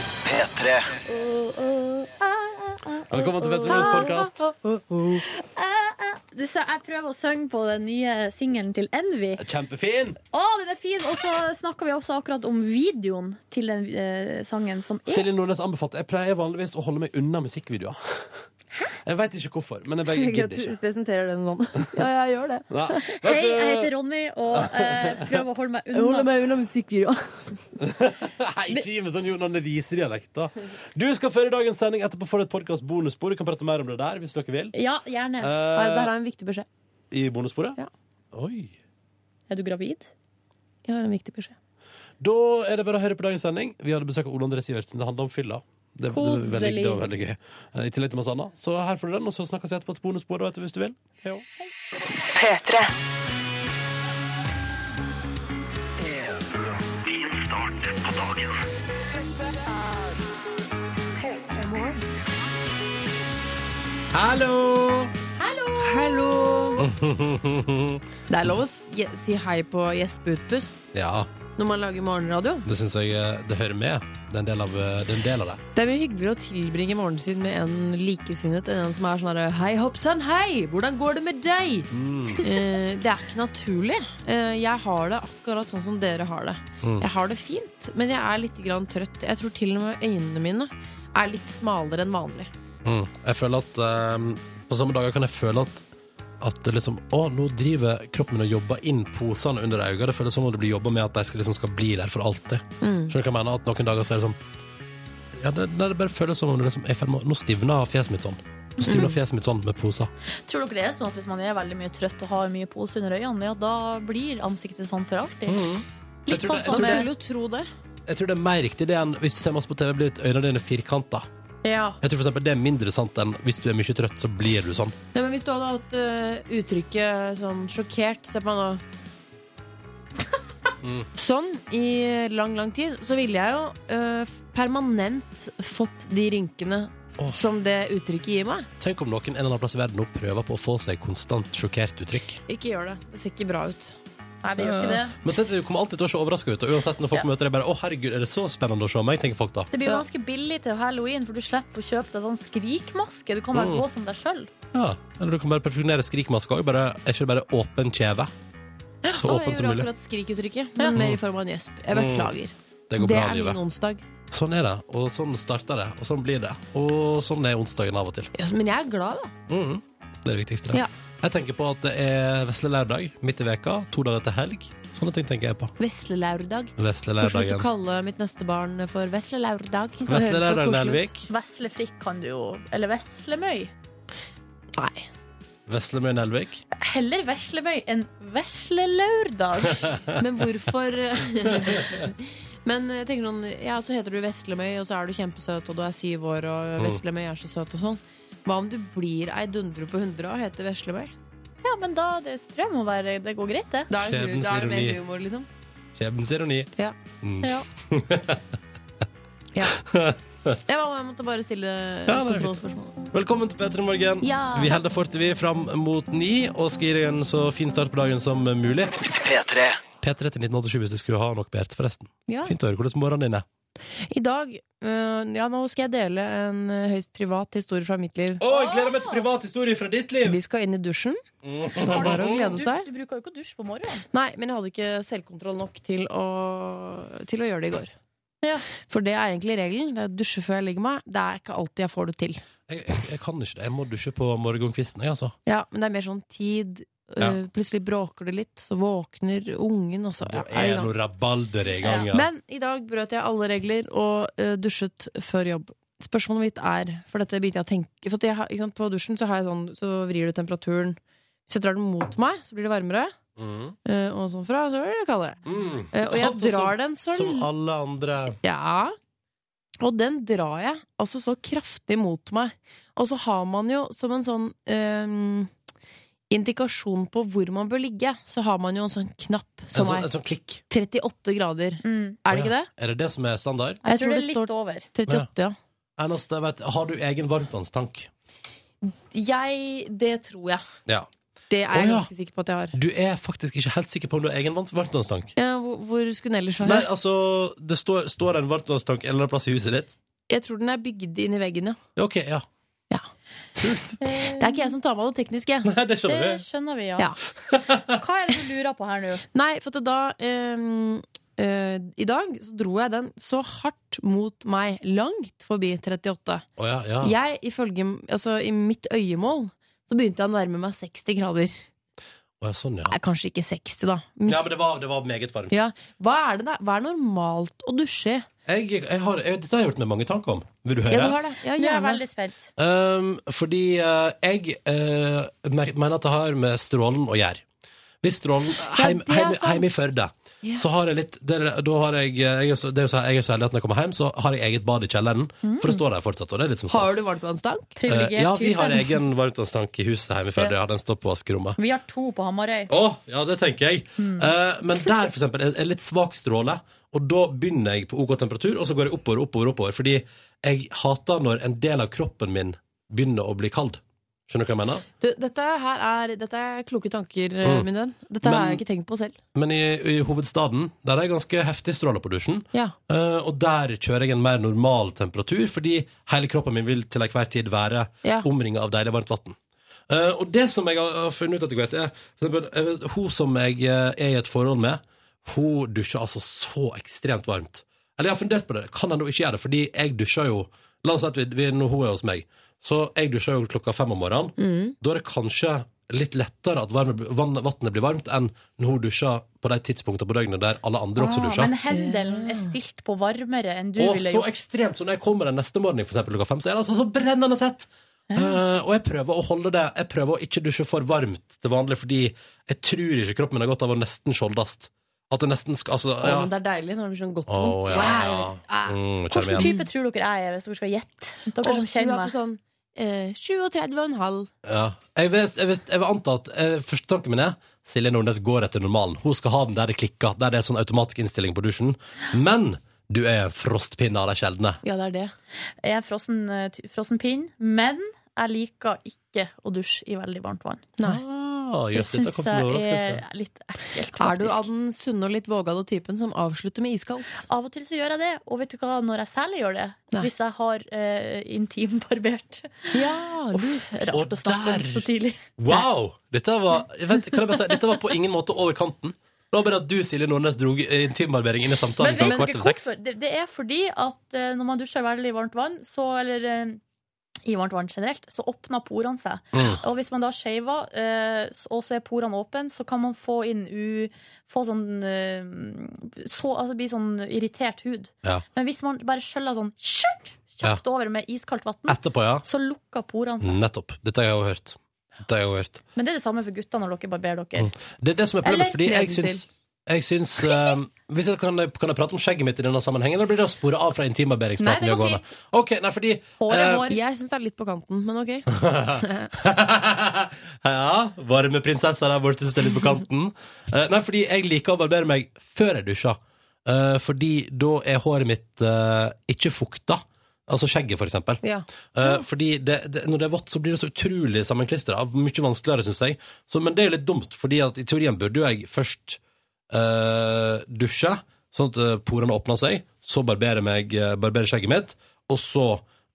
P3. Velkommen til Petter Morgens podkast. Du sa, jeg prøver å synge på den nye singelen til Envy. Kjempefin! Å, den er fin! Og så snakka vi også akkurat om videoen til den eh, sangen som er Silje Nordnes anbefalte. Jeg pleier vanligvis å holde meg unna musikkvideoer. Jeg veit ikke hvorfor, men jeg bare Jeg gidder ikke. presenterer den sånn. Ja, jeg gjør det. Nei. Hei, Vet du- jeg heter Ronny og eh, prøver å holde meg Jeg holder unna. meg unna musikkvideo. Nei, ikke gi meg sånn Jonan Riise-dialekt, da. Du skal føre dagens sending. Etterpå får du et podkast bonusspor. Vi kan prate mer om det der hvis dere vil. Ja, gjerne. Nei, Der Eh, har jeg en viktig beskjed. I bonussporet? Ja. Oi. Er du gravid? Jeg har en viktig beskjed. Da er det bare å høre på dagens sending. Vi hadde besøk av Ole André Sivertsen. Det handla om fylla. Det, det, var veldig, Koselig. det var veldig gøy. Eh, I tillegg til masse annet. Så her får du den, og så snakkes vi etterpå til bonussporet vet du, hvis du vil. Ja. P3. Hallo! Hallo! Det er lov å s- je- si hei på gjespeutpust Ja, når man lager morgenradio. det syns jeg eh, det hører med. Det er en del av, eh, det er en del av det. Det er mye hyggeligere å tilbringe morgenen sin med en likesinnet enn en som er sånn herre Hei, hoppsann, hei! Hvordan går det med deg? Mm. Eh, det er ikke naturlig. Eh, jeg har det akkurat sånn som dere har det. Mm. Jeg har det fint, men jeg er litt grann trøtt. Jeg tror til og med øynene mine er litt smalere enn vanlig. Mm. Jeg føler at eh, På samme dager kan jeg føle at at det liksom, å, nå driver kroppen min og jobber inn posene under øynene. Det føles som om det blir jobba med at de skal, liksom, skal bli der for alltid. Skjønner du hva jeg mener? At noen dager så er det sånn ja, det, nei, det bare føles som om det liksom, jeg er i ferd med å- Nå stivner fjeset mitt sånn. Nå stivner fjeset mitt sånn med poser. Tror dere det er sånn at hvis man er veldig mye trøtt og har mye pose under øynene, ja, da blir ansiktet sånn for alltid? Jeg Litt tror sånn som det- Mm. jeg tror Man det- vil jo tro det. Jeg tror det er mer riktig det enn hvis du ser masse på TV, blir øynene dine firkanta. Ja. Jeg tror for eksempel det er mindre sant enn hvis du er mye trøtt, så blir du sånn. Nei, men Hvis du hadde hatt eh, uttrykket sånn sjokkert Se på meg nå. Mm. Sånn i lang, lang tid, så ville jeg jo eh, permanent fått de rynkene Åh. som det uttrykket gir meg. Tenk om noen en eller annen plass i verden nå prøver på å få seg konstant sjokkert uttrykk. Ikke gjør det. Det ser ikke bra ut. Nei, det gjør ikke det. Men tenk, du kommer alltid til å se overraska ut. Og uansett når folk Ja. møter deg, bare 'Å, herregud, er det så spennende å se meg?' tenker folk da. Det blir jo Ja. ganske billig til halloween, for du slipper å kjøpe deg sånn skrikmaske. Du kan bare Mm. gå som deg sjøl. Ja. Eller du kan bare perfeksjonere skrikmaska òg. Er ikke det bare åpen kjeve? Så Og jeg åpen som gjorde mulig. Mm. akkurat skrikuttrykket, men mer i form av en gjesp. Jeg beklager. Det går Det bra, er min livet. onsdag. Sånn er det. Og sånn starter det. Og sånn blir det. Og sånn er onsdagen av og til. Ja, men jeg er glad, da. Mhm. Det er det viktigste. det. Ja. Jeg tenker på at det er vesle lørdag midt i veka, to dager til helg. Sånne ting tenker jeg på. Vesle Laurdag. Vesle Hvordan skal lørdagen. jeg kalle mitt neste barn for Vesle Laurdag? Det høres så Vesle lørdagen koselig ut. Elvik. Veslefrikk kan du jo Eller veslemøy. Nei. Vesle med Nelvik. Heller veslemøy enn veslelørdag. Men hvorfor eh, Men jeg tenker noen Ja, så heter du Veslemøy, og så er du kjempesøt, og du er syv år, Mm. og Veslemøy er så søt og sånn. Hva om du blir ei dundre på hundre og heter Veslemøy? Ja, men da det tror jeg må være Det går greit, det. Da er det, hu- Skjebnens da er det ironi. mer humor, liksom. Skjebnens ironi. Ja. Mm. Ja. ja. Jeg, var, jeg måtte bare stille Ja, det er kontrollspørsmål. Velkommen til P3 Morgen. Ja. Vi holder fortet vi fram mot ni og skal gi deg en så fin start på dagen som mulig. P3. P3 til 1987 hvis du skulle ha noe på hjertet, forresten. Ja. Fint å høre hvordan morgenen din er. I dag øh, Ja, nå skal jeg dele en øh, høyst privat historie fra mitt liv. Å, jeg gleder meg til privat historie fra ditt liv! Vi skal inn i dusjen. Mm. Det er bare å glede seg. Du, du bruker jo ikke å dusje på morgenen. Nei, men jeg hadde ikke selvkontroll nok til å, til å gjøre det i går. Ja. For det er egentlig regelen. Det er å dusje før jeg legger meg. Det er ikke alltid jeg får det til. Jeg, jeg, jeg kan ikke det. Jeg må dusje på morgenkvisten, jeg, altså. Ja, men det er mer sånn tid. Ja. øh, Plutselig bråker det litt, så våkner ungen, og så Da ja, er er det i gang. noe rabalder i gang. Ja. Men i dag brøt jeg alle regler og øh, dusjet før jobb. Spørsmålet mitt er, for dette begynte jeg å tenke For at jeg, har- ikke sant, På dusjen så, har jeg sånn, så vrir du temperaturen. Hvis jeg drar den mot meg, så blir det varmere. Mm. øh, Og sånn fra, så blir det kaldere. Mm. Eh, Og jeg Altså, drar den så som, som alle andre. Ja. Og den drar jeg altså så kraftig mot meg. Og så har man jo som en sånn øhm, indikasjon på hvor man bør ligge, så har man jo en sånn knapp En som sånn, er en sånn klikk. 38 grader. Mm. Er det ikke det? Er det det som er standard? Jeg tror det er litt over. 38, ja. Eneste, jeg vet, har du egen varmtvannstank? Jeg Det tror jeg. Ja. Det er jeg Å, ja. ganske sikker på at jeg har. Du er faktisk ikke helt sikker på om du har egen varmtvannstank? Ja, hvor, hvor skulle den ellers være? Nei, altså, det står, står en varmtvannstank en eller annen plass i huset ditt. Jeg tror den er bygd inn i veggen, ja. Ja, OK, ja. Ja. Kult. Det er ikke jeg som tar meg av det tekniske. Nei, det Eh, Det skjønner du. skjønner vi, ja. Ja. Hva er det du lurer på her nå? Nei, for at da ehm, eh, I dag så dro jeg den så hardt mot meg, langt forbi 38. Å ja, ja. Jeg, ifølge Altså, i mitt øyemål så begynte jeg å nærme meg 60 grader. Å, ja, sånn, ja. Nei, kanskje ikke 60, da. Ja, men det var, det var meget varmt. Ja. Hva, er det, da- hva er normalt å dusje i? Jeg, jeg har, jeg, dette har jeg gjort meg mange tanker om. Vil du høre? Ja, du har det. Nå er Ja, jeg gjerne. veldig spent. Um, fordi eh, jeg eh, mer- mener at det har med strålen å gjøre. Hvis strålen heim, det er heim, sant. heim i Førde, Ja. så har jeg litt det, er- Da har jeg, eh, jeg, er så- det er jo så, jeg er så heldig at når jeg kommer hjem, så har jeg eget bad i kjelleren. For det står der fortsatt, og det er litt som Mm. Har du varmtvannstank? Eh, Privilegert ja, vi har type. egen varmtvannstank i huset hjemme i Førde. Ja, den står på vaskerommet. Vi har to på Hamarøy. Å, ja, det tenker jeg. Eh, men der, for eksempel, er det litt svak stråle, og da begynner jeg på OK temperatur, og så går jeg oppover, oppover, oppover. Fordi jeg hater når en del av kroppen min begynner å bli kald. Skjønner du hva jeg mener? Du, dette her er, dette er kloke tanker, eh, Mm. min venn. Dette Men- har jeg ikke tenkt på selv. Men i, i hovedstaden, der er det ganske heftig stråle på dusjen. Ja. Eh, og der kjører jeg en mer normal temperatur, fordi hele kroppen min vil til enhver tid være Ja. omringa av deilig varmt vann. Eh, og det som jeg har har funnet ut etter hvert, er for eksempel, jeg vet, hun som jeg eh, er i et forhold med, hun dusjer altså så ekstremt varmt. Eller jeg har fundert på det. Kan jeg nå ikke gjøre det? Fordi jeg dusjer jo La oss si at vi, vi, når hun er hos meg, så jeg dusjer jo klokka fem om morgenen. Da er det kanskje litt lettere at varme, vann, vannet blir varmt enn når hun dusjer på de tidspunktene på døgnet der alle andre også Ah, dusjer. men hendelen er stilt på varmere enn du Og ville så gjort. ekstremt, så når jeg kommer den neste morgenen for eksempel klokka fem, så er det altså så brennende sett. Eh, og jeg prøver å holde det Jeg prøver å ikke dusje for varmt til vanlig, fordi jeg tror ikke kroppen min har godt av å nesten skjoldast. At det nesten skal Altså, Å, ja. men det er deilig når det blir sånn godt Å, vondt. ja, ja. Ah. Mm, kjenner meg Hvilken igjen. type tror dere jeg er, hvis dere skal gjette? Dere Åh, som du er kjenner på meg. sånn eh, 37,5. Ja. Jeg, vet, jeg, vet, jeg vil anta at eh, første tanken min er Silje Nordnes går etter normalen. Hun skal ha den der det klikker, der det er sånn automatisk innstilling på dusjen. Men du er en frostpinne av de sjeldne. Ja, det er det. Jeg er frossen, eh, ty- frossen pinn, men jeg liker ikke å dusje i veldig varmt vann. Ah, Det jøss, dette syns kom som en jeg overraskelse. er litt ekkelt, Er du av faktisk. den sunne og litt vågale typen som avslutter med iskaldt? Av og til så gjør jeg det, og vet du hva, når jeg særlig gjør det, Nei. hvis jeg har eh, intimbarbert Ja, Uff, Og rart å snakke om der- så tidlig. Wow! Dette var, vent, kan jeg bare si, dette var på ingen måte over kanten. Det var bare at du, Silje Nordnes, dro intimbarbering inn i samtalen Men fra vet kvart dere over seks. hvorfor? Det, det er fordi at eh, når man dusjer i veldig varmt vann, så, eller eh, i varmt vann generelt, så åpner porene seg. Mm. Og hvis man da shaver, eh, s- og så er porene åpne, så kan man få inn u... Få sånn eh, så, Altså bli sånn irritert hud. Ja. Men hvis man bare skjøller sånn skjørt, kjapt over med iskaldt vann, Etterpå, ja. så lukker Mm. porene seg. Nettopp. Dette har jeg jo hørt. Dette har jeg jo hørt. Men det er det samme for gutta når dere barberer dere. Det er det som er problemet, Eller fordi jeg nedentil. syns, jeg syns ehm, hvis jeg kan, kan jeg prate om skjegget mitt i denne sammenhengen, eller blir det å spore av fra Nei, intimbarberingspraten? det går vi har gående? Ok, nei, fordi Hår er eh, hår. Jeg syns det er litt på kanten, men ok. ja, varme prinsessa der borte synes det er litt på kanten. Eh, nei, fordi jeg liker å barbere meg før jeg dusjer. Eh, fordi da er håret mitt eh, ikke fukta. Altså skjegget, for eksempel. Ja. Eh, fordi det, det, når det er vått, så blir det så utrolig sammenklistra. Mye vanskeligere, syns jeg. Så, men det er jo litt dumt, fordi at i teorien burde jo jeg først eh, dusje, sånn at eh, porene åpner seg, så barberer meg, eh, barberer skjegget mitt, og så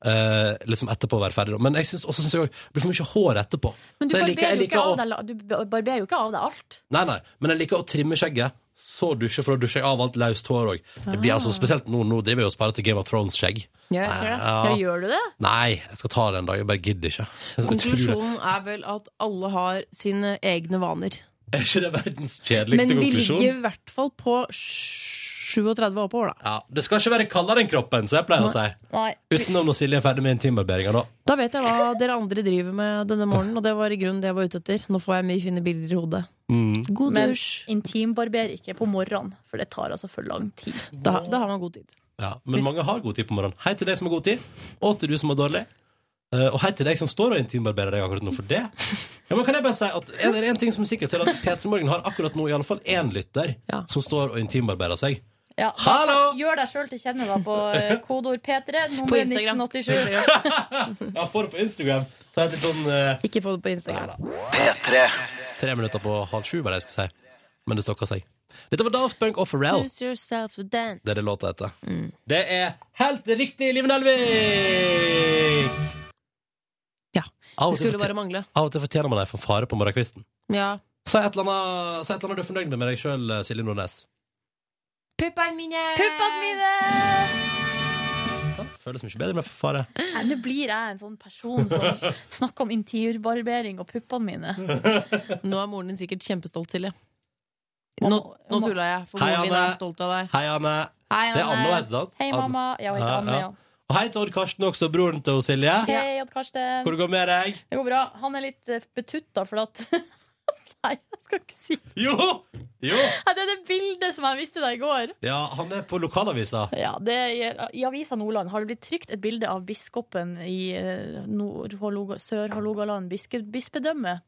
eh, liksom etterpå være ferdig. da. Men jeg syns også synes jeg, også det blir for mye hår etterpå. Men du Så jeg liker- barberer, jeg jo liker ikke å- av deg, la- du barberer jo ikke av deg alt. Nei, nei, men jeg liker å trimme skjegget. Så dusje, for da dusjer jeg av alt løst hår òg. Altså, spesielt nå, nå driver jeg og sparer til Game of Thrones-skjegg. Ah. Ja, jeg ser det. Ah. Ja, gjør du det? Nei, jeg skal ta det en dag. Jeg bare gidder ikke. Jeg tror det. Konklusjonen er vel at alle har sine egne vaner. Er ikke det verdens Men kjedeligste vi konklusjon? ligger i hvert fall på 37 oppover, da. Ja, Det skal ikke være kaldere enn kroppen, så jeg pleier å si. Nei. Utenom når Silje er ferdig med intimbarberinga, da. Da vet jeg hva dere andre driver med denne morgenen, og det var i grunnen det jeg var ute etter. Nå får jeg mye fine bilder i hodet. God Men dusj. intimbarber ikke på morgenen, for det tar altså for lang tid. Da, da har man god tid. Ja, men mange har god tid på morgenen. Hei til deg som har god tid, og til du som har dårlig. Eh, og hei til deg som står og intimbarberer deg akkurat nå for det. Ja, men kan jeg bare si at Er det én ting som er sikkert, så er det at Peter Morgen har akkurat nå i alle fall én lytter Ja. som står og intimbarberer seg. Ja, da Hallo! kan- Gjør deg sjøl til kjenne da på eh, kodeord P3, På nummer Instagram. 1987. Ja, får det på Instagram. Ta et litt sånn eh, Ikke få det på Instagram. Tre minutter på halv sju, var det jeg skulle si. Men det stokka seg. Dette var Daft Punk og Pharrell. Lose yourself to dance. Det er det låta heter. Det er helt riktig, Liven Elvik! Ja, Av Det og til skulle fortjener- bare mangle. av og til fortjener man ei fanfare på morgenkvisten. Ja. Si et eller annet si et eller annet du er fornøyd med med deg sjøl, Silje Nordnes. Puppene mine! Puppene mine! Ja, føles mye bedre med fanfare. Nei, Nå blir jeg en sånn person som snakker om interiørbarbering og puppene mine. Nå er moren din sikkert kjempestolt, Silje. Om- Nå, nå om- tulla jeg, for Hei, moren din Anne. er stolt av deg. Hei, Anne. Hei, Det er Anne, Anne. vet du sant? Hei, Anne. mamma. Ja, jeg heter Ja, Anne, ja. ja. Og hei til Odd Karsten også, broren til Silje. Hei, Odd Karsten. Hvor det går med deg? Det går bra. Han er litt eh, betutta for at Nei, jeg skal ikke si Nei, Jo! Jo! Det er det bildet som jeg viste deg i går. Ja, han er på lokalavisa. Ja, det, er- I Avisa Nordland har det blitt trykt et bilde av biskopen i eh, Nord- Håloga- Sør-Hålogaland biske- bispedømme.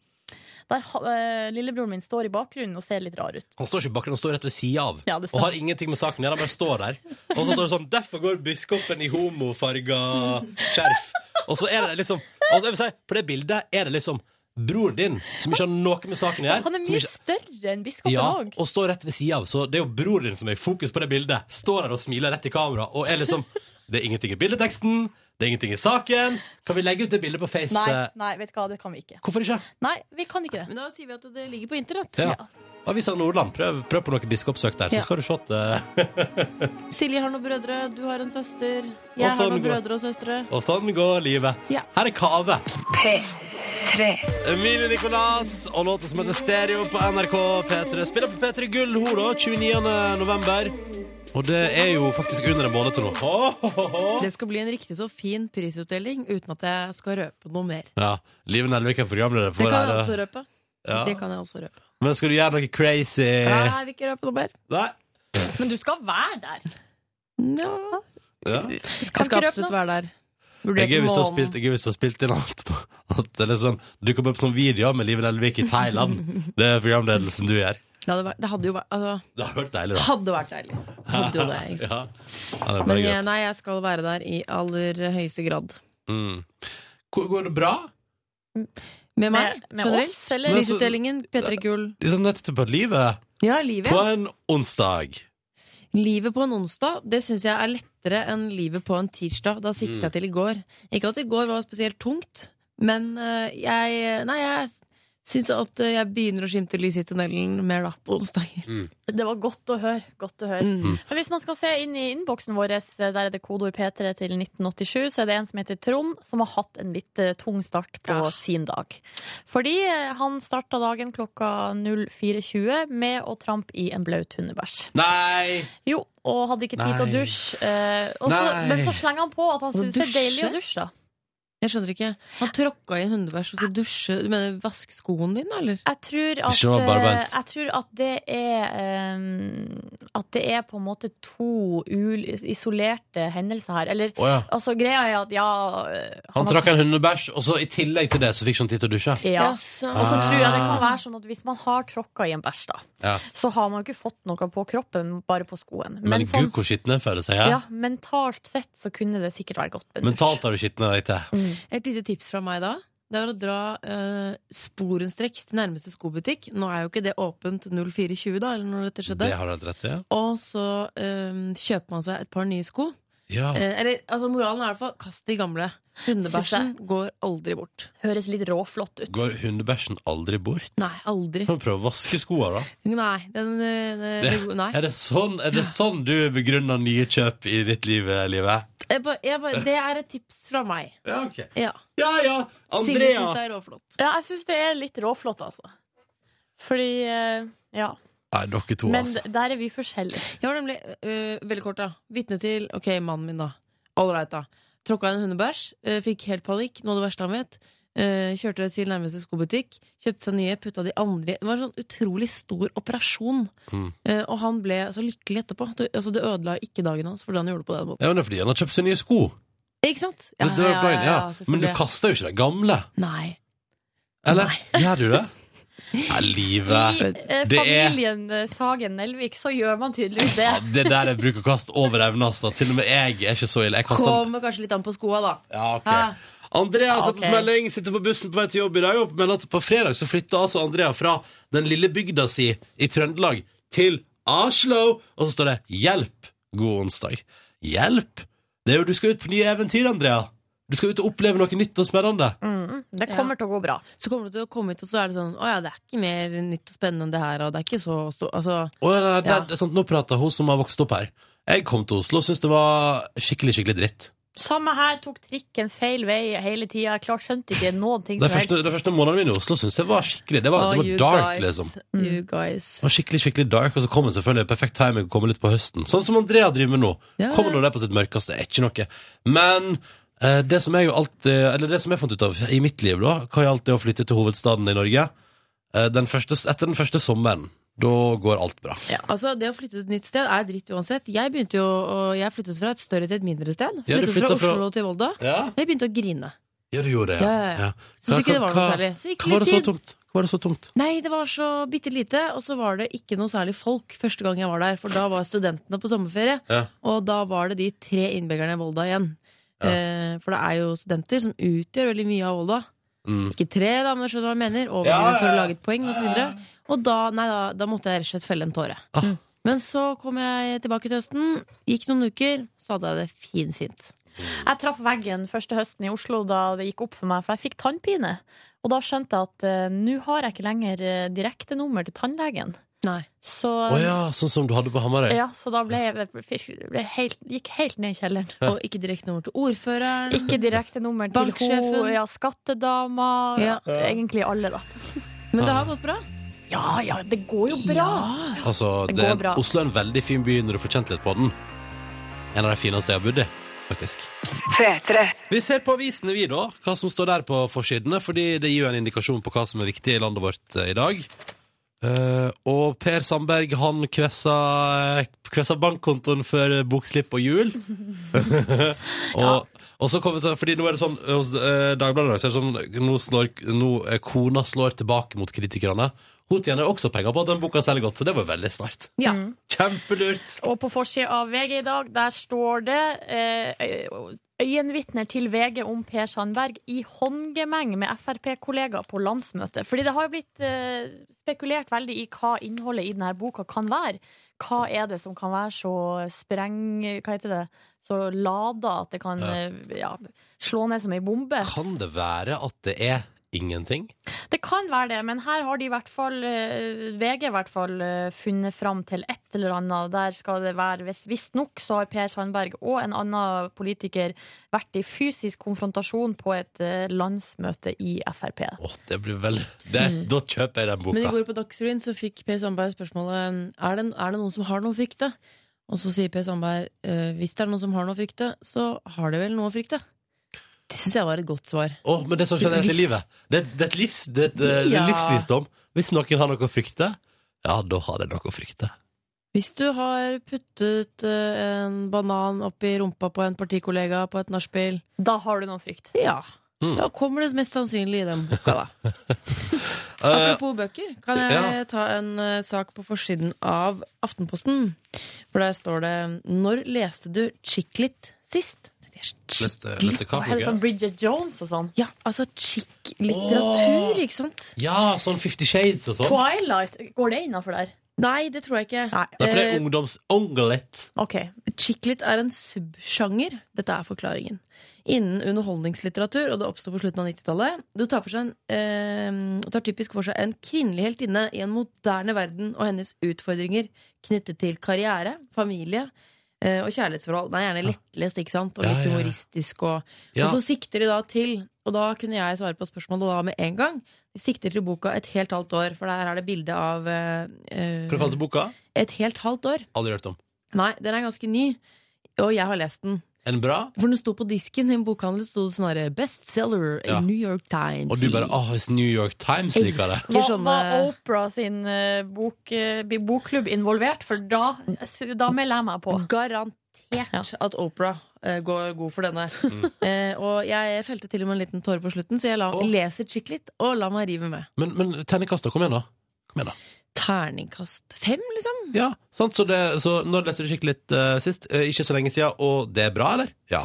Der ha- eh, lillebroren min står i bakgrunnen og ser litt rar ut. Han står ikke i bakken, han står rett ved sida av. Ja, og det stemmer. har ingenting med saken å gjøre, han bare står der. Og så står det sånn 'Derfor går biskopen i homofarga skjerf'. Og så er det liksom altså jeg vil si, På det bildet er det liksom bror din, som ikke har noe med saken å gjøre. Han er som mye ikke- større enn biskopen Ja, òg. og står rett ved sida av. Så det er jo bror din som er i fokus på det bildet. Står der og smiler rett i kamera. Og er liksom Det er ingenting i bildeteksten, det er ingenting i saken. Kan vi legge ut det bildet på Face? Nei, nei, vet du hva, det kan vi ikke. Hvorfor ikke? Nei, vi kan ikke det. Men da sier vi at det ligger på internett. Ja. Avisa Nordland, prøv, prøv på noe biskopsøk der, Ja. så skal du se at eh, Silje har noen brødre, du har en søster. Jeg sånn har noen går- brødre og søstre. Og sånn går livet. Ja. Her er Kave. P3. Emilie Nicolas og låta som heter Stereo på NRK P3. Spiller på P3 Gull hun, da, 29. november. Og det er jo faktisk under en måned til nå. Det skal bli en riktig så fin prisutdeling uten at jeg skal røpe noe mer. Ja, Live Nelvik er programleder Det for kan jeg her, også røpe. Ja. Eh. Det kan jeg også røpe. Men skal du gjøre noe crazy? Nei, jeg vil ikke røpe noe mer. Nei? Men du skal være der. Nja. Ja. Jeg skal absolutt være der. Det Vurdert er gøy hvis du har månen. spilt, det er gøy hvis du har spilt inn alt på at det er litt sånn, dukker opp som video med Live Nelvik i Thailand. Det er programledelsen du gjør. det hadde, vært, det hadde jo vært, altså, Det hadde vært deilig, det da. hadde vært deilig. Hadde jo det, ikke sant? Ja. Ja, det er Men bare jeg, greit. nei, jeg skal være der i aller høyeste grad. Mm. Går går det bra? Med meg, Med, med generelt. oss, eller? Men- Prisutdelingen, P3 Gull. Det er nettopp på livet. Ja, livet. På ja. en onsdag. Livet på en onsdag det syns jeg er lettere enn livet på en tirsdag. Da siktet Mm. jeg til i går. Ikke at i går var spesielt tungt, men eh, jeg Nei, jeg syns at eh, jeg begynner å skimte lys i tunnelen mer da, på onsdager. Det var godt å høre. Godt å høre. Mm. Men hvis man skal se inn i innboksen vår, eh, der er det kodeord P3 til 1987, så er det en som heter Trond, som har hatt en litt eh, tung start på Ja. sin dag. Fordi eh, han starta dagen klokka 04.20 med å trampe i en blaut hundebæsj. Nei! Jo, og hadde ikke tid til å Nei. dusje. eh, og så- Nei. men så slenger han på at han Og syns det er deilig dusje? å dusje, da. Jeg skjønner ikke. Han tråkka i en hundebæsj og skulle dusje. Du mener vaske skoen din, da, eller? Jeg tror at, Ikke noe barbeint. eh, jeg tror at det er eh, At det er på en måte to ul isolerte hendelser her. Eller Åja. altså, greia er at ja eh, Han har trakk en hundebæsj, og så i tillegg til det så fikk han tid til å dusje. Ja. så- Og så tror jeg det kan være sånn at hvis man har tråkka i en bæsj, da, Ah. Ja. så har man jo ikke fått noe på kroppen, bare på skoen. Men, sånn, gud, hvor skitten den føler seg. ja, Ja. mentalt sett så kunne det sikkert være godt med Mentalt har du skitna deg til. Et lite tips fra meg da Det er å dra eh, sporenstreks til nærmeste skobutikk Nå er jo ikke det åpent 0420 da Eller når dette skjedde Det har du helt rett i. Ja. Og så eh, kjøper man seg et par nye sko Ja. Eh, Eller, altså moralen er i hvert fall Kast de gamle Hundebæsjen går aldri bort Høres litt råflott ut. Går hundebæsjen aldri bort? Nei, aldri Kan vi prøve å vaske skoene, da? Nei, den, eh, Det, det- nei. er, det sånn, er det sånn du begrunner nye kjøp i ditt liv, eh, Live? Jeg bare- jeg bare- Det er et tips fra meg Ja, ok. ja. Ja, ja! Silje Andrea! synes det er råflott Ja, jeg syns det er litt råflott, altså. Fordi eh, Ja. Nei, dere to, Men altså. d- der er vi forskjellige. Jeg var nemlig, øh, veldig kort da Vittne til, ok, mannen min da All right da Tråkka en hundebæsj, øh, fikk helt panikk Noe av det verste han vet Øh, Kjørte det til nærmeste skobutikk Kjøpte seg nye, putta de andre i- Det var en sånn utrolig stor operasjon Mm. Eh, Og han ble så lykkelig etterpå det, altså, det ødela ikke dagen hans Fordi han gjorde det på den måten Ja, men det er fordi han har kjøpt seg nye sko. Ikke sant? Det, det var poenget, ja. Men du selvfølgelig. kaster jo ikke de gamle. Nei Eller? Gjør du det? Nei, livet I eh, Det er- familien eh, Sagen Nelvik så gjør man tydeligvis det. ja, Det der er bruk og kast over evne, altså. Til og med jeg er ikke så ille. Jeg kaster den. Kommer kanskje litt an på skoa da Ja, ok. Hæ? Andrea har sett oss Ok. melding, sitter på bussen på vei til jobb i dag og melder at på fredag så flytta altså Andrea fra den lille bygda si i Trøndelag til Oslo! Og så står det 'Hjelp! God onsdag'. Hjelp! Det er jo, du skal ut på nye eventyr, Andrea. Du skal ut og oppleve noe nytt og spennende. Det kommer til å gå bra. Så kommer du til å komme hit, og så er det sånn Å ja, det er ikke mer nytt og spennende enn det her, og det er ikke så stor Altså, Og det, det, Ja. det er sant, nå prater hun som har vokst opp her. Jeg kom til Oslo og syntes det var skikkelig skikkelig dritt. Samme her, tok trikken feil vei hele tida. Jeg klart skjønte ikke noen ting De som helst. første, de første månedene mine i Oslo syntes jeg var skikkelig Det var, «Å, det you var dark, guys, liksom. You guys. Det var skikkelig, skikkelig dark, og så kommer selvfølgelig perfekt timing og kommer litt på høsten. Sånn som Andrea driver med nå. Ja, Kommer ja. når det er på sitt mørkeste, er ikke noe. Men eh, det som jeg jo alltid Eller det som jeg fant ut av i mitt liv, da, hva gjaldt det å flytte til hovedstaden i Norge eh, den første, Etter den første sommeren. Da går alt bra. Altså, det å flytte til et nytt sted er dritt uansett. Jeg begynte jo å- Jeg flyttet fra et større til et mindre sted. Ja, du Flyttet fra flyttet fra- Oslo til Volda. Ja, Jeg begynte å grine. ja du gjorde det, Ja, ja, ja. Hva- Syns ikke det var noe hva- særlig. Så gikk Hva var litt det så tid. tungt? Hva var det så tungt? Nei, det var så bitte lite, og så var det ikke noe særlig folk første gang jeg var der. For da var studentene på sommerferie, Ja. og da var det de tre innbyggerne i Volda igjen. Ja. Eh, for det er jo studenter som utgjør veldig mye av Volda. Mm. Ikke tre, da, men du skjønner hva jeg mener. Over Ja, ja, for å ja. lage et poeng, osv. Og da, nei, da, da måtte jeg rett og slett felle en tåre. Ah. Mm. Men så kom jeg tilbake til høsten, gikk noen uker, så hadde jeg det finfint. Jeg traff veggen første høsten i Oslo da det gikk opp for meg, for jeg fikk tannpine. Og da skjønte jeg at eh, nå har jeg ikke lenger eh, direktenummer til tannlegen. Nei. Så, Å ja, sånn som du hadde på Hamarøy? ja, så da ble jeg, ble helt, gikk helt ned i kjelleren. Og ikke direkte nummer til ordføreren. Ikke direktenummer til Banksjefen. henne, ja, skattedama, Ja. egentlig alle, da. Men det har gått bra. Ja ja, det går jo bra! Altså, Det det er, går bra. Oslo er en veldig fin by når du får kjent litt på den. En av de fineste jeg har bodd i, faktisk. tre, tre, Vi ser på avisene, vi, da. Hva som står der på forsidene. Fordi det gir jo en indikasjon på hva som er viktig i landet vårt eh, i dag. Eh, og Per Sandberg, han kvessa, kvessa bankkontoen før bokslipp og jul. og, og så kommer det til- Fordi nå er det sånn eh, Hos eh, Dagbladet i dag så er det sånn Nå, slår, nå eh, kona slår tilbake mot kritikerne. Hun tjener også penger på at den boka selger godt, så det var veldig smart. Ja. Kjempelurt! Og på forsida av VG i dag, der står det eh, øyenvitner til VG om Per Sandberg i håndgemeng med Frp-kollegaer på landsmøtet. Fordi det har jo blitt eh, spekulert veldig i hva innholdet i denne boka kan være. Hva er det som kan være så spreng... Hva heter det? Så lada at det kan Ja. eh, Ja, slå ned som ei bombe. Kan det være at det er ingenting? Det kan være det, men her har de i hvert fall eh, VG i hvert fall eh, funnet fram til et eller annet. Der skal det være hvis- Visstnok så har Per Sandberg og en annen politiker vært i fysisk konfrontasjon på et eh, landsmøte i Frp. Åh, det blir veldig det, Da kjøper jeg den boka. Mm. Men i går på Dagsrevyen så fikk Per Sandberg spørsmålet er det, er det noen som har noe å frykte. Og så sier Per Sandberg «Eh, hvis det er noen som har noe å frykte, så har de vel noe å frykte. Det syns jeg var et godt svar. Åh, men det er sånn generelt i Hvis- livet. Det, det er et livs, det, det, det Ja. er livsvisdom. Hvis noen har noe å frykte, ja, da har de noe å frykte. Hvis du har puttet eh, en banan oppi rumpa på en partikollega på et nachspiel, Da har du noen frykt. ja, Mm. da kommer det mest sannsynlig i den boka, da. Eh, Apropos bøker, kan jeg ja. ta en eh, sak på forsiden av Aftenposten? For der står det 'Når leste du Chicklit sist?' Det er leste, Chick-lit. leste hva Hva for er det noe? sånn Bridget Jones og sånn? Ja, altså chick-litteratur, ikke sant? Ja, sånn Fifty Shades og sånn. Twilight, går det innafor der? Nei, det tror jeg ikke. Nei. Nei, for det Eh, er ungdoms... Ongelet. OK. Chicklit er en subsjanger, dette er forklaringen, innen underholdningslitteratur, og det oppsto på slutten av 90-tallet. Du tar, for seg en, eh, tar typisk for seg en kvinnelig heltinne i en moderne verden og hennes utfordringer knyttet til karriere, familie eh, og kjærlighetsforhold. Det er gjerne lettlest, ikke sant? Og Ja, ja, litt ja. humoristisk. Og, Ja. og så sikter de da til, og da kunne jeg svare på spørsmålet da med en gang, de sikter til boka Et helt halvt år, for der er det bilde av eh, eh, Hva du kalte boka? Et helt halvt år. Aldri hørt om. Nei, den er ganske ny. Og jeg har lest den. En bra? For den sto på disken i en bokhandel. Stod det sånn her, 'Bestseller Ja. i New York Times'. Og du bare ah, hvis New York Times liker det. Var, Elsker sånne var Opera sin eh, bok, eh, bokklubb involvert? For da, da melder jeg meg på. Garantert Ja. at Opera eh, går god for denne. Eh, og jeg felte til og med en liten tåre på slutten, så jeg la, Mm. Åh. leser chick litt og la meg rive med. Men, men terningkast, da. Kom igjen, da. Kom igjen da terningkast fem, liksom. Ja, sant? Så, det, så nå leste du skikkelig litt eh, sist, eh, ikke så lenge siden, og det er bra, eller? Ja.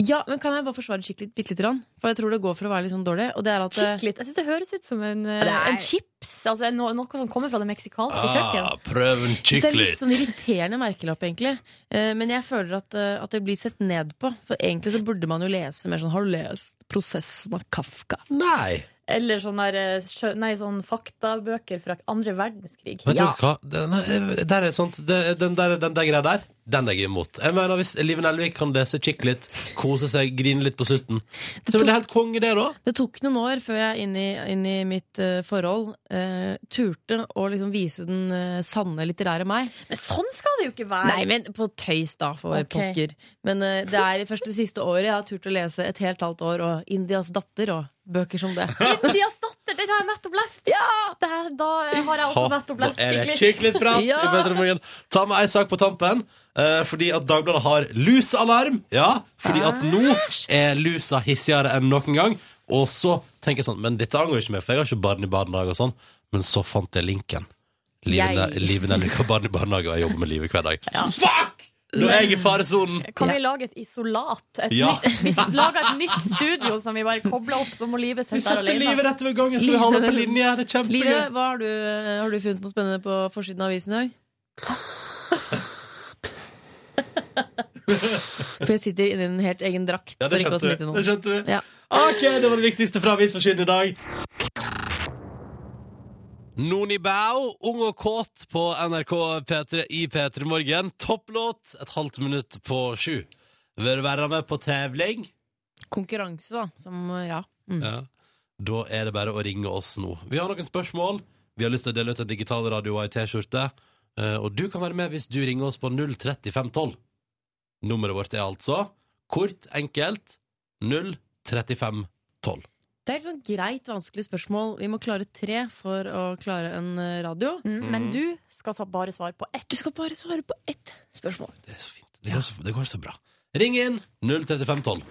Ja, men kan jeg bare forsvare skikkelig bitte lite grann? For jeg tror det går for å være litt sånn dårlig. Og det er at eh, Kikk litt. Jeg syns det høres ut som en, eh, Nei. en chips. Altså no, noe som kommer fra det meksikanske Ah. kjøkken. prøv en Så det er skikkelig. litt sånn irriterende merkelapp, egentlig. Eh, Men jeg føler at, eh, at det blir sett ned på. For egentlig så burde man jo lese mer sånn Har du lest 'Prosessen av Kafka'? Nei. Eller sånn der, eh, sjø- nei, sånn faktabøker fra andre verdenskrig. Vet du hva? Den, er- eh, der er sånt, det, den, der, den der greia der, den er jeg imot. Jeg mener Hvis Liven Elvik kan lese skikkelig litt, kose seg, grine litt på slutten Så er det helt konge, det, da. Det tok noen år før jeg inn i, inn i mitt eh, forhold eh, turte å liksom vise den eh, sanne litterære meg. Men sånn skal det jo ikke være! Nei, men på tøys, da, for Ok. pokker. Men eh, det er det første siste året jeg har turt å lese et helt halvt år, og 'Indias datter' og bøker som det. Indias datter, den har jeg nettopp lest! Det, her- da eh, har jeg også Ha, nettopp lest er det skikkelig. skikkelig prat Ja. i Petter i Morgen. Ta med ei sak på tampen. eh, fordi at Dagbladet har lusealarm. Ja, fordi at nå er lusa hissigere enn noen gang. Og så tenker jeg sånn Men dette angår ikke meg, for jeg har ikke barn i barnehage og sånn. Men så fant jeg linken. Liven Jeg. Liven er lykka barn i barnehage, og jeg jobber med livet hver dag. Fuck! Nå er jeg i faresonen! Kan vi lage et isolat? Et Ja. nytt, vi lager et nytt studio som vi bare kobler opp, så må livet Vi sitte der setter alene. livet rett ved gangen, så vi holder på linje. Det er kjempegøy. Livet, hva har, du, eh, har du funnet noe spennende på forsiden av avisen i dag? For jeg sitter inni en helt egen drakt. Ja, det for ikke å skjønte smitte vi. noen. Det skjønte vi. Ja. Ok, det var det viktigste fra avisforsiden i dag. Noni Bao, ung og kåt på NRK P3 i P3 Morgen. Topplåt et halvt minutt på sju. Vil du være med på tävling? Konkurranse, da. Som, eh, ja. Mm. Ja. Da er det bare å ringe oss nå. Vi har noen spørsmål. Vi har lyst til å dele ut en digital radio og ei T-skjorte. Eh, Og du kan være med hvis du ringer oss på 03512. Nummeret vårt er altså kort, enkelt 03512. Det er et sånn greit vanskelig spørsmål. Vi må klare tre for å klare en eh, radio. Eh, Mm, Men du skal ta bare svare på ett. Du skal bare svare på ett spørsmål. Det er så fint. Det går, så, det går så bra. Ring inn 03512.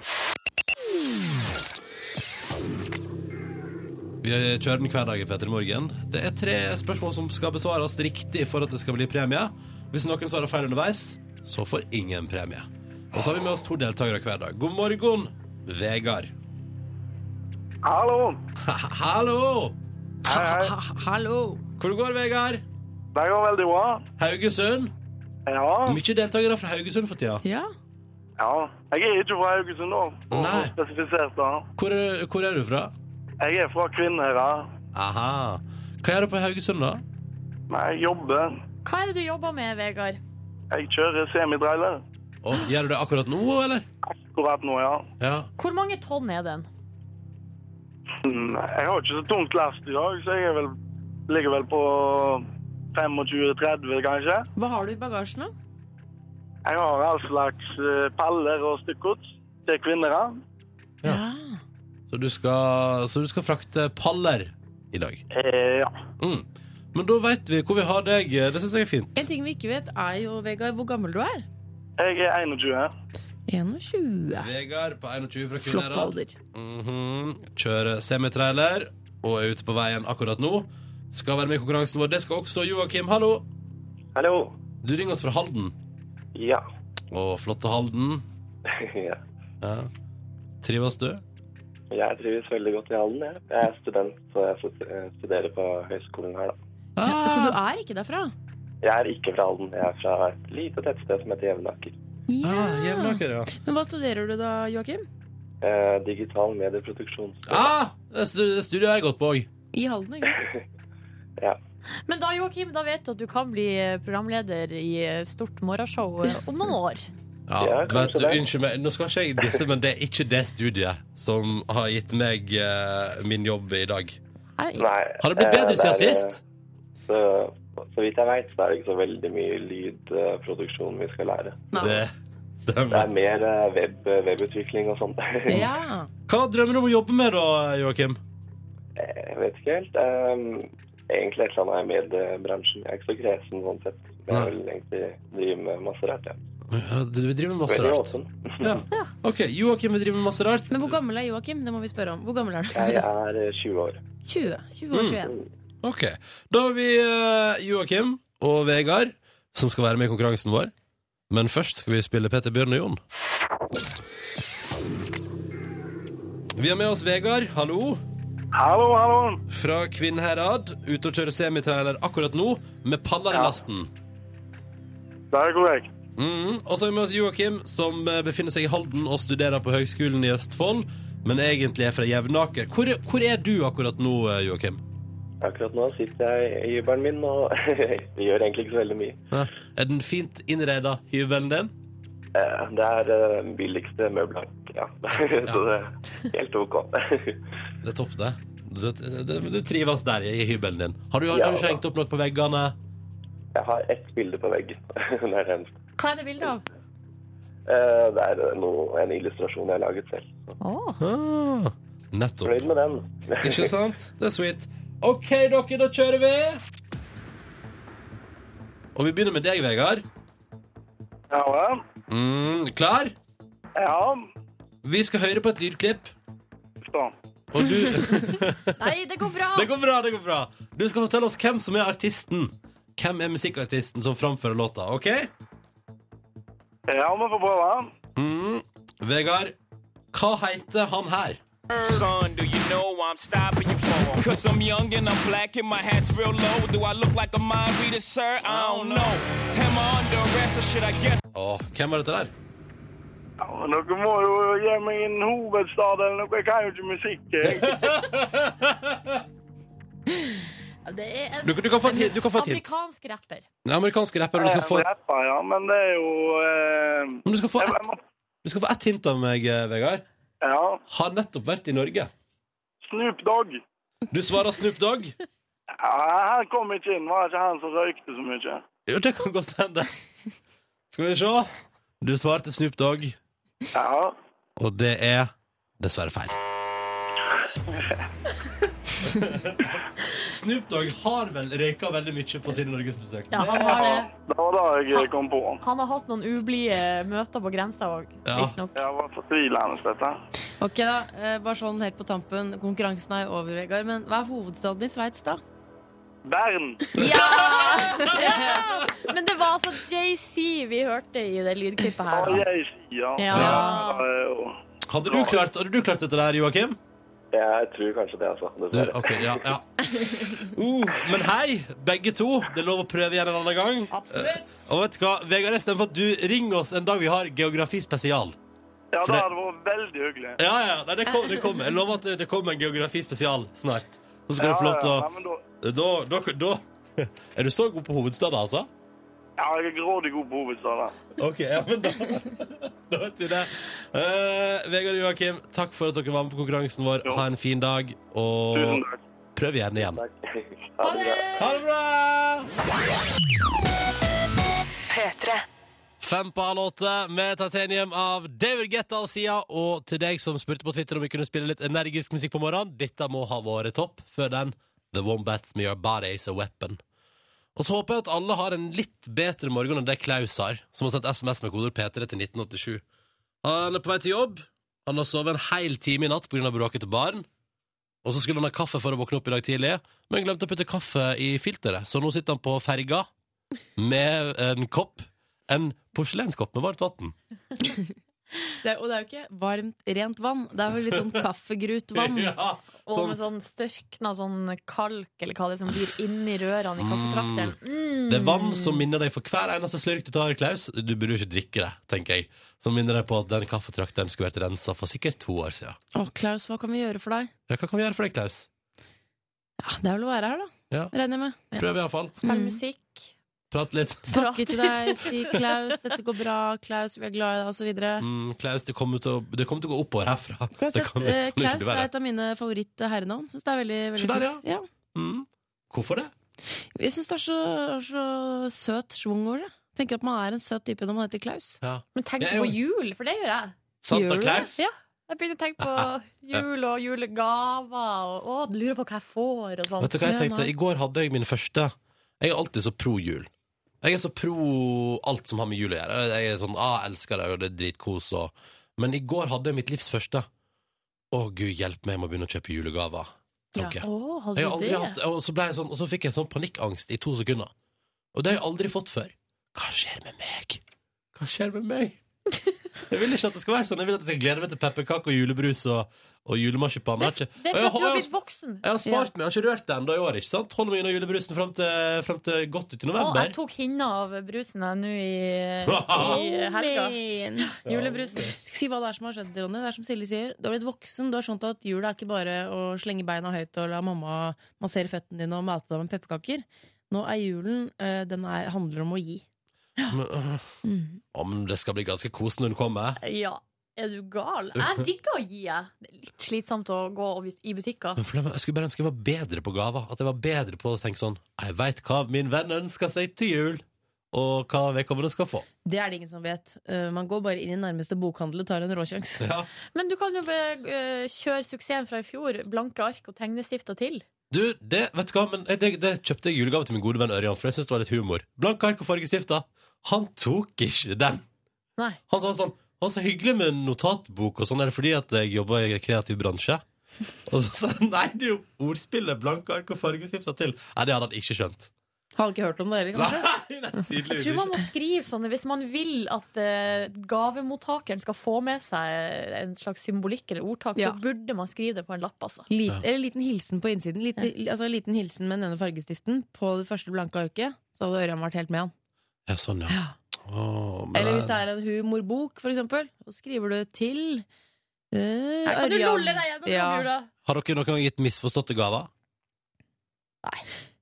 Vi kjører den hver dag i Petter Morgen. Det er tre spørsmål som skal besvares riktig for at det skal bli premie. Hvis noen svarer feil underveis, så får ingen premie. Og så har vi med oss to deltakere hver dag. God morgen, Vegard. Hallo. Hallo! Hei, hei. Hallo! Hvor går det, Vegard? Det går veldig bra. Haugesund? Ja. Mye deltakere fra Haugesund for tida. Ja. ja. Jeg er ikke fra Haugesund, da. for å Nei. spesifisere det. Hvor, hvor er du fra? Jeg er fra Kvinnherad. Aha. Hva gjør du på Haugesund, da? Nei, jeg jobber. Hva er det du jobber med, Vegard? Jeg kjører semitrailer. Og gjør du det akkurat nå, eller? Akkurat nå, ja. Ja. Hvor mange tonn er den? Mm, Jeg har ikke så tungt last i dag, så jeg er vel, ligger vel på 25-30, kanskje. Hva har du i bagasjen, da? Jeg har all slags eh, paller og stykkgods til Kvinnherad. Ja. Ja. Så, du skal, så du skal frakte paller i dag. Eh, ja. Mm. Men da veit vi hvor vi har deg. Det syns jeg er fint. En ting vi ikke vet, er jo, Vegard, hvor gammel du er. Jeg er 21. 21. Vegard på 21 fra Flott Kvinnherad. alder. Mhm. Kjører semitrailer og er ute på veien akkurat nå. Skal være med i konkurransen vår. Det skal også Joakim. Hallo! Hallo. Du ringer oss fra Halden. Ja. Å, flotte Halden. ja. Ja. Trives du? Jeg trives veldig godt i Halden. Jeg, jeg er student, så jeg stud- eh, studerer på høyskolen her. da. Ja, så du er ikke derfra? Jeg er ikke fra Halden. Jeg er fra et lite tettsted som heter Jevnaker. Ah, Jevnaker, ja. Men hva studerer du da, Joakim? Eh, digital medieproduksjon. Ah, det er stu- det studiet har jeg gått på òg. I Halden, ikke sant? Men da, Joakim, da vet du at du kan bli eh, programleder i et stort morgenshow eh, om noen år. Ja, Ja, du vet, kanskje det. unnskyld meg, nå skal ikke jeg disse, men det er ikke det studiet som har gitt meg eh, min jobb i dag. Nei, Nei. Har det blitt eh, bedre siden er, eh, sist? Så, så vidt jeg veit, så er det ikke så veldig mye lydproduksjon vi skal lære. Det Det er stemmer. mer eh, web, webutvikling og sånt. Ja. Hva drømmer du om å jobbe med da, Joakim? Jeg vet ikke helt. ehm, egentlig et eller annet i mediebransjen. Jeg er ikke så kresen sånn sett. Men jeg vil egentlig drive med masse rart. Ja. Ja, du vil drive med masse Veldig rart. åpen. Ja. Ok, Joakim vil drive med masse rart. Men hvor gammel er Joakim? Det må vi spørre om. Hvor gammel er du? Jeg er eh, 20 år. Mm. 20. 20 og 21. Ok. Da har vi eh, Joakim og Vegard, som skal være med i konkurransen vår. Men først skal vi spille Peter Bjørn og Jon. Vi har med oss Vegard, hallo, Hallo, hallo. fra Kvinnherad. Ute og kjører semitrailer akkurat nå, med paller i lasten. Det er korrekt. Mhm. Og så har vi med oss Joakim, som eh, befinner seg i Halden og studerer på Høgskolen i Østfold, men egentlig er fra Jevnaker. Hvor, hvor er du akkurat nå, eh, Joakim? Akkurat nå sitter jeg i hybelen min og gjør egentlig ikke så veldig mye. Hæ? Er den fint innreda, hybelen din? Eh, Det er eh, billigste møblene. Ja. Så det er helt OK. Det er topp, det. Det, det, det. Du trives der i hybelen din. Har du, har, Ja, du ikke da. hengt opp noe på veggene? Jeg har ett bilde på veggen. Det er det eneste. Hva er det bildet av? Eh, Det er noe, en illustrasjon jeg har laget selv. Så Åh. Ah, nettopp. Fornøyd med den. Ikke sant? Det er sweet. OK, dere, da kjører vi. Og vi begynner med deg, Vegard. Ja vel. Mm, klar? Ja. Vi skal høre på et lydklipp, Sånn. og du Nei, det går bra! Det går bra, det går bra. Du skal fortelle oss hvem som er artisten. Hvem er musikkartisten som framfører låta, OK? Ja, vi får prøve. Mm. Vegard, hva heter han her? Son, do you know why I'm stopping you for? Cause I'm young and I'm black and my hat's real low. Do I look like a mind reader, sir? I don't know. Am I under arrest or should I guess? Åh, hvem var dette der? Ja, men dere må jo gi meg en hovedstad eller noe. Jeg kan jo ikke musikk. jeg. Det er en Du, du kan få et hint. Du kan få et hint. amerikansk rapper. En amerikansk rapper, og du Jeg skal få, er rapper, ja, men det er jo eh, men du skal få, jeg, jeg ett, må, du skal få ett hint av meg, eh, Vegard. Ja. Har nettopp vært i Norge. Snoop Dogg. Du svarer Snoop Dogg. Ja, han kom ikke inn. Var det ikke han som røykte så mye? Jo, det kan godt hende. Skal vi se. Du svarte Snoop Dogg, Ja. og det er dessverre feil. Snoop Dogg har vel røyka veldig mye på sine norgesbesøk. Ja, han har det. Det var da jeg eh, kom på. Han har hatt noen ublide møter på grensa òg, Ja. visstnok. Jeg var fortvilende, dette. Ok, da. eh, Bare sånn helt på tampen. Konkurransen er over, Vegard. Men hva er hovedstaden i Sveits, da? Bern. Men det var altså JC vi hørte i det lydklippet her. Og Da. jeg sier Ja. Det er jo- Hadde du klart, hadde du klart dette der, Joakim? Jeg tror kanskje det, altså. Du, Dessverre. ok, ja, ja. Uh, men hei, begge to. Det er lov å prøve igjen en annen gang. Absolutt. Og vet du hva, Vegard, istedenfor at du ringer oss en dag vi har geografi spesial Ja, For det det- hadde vært veldig hyggelig. Ja, ja, nei, det kommer. Det kommer. Jeg lover at det kommer en geografi spesial snart. Så skal du få ja, lov til ja, å men da- da, da, da Er du så god på hovedstaden, altså? ja, jeg er grådig god på hovedstaden. OK, ja, men da Da vet du det. Eh, Vegard og Joakim, takk for at dere var med på konkurransen vår. Jo. Ha en fin dag, Tusen og takk. prøv gjerne igjen. Ha det bra. Ha det bra! P3. Fem på halv åtte med Titanium av David Guetta og Sia. Og til deg som spurte på Twitter om vi kunne spille litt energisk musikk på morgenen, dette må ha vært topp. Før den The Wombats Med Your Body Is A Weapon. Og så håper jeg at alle har en litt bedre morgen enn det Klaus har, som har sendt SMS med koder P3 til 1987. Han er på vei til jobb. Han har sovet en hel time i natt pga. bråkete barn. Og så skulle han ha kaffe for å våkne opp i dag tidlig, men glemte å putte kaffe i filteret, så nå sitter han på ferga med en kopp en porselenskopp med varmt vann. Det er, og det er jo ikke varmt, rent vann. Det er vel litt sånn kaffegrutvann. Ja, Og med sånn størkna sånn kalk, eller hva det er som blir inni rørene i kaffetrakteren. Mm. det er vann som minner deg for hver eneste slurk du tar, Klaus. Du burde jo ikke drikke det, tenker jeg. Som minner deg på at den kaffetrakteren skulle vært rensa for sikkert to år siden. Å, Klaus, hva kan vi gjøre for deg? Ja, hva kan vi gjøre for deg, Klaus? Ja, det er vel å være her, da. Ja. Regner jeg med. Prøv iallfall. Spille Mm. musikk. Prat litt. Snakke til deg, si 'Klaus, dette går bra', 'Klaus, vi er glad i deg', og så videre. Mm, Klaus, det kommer til å, det kommer til å gå oppover herfra. Kan jeg Det si at, kan- eh, det kan ikke Klaus bli er verre. et av mine favoritt-herrenavn. Syns det er veldig, veldig Så der, fint. Ja. Mm. Hvorfor det? Jeg syns det er så, så søt schwung over det. Tenker at man er en søt type når man heter Klaus. Ja. Men tenk Jeg er på jo- jul, for det gjør jeg. Santa Gjør du det? Klaus? Ja. Jeg begynner å tenke på jul og julegaver og å, lurer på hva jeg får og sånn. Vet du hva jeg Ja, tenkte? nei. I går hadde jeg min første Jeg er alltid så pro jul. Jeg er så pro alt som har med jul å gjøre. Jeg er sånn, ah, elsker det, og det er dritkos og Men i går hadde jeg mitt livs første. Å, gud hjelpe meg, jeg må begynne å kjøpe julegaver. tanke. Å, hadde Jeg har du aldri det? hatt, og, så ble jeg sånn, og så fikk jeg sånn panikkangst i to sekunder. Og det har jeg aldri fått før. Hva skjer med meg? Hva skjer med meg? Jeg vil ikke at det skal være sånn. Jeg vil at jeg skal glede meg til pepperkake og julebrus og, og julemarsipan. Jeg har ikke- Det er Og jeg- fordi du har og jeg- blitt voksen. jeg har spart meg, jeg har ikke rørt det ennå i år. ikke sant? Holder meg unna julebrusen fram til, frem til godt ut i Å, november. jeg tok hinna av brusen jeg nå i, i helga. Men. Julebrusen. Skal si hva det er som har skjedd, Ronny. Det er som Silje sier. Du har blitt voksen. Du har skjønt at jula er ikke bare å slenge beina høyt og la mamma massere føttene dine og mate deg med pepperkaker. Nå er julen eh, Den er, handler om å gi. Men, øh, Mm. å, men det skal bli ganske kos når hun kommer. Ja, er du gal? Jeg digger å gi, jeg. Det er litt slitsomt å gå og- i butikker. Men problemet- Jeg skulle bare ønske jeg var bedre på gaver. At jeg var bedre på å tenke sånn Jeg veit hva min venn ønsker seg til jul, og hva vedkommende skal få. Det er det ingen som vet. Eh, man går bare inn i nærmeste bokhandel og tar en råsjanse. Ja. Men du kan jo eh, kjøre suksessen fra i fjor. Blanke ark og tegnestifter til. Du, det, vet du hva, men eh, det, det kjøpte jeg i julegave til min gode venn Ørjan, for jeg syns det var litt humor. Blank ark og fargestifter. Han tok ikke den. Nei. Han sa sånn Han så hyggelig med notatbok og sånn, er det fordi at jeg jobber i kreativ bransje? Og så sa han nei, det er jo ordspillet blanke ark og fargestifter til. Nei, det hadde han ikke skjønt. Har ikke hørt om det heller, Nei, kanskje? nei, Jeg tydeligvis tror man ikke. må skrive sånne hvis man vil at eh, gavemottakeren skal få med seg en slags symbolikk eller ordtak. Ja. Så burde man skrive det på en lapp, altså. Lit, Eller liten hilsen på innsiden. Lite, altså, liten hilsen med den ene fargestiften på det første blanke arket. Så hadde Ørjan vært helt med han. Ja, sånn, ja. Åh, men- Eller hvis det er en humorbok, for eksempel. Så skriver du til eh, Kan du Ørjan. lolle deg gjennom Ja. jula? Har dere noen gang gitt misforståtte gaver?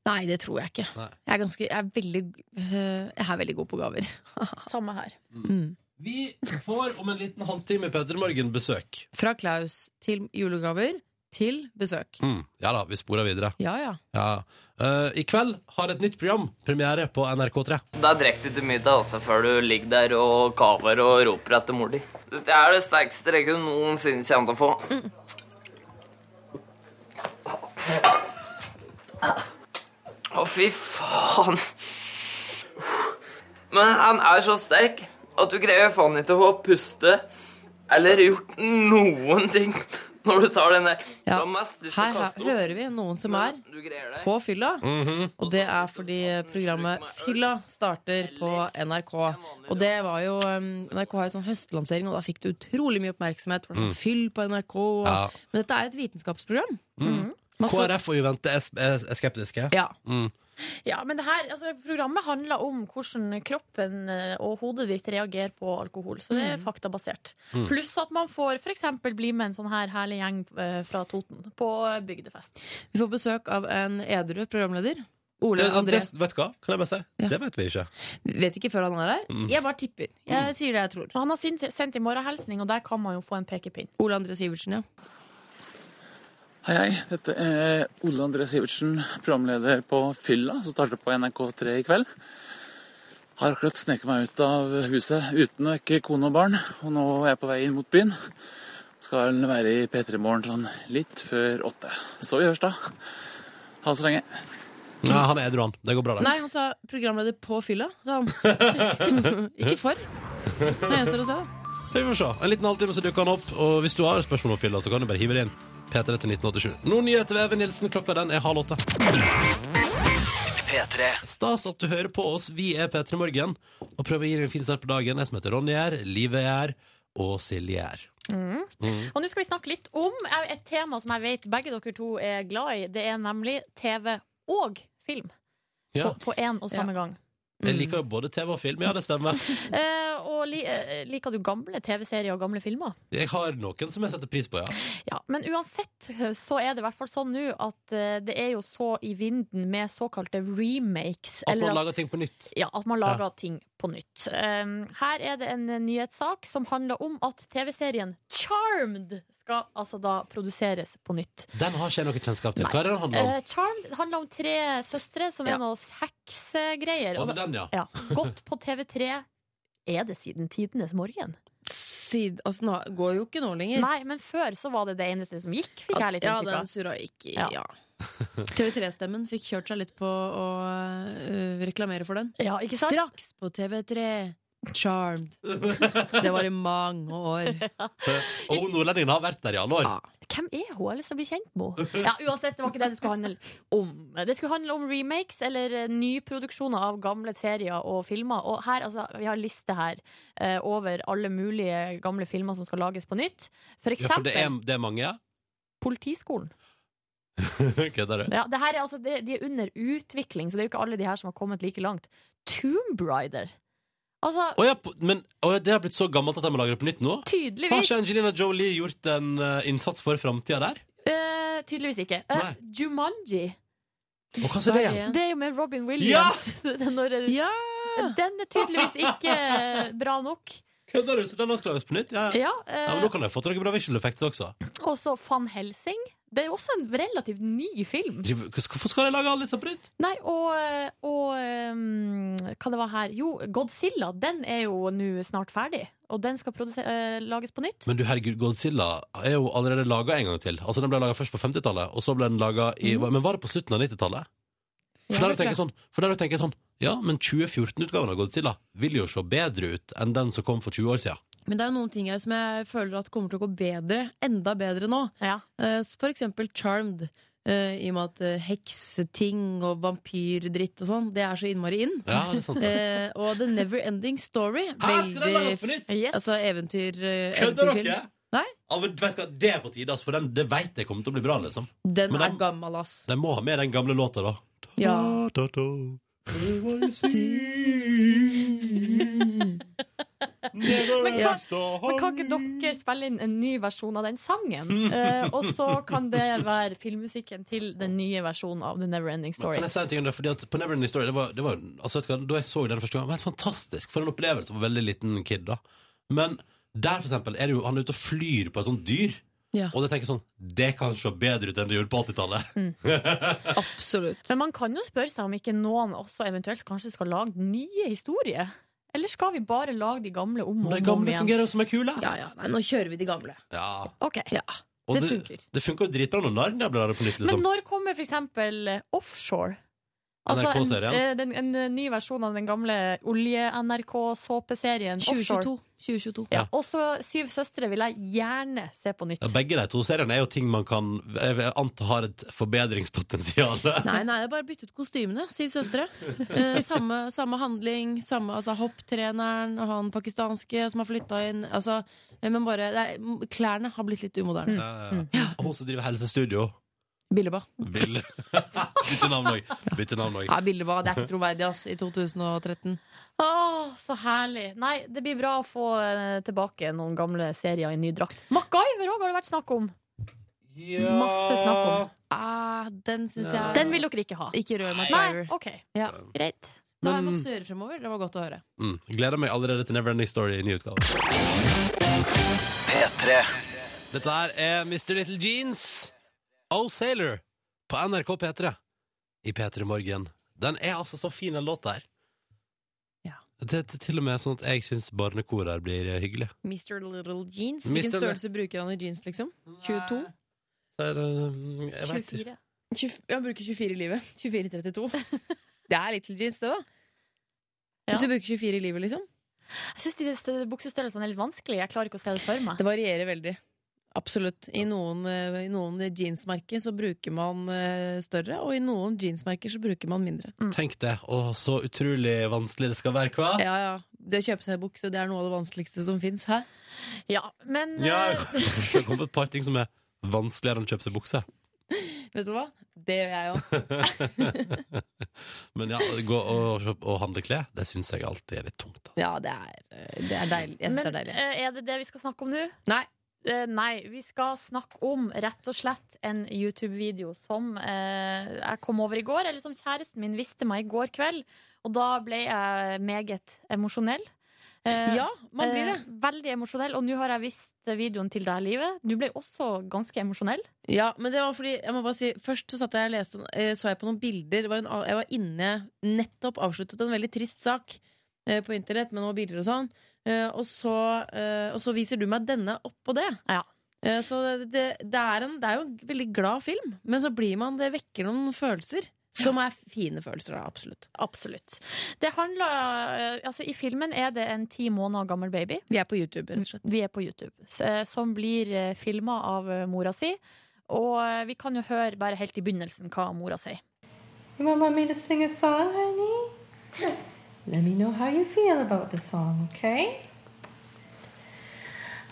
Nei, det tror jeg ikke. Nei. Jeg er, ganske, jeg, er veldig, øh, jeg er veldig god på gaver. Samme her. Mm. Vi får om en liten halvtime Petter Morgen besøk. Fra Klaus til julegaver til besøk. Mm, ja da, vi sporer videre. Ja, ja. Ja. Eh, I kveld har et nytt program premiere på NRK3. Da drikker du til middag også før du ligger der og kaver og roper etter mor di. Dette er det sterkeste rekket du noensinne kommer til å få. Å, fy faen. Men han er så sterk at du greier faen ikke å puste eller gjort noen ting når du tar den der. ja. Du har mest lyst til å Her, kaste hø- opp, hører vi noen som er men du greier det. på fylla. Mhm. Og det er fordi eh, programmet Fylla starter på NRK. Og det var jo um, NRK har jo sånn høstlansering, og da fikk det utrolig mye oppmerksomhet. Mm. Det var sånn Fyll på NRK. Og, Ja. Men dette er et vitenskapsprogram. Mm. Mhm. Man skal- KrF og Juvente er, er, er skeptiske. Ja. Ja, men det her, altså, Programmet handler om hvordan kroppen eh, og hodet ditt reagerer på alkohol. Så det Mm. er faktabasert. Pluss at man får f.eks. bli med en sånn her herlig gjeng eh, fra Toten på eh, bygdefest. Vi får besøk av en edru programleder. Ole Det, André. det, vet du hva? Kan jeg bare si? Ja. Det Mm. vet vi ikke. Vet ikke før han er her. Jeg bare tipper. Jeg sier det jeg tror. Men Han har sin- sendt i morgenhilsning, og der kan man jo få en pekepinn. Ole André Sivertsen, ja. Hei, hei. Dette er Ole André Sivertsen, programleder på Fylla, som starter på NRK3 i kveld. Har akkurat sneket meg ut av huset uten å vekke kone og barn, og nå er jeg på vei inn mot byen. Skal vel være i P3 Morgen sånn litt før åtte. Så vi høres da. Ha det så lenge. Nei, han er edru, han. Det går bra, det. Nei, han sa programleder på fylla. sa Han. ikke for. Det er eneste å si. Vi får se. En liten halvtime, så dukker han opp. Og hvis du har spørsmål om fylla, så kan du bare hive det inn. P3 til 1987. Nå nyheter ved Even Nilsen. Klokka den er halv åtte. Stas at du hører på oss. Vi er P3 Morgen. Og prøver å gi deg en fin start på dagen. Jeg som heter Ronny er, Live er her, og Silje er. Og nå skal vi snakke litt om eh, et tema som jeg vet begge dere to er glad i. Det er nemlig TV og film Ja. på, på én og samme gang. Mm. Jeg liker jo både TV og film. Ja, det stemmer. Eh, og li, eh, liker du gamle TV-serier og gamle filmer? Jeg har noen som jeg setter pris på, ja. Ja, Men uansett eh, så er det i hvert fall sånn nå at eh, det er jo så i vinden med såkalte remakes. At man eller lager ting på nytt. ja, at man lager ting på nytt. Um, her er det en eh, nyhetssak som handler om at TV-serien Charmed skal altså da produseres på nytt. Den har ikke jeg noe kjennskap til. Nei. Hva er det den handler om? Eh, Charmed handler om tre søstre som Ja. er noe heksegreier. Å, Og det er den, ja. ja, Gått på TV3 er det siden tidenes morgen? Sid- Altså, nå går jo ikke nå lenger. Nei, men før så var det det eneste som gikk, fikk jeg litt ja, inntrykk den av. surra ikke. Ja. Ja. TV3-stemmen fikk kjørt seg litt på å øh, reklamere for den. Ja, ikke sant? Straks på TV3. Charmed. Det var i mange år. Og nordlendingen har vært der i alle år. Ja. Hvem er hun? Jeg har lyst til å bli kjent med henne. Ja, uansett, det var ikke det det skulle handle om. Det skulle handle om remakes eller eh, nyproduksjoner av gamle serier og filmer. Og her, altså, vi har en liste her eh, over alle mulige gamle filmer som skal lages på nytt. Ja, For for eksempel det er, det er mange, ja. Politiskolen. Kødder du? Ja, det her er, altså, det, de er under utvikling, så det er jo ikke alle de her som har kommet like langt. Tomb Rider. Altså, Å ja, på- men å ja, det har blitt så gammelt at de må lage det på nytt nå? Har tydeligvis ikke Angelina Jolie gjort en eh, innsats for framtida der? eh, Tydeligvis ikke. Eh, Nei. Jumanji. Og hva sier det igjen? Hva er Det er jo med Robin Williams. Når, Ja! Den er tydeligvis ikke eh, bra nok. Kødder du? Så den også lages på nytt? Ja. Ja, ja, eh, men Nå kan jeg få til noen bra visual effects også. Og så Van Helsing. Det er jo også en relativt ny film. Driver- Hvorfor skal de lage alle disse på nytt? Nei, og, eh, og um, Hva det var her? Jo, Godzilla. Den er jo nå snart ferdig. Og den skal produse- eh, lages på nytt. Men du, herregud, Godzilla er jo allerede laga en gang til. Altså, Den ble laga først på 50-tallet, og så ble den laga i Men var det på slutten av 90-tallet? For der det du tenker sånn, for der du tenker sånn Ja, men 2014-utgaven av Godzilla vil jo se bedre ut enn den som kom for 20 år siden. Men det er jo noen ting her som jeg føler at kommer til å gå bedre, enda bedre nå. Ja. Eh, For eksempel Charmed. eh, I og med at eh, hekseting og vampyrdritt og sånn, det er så innmari inn. Ja, det er sant. det. Eh, og The Never Ending Story. Her skal den lages på nytt! Yes. Altså eventyr, eh, Kødder eventyrfilm. dere? Nei, Ja, men vet du hva, Det er på tide, altså, for den, det veit jeg kommer til å bli bra. liksom den Men den- er gammel, ass. De må ha med den gamle låta, da. Ja. Da, da, da. Det var det siste. Never Men hva- has the Men kan ikke dere spille inn en ny versjon av den sangen? Eh, og så kan det være filmmusikken til den nye versjonen av The Neverending Men Story. Kan jeg si en ting om det? Fordi at på Neverending Story det var, det var, altså, vet du hva, Da jeg så den første gang, det var helt fantastisk. For en opplevelse for en veldig liten kid. da Men der for eksempel, er det jo, han er ute og flyr på et sånt dyr. Ja. Mm, Og jeg tenker sånn Det kan se bedre ut enn det gjorde på 80-tallet. Absolutt. Men man kan jo spørre seg om ikke noen også eventuelt kanskje skal lage nye historier. Eller skal vi bare lage de gamle om og De om, om gamle igjen? fungerer jo som ei kule. Ja, ja, nei, nå kjører vi de gamle. Ja. Ok. Ja, Og det funker. Det funker jo dritbra når Narnia blir laget på nytt. Men Liksom. når kommer for eksempel eh, Offshore? en, NRK-serien? eh, den, en eh, ny versjon av den gamle olje-NRK-såpeserien Offshore. 2022. 2022. Ja. Også Syv søstre vil jeg gjerne se på nytt. Ja, begge de to seriene er jo ting man kan Jeg vil anta har et forbedringspotensial. Nei, nei, jeg bare byttet kostymene. Syv søstre. Eh, samme, samme handling. Samme, altså, hopptreneren og han pakistanske som har flytta inn. Altså, eh, men bare det er, m- Klærne har blitt litt umoderne. Ja. Og hun som driver helsestudio. Mm. Billeba. Bill. Bytte navn òg. Bytte navn òg. Ja, Billeba. Det er ikke troverdig, ass, i 2013. Åh, så herlig! Nei, det blir bra å få eh, tilbake noen gamle serier i ny drakt. MacGyver òg har det vært snakk om! Masse snakk om. Ah, den syns jeg Den vil dere ikke ha. Ikke rør Nei, MacGyver. OK. Ja. Greit. Da har jeg Men- masse å gjøre fremover. Det var godt å høre. Mm. Gleder meg allerede til Neverending Story i ny utgave. Dette her er Mr. Little Jeans, Oh Sailor, på NRK P3. I P3 Morgen. Den er altså så fin, den låta her. Ja. Det er til og med sånn at jeg syns barnekor her blir eh, hyggelig. Mr. Little Jeans. Mr. Hvilken Little- størrelse bruker han i jeans, liksom? 22? Så er det, mm, jeg vet ikke. 24. 20, han bruker 24 i livet. 24-32. Det er Little Jeans, det, da. Ja. Hvis du bruker 24 i livet, liksom. Jeg syns de stø- buksestørrelsene er litt vanskelig. Jeg klarer ikke å se det for meg. Det varierer veldig. Absolutt. I noen, eh, i noen jeansmerker så bruker man eh, større, og i noen jeansmerker så bruker man mindre. Tenk det. Å, så utrolig vanskelig det skal være, hva? Ja, ja. Det å kjøpe seg bukse, det er noe av det vanskeligste som fins. Hæ? Ja, men Ja, eh, det kom på et par ting som er vanskeligere enn å kjøpe seg bukse. Vet du hva? Det gjør jeg òg. Men ja, gå og, kjøp- og handle klær, det syns jeg alltid er litt tungt. da. Ja, det er, eh, det er deilig. Jeg syns det Men er deilig. eh, er det det vi skal snakke om nå? Nei. Eh, nei, vi skal snakke om rett og slett en YouTube-video som eh, jeg kom over i går, eller som kjæresten min visste meg i går kveld. Og da ble jeg meget emosjonell. Eh, Ja, man blir det. eh, veldig emosjonell. Og nå har jeg vist videoen til deg, Live. Du ble også ganske emosjonell. Ja, men det var fordi jeg må bare si, Først så, satt jeg og leste, eh, så jeg på noen bilder. Det var en, a- jeg var inne, nettopp avsluttet en veldig trist sak eh, på internett med noen bilder og sånn. Eh, Og så, eh, og så viser du meg denne oppå det. Ja. Eh, Så det, det, det, er en, det er jo en veldig glad film, men så blir man Det vekker noen følelser Som er fine følelser, da, absolutt. Absolutt. Det handler, eh, altså I filmen er det en ti måneder gammel baby. Vi er på YouTube, rett og slett. Vi er på YouTube. s- eh, Som blir filma av eh, mora si. Og eh, vi kan jo høre bare helt i begynnelsen hva mora sier. You want me to sing a song, honey? Let me know how you feel about the song, okay?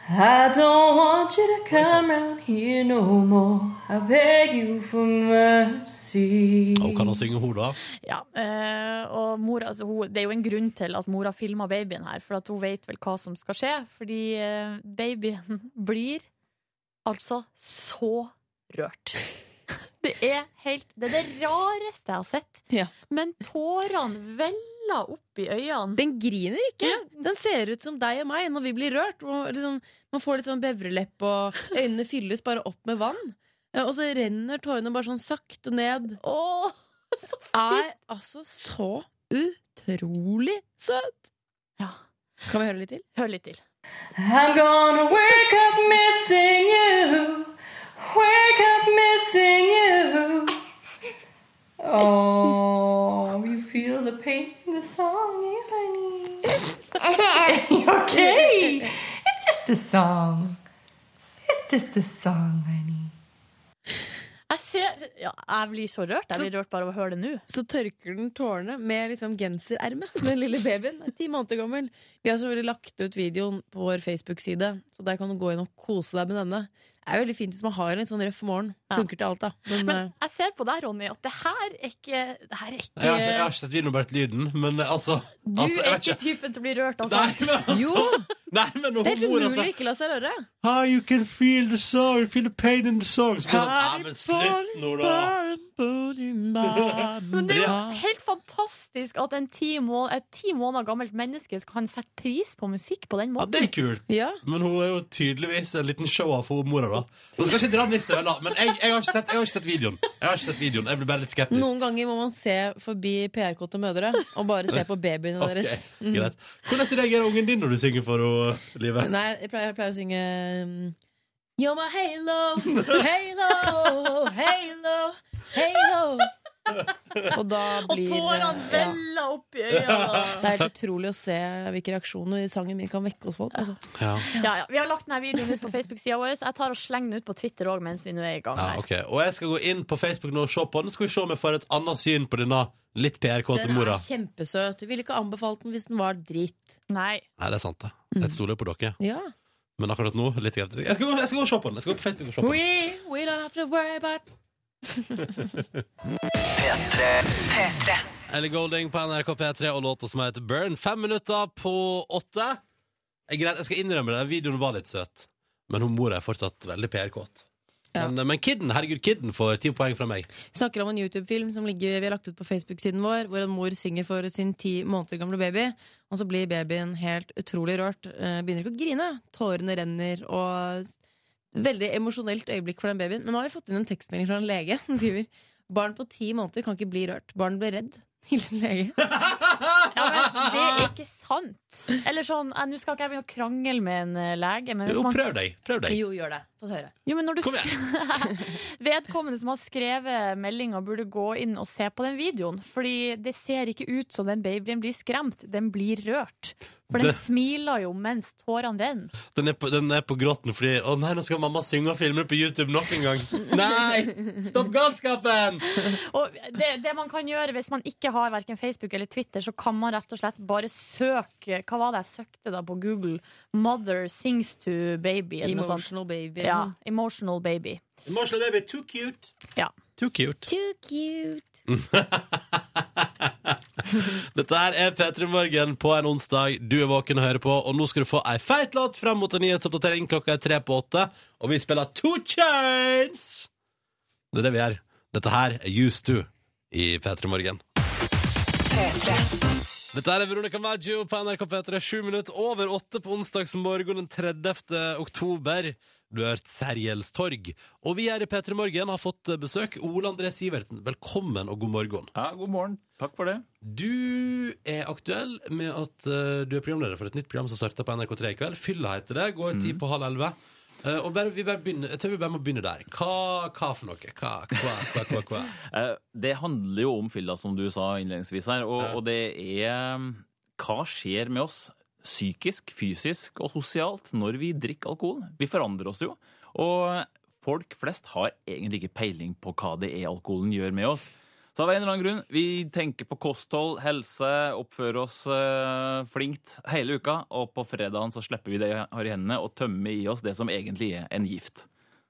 I don't want you to come round here no more. I beg you for mercy. Og hun Mm. kan også synge hun, da. Ja, eh, og mora, altså, hun, Det er jo en grunn til at mora filma babyen her, for at hun vet vel hva som skal skje. Fordi eh, babyen blir altså så rørt. Det er helt Det er det rareste jeg har sett. Ja. Men tårene veller opp i øynene. Den griner ikke. Den ser ut som deg og meg når vi blir rørt. Og liksom, man får litt sånn bevrelepp, og øynene fylles bare opp med vann. Eh, Og så renner tårene bare sånn sakte ned. Åh, så Er altså så utrolig søt! Ja. Kan vi høre litt til? Hør litt til. I'm gonna wake up missing you. Wake up missing you. Oh, you feel the pain in the song, eh, honey. okay. It's just a song. It's just a song, honey. Jeg ser ja, Jeg blir så rørt. Jeg blir rørt bare av å høre det nå. Så tørker den tårene med liksom genserermet. Den lille babyen er ti måneder gammel. Vi har selvfølgelig lagt ut videoen på vår Facebook-side, så der kan du gå inn og kose deg med denne. Det er veldig fint hvis man har en sånn røff morgen. Ja. Funker til alt, da. Men, Men eh, jeg ser på deg, Ronny, at det her er ikke Det her er Jeg har, ikke- jeg ikke har ikke sett videoen og bare lyden, men eh, altså, Du altså jeg er vet ikke typen til å bli rørt av Nei, sånt. men altså, Jo! nei, men Det er hun helt mor, umulig altså. å ikke la seg røre. Ah, you can feel the song, feel the pain in the song. Så blir det sånn, ah, men slutt nå, da. Men det er jo helt fantastisk at en ti må, et ti måneder gammelt menneske kan sette pris på musikk på den Ja, måten. det er kult. Ja. Men hun er jo tydeligvis en liten show av for mora, da. Nå skal jeg ikke dra den i søla, men jeg, jeg, har ikke sett, jeg har ikke sett videoen. Jeg har ikke sett videoen, jeg blir bare litt skeptisk. Noen ganger må man se forbi PR-kåte mødre og bare se på babyene Ok, deres. Mm. greit. Hvordan reagerer ungen din når du synger for henne, Live? Nei, jeg pleier, jeg pleier å synge um, You're my halo, halo, halo, halo. Og da Og blir tårene ja. veller opp i øynene. Det er helt utrolig å se hvilke reaksjoner sangen min kan vekke hos folk. Altså. Ja. Ja, ja. Vi har lagt denne videoen ut på Facebook-sida vår. Jeg tar og slenger den ut på Twitter òg mens vi nå er i gang Ja, her. ok. Og jeg skal gå inn på Facebook nå og se på den. Skal vi se om jeg får et annet syn på denne litt PR-kåte Den er mora. kjempesøt. Du ville ikke anbefalt den hvis den var dritt. Nei. Nei, det er sant, det. Jeg stoler jo på dere. Ja. Men akkurat nå, litt skeptisk. Jeg skal, gå- jeg skal gå og se på den. Jeg skal gå på Facebook og se på den. We, we don't have to worry about Ellie Golding på NRK P3 og låta som heter Burn. Fem minutter på åtte. Eh, Greit, jeg skal innrømme det. Den videoen var litt søt. Men hun mora er fortsatt veldig PR-kåt. Ja. Men, men Kidden, herregud, Kidden får ti poeng fra meg. Vi snakker om en YouTube-film som ligger, vi har lagt ut på Facebook-siden vår, hvor en mor synger for sin ti måneder gamle baby, og så blir babyen helt utrolig rørt. eh, Begynner ikke å grine. Tårene renner, og s- Veldig emosjonelt øyeblikk for den babyen. Men nå har vi fått inn en tekstmelding fra en lege. som skriver Barn på ti måneder kan ikke bli rørt. Barn ble redd. Hilsen lege. Ja, men det er ikke sant. Eller sånn, eh, Nå skal ikke jeg begynne å krangle med en eh, lege, men hvis Jo, man prøv deg. Prøv deg. Jo, gjør det. Få høre. Jo, men når du Kom Vedkommende som har skrevet meldinga, burde gå inn og se på den videoen. Fordi det ser ikke ut som den babyen blir skremt, den blir rørt. For den Det- smiler jo mens tårene renner. Den er, på, den er på gråten fordi Å nei, nå skal mamma synge og filme på YouTube nok en gang. Nei! Stopp galskapen! Og det, det man kan gjøre hvis man ikke har verken Facebook eller Twitter, så kan man rett og slett bare søke Hva var det jeg søkte da på Google? 'Mother sings to baby'. Eller noe sånt. Emotional baby. Ja, emotional baby. Marshall baby, too cute. Ja. Too cute. Too cute. Dette her er P3 Morgen på en onsdag. Du er våken og hører på, og nå skal du få ei feit låt fram mot en nyhetsoppdatering. Klokka er tre på åtte, og vi spiller Two Chains! Det er det vi gjør. Dette her er Used To i P3 Morgen. Dette her er Veronica Maggio på NRK P3, sju minutter over åtte på onsdagsmorgen den 30. oktober. Du har hørt Sergels torg. Og vi her i P3 Morgen har fått besøk. Ole André Sivertsen, velkommen og god morgen. Ja, god morgen. Takk for det. Du er aktuell med Mhm. at eh, du er programleder for et nytt program som starter på NRK3 i kveld. Fylla heter det. Går ti på halv elleve. Eh, og bare, vi bare begynner, jeg tror vi bare må begynne der. Hva, hva for noe? Hva, hva, hva, hva, hva? Eh, Det handler jo om fylla, som du sa innledningsvis her, og, og det er mm, Hva skjer med oss psykisk, fysisk og sosialt når vi drikker alkohol? Vi forandrer oss jo. Og folk flest har egentlig ikke peiling på hva det er alkoholen gjør med oss. Så av en eller annen grunn, vi tenker på kosthold, helse, oppfører oss eh, flinkt hele uka, og på fredagen så slipper vi det vi har i hendene og tømmer i oss det som egentlig er en gift.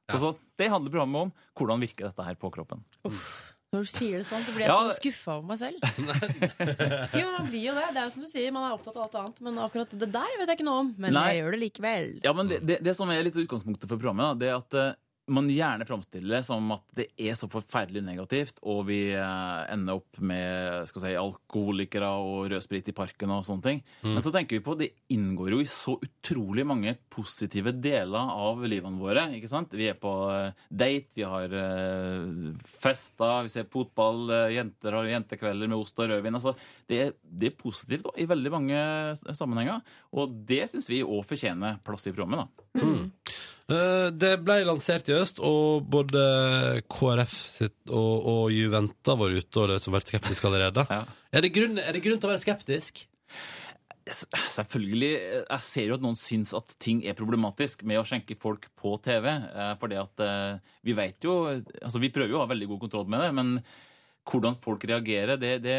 Så, så det handler programmet om. Hvordan virker dette her på kroppen? Når du sier det sånn, så blir jeg Ja, så det- skuffa over meg selv. Jo, men man blir jo det. Det er jo som du sier, man er opptatt av alt annet. Men akkurat det der vet jeg ikke noe om. Men Nei. jeg gjør det likevel. Ja, men det, det, det som er litt utgangspunktet for programmet, da, det er at eh, man gjerne framstiller det som at det er så forferdelig negativt, og vi eh, ender opp med skal vi si, alkoholikere og rødsprit i parken og sånne ting. Mm. Men så tenker vi på det inngår jo i så utrolig mange positive deler av livene våre. ikke sant? Vi er på eh, date, vi har eh, fester, vi ser fotball, eh, jenter har jentekvelder med ost og rødvin. altså Det, er- det er positivt da, i veldig mange s- sammenhenger, og det syns vi òg fortjener plass i programmet. da. Eh, Det ble lansert i øst, og både KrF sitt og, og Juventa var ute og det som har vært skeptisk allerede. Er, det grunn, er det grunn til å være skeptisk? S- Selvfølgelig. eh, Jeg ser jo at noen syns at ting er problematisk med å skjenke folk på TV. eh, Fordi at eh, vi vet jo Altså, vi prøver jo å ha veldig god kontroll med det, men hvordan folk reagerer, det, det,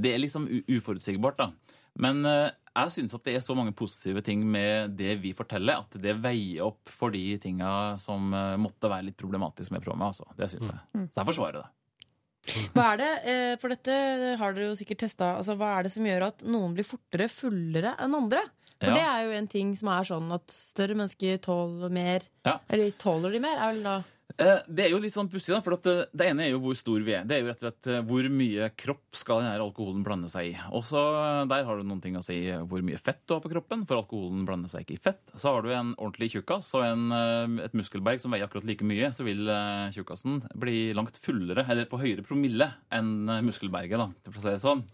det er liksom u- uforutsigbart, da. Men eh, jeg syns at det er så mange positive ting med det vi forteller, at det veier opp for de tinga som eh, måtte være litt problematisk med programmet, altså. Det syns Mm. jeg. Så jeg forsvarer det. Hva er det, eh, for dette har dere jo sikkert testet, altså, hva er det som gjør at noen blir fortere fullere enn andre? For Ja. det er jo en ting som er sånn at større mennesker tåler mer, Ja. eller tåler de mer, er vel da... Eh, Det er jo litt sånn pussig, da, for at eh, det ene er jo hvor stor vi er. Det er jo rett og slett eh, hvor mye kropp skal denne alkoholen blande seg i. Og så eh, der har du noen ting å si eh, hvor mye fett du har på kroppen, for alkoholen blander seg ikke i fett. Så har du en ordentlig tjukkas og en, eh, et muskelberg som veier akkurat like mye, så vil eh, tjukkasen bli langt fullere, eller på høyere promille, enn eh, muskelberget, da, for å si det sånn.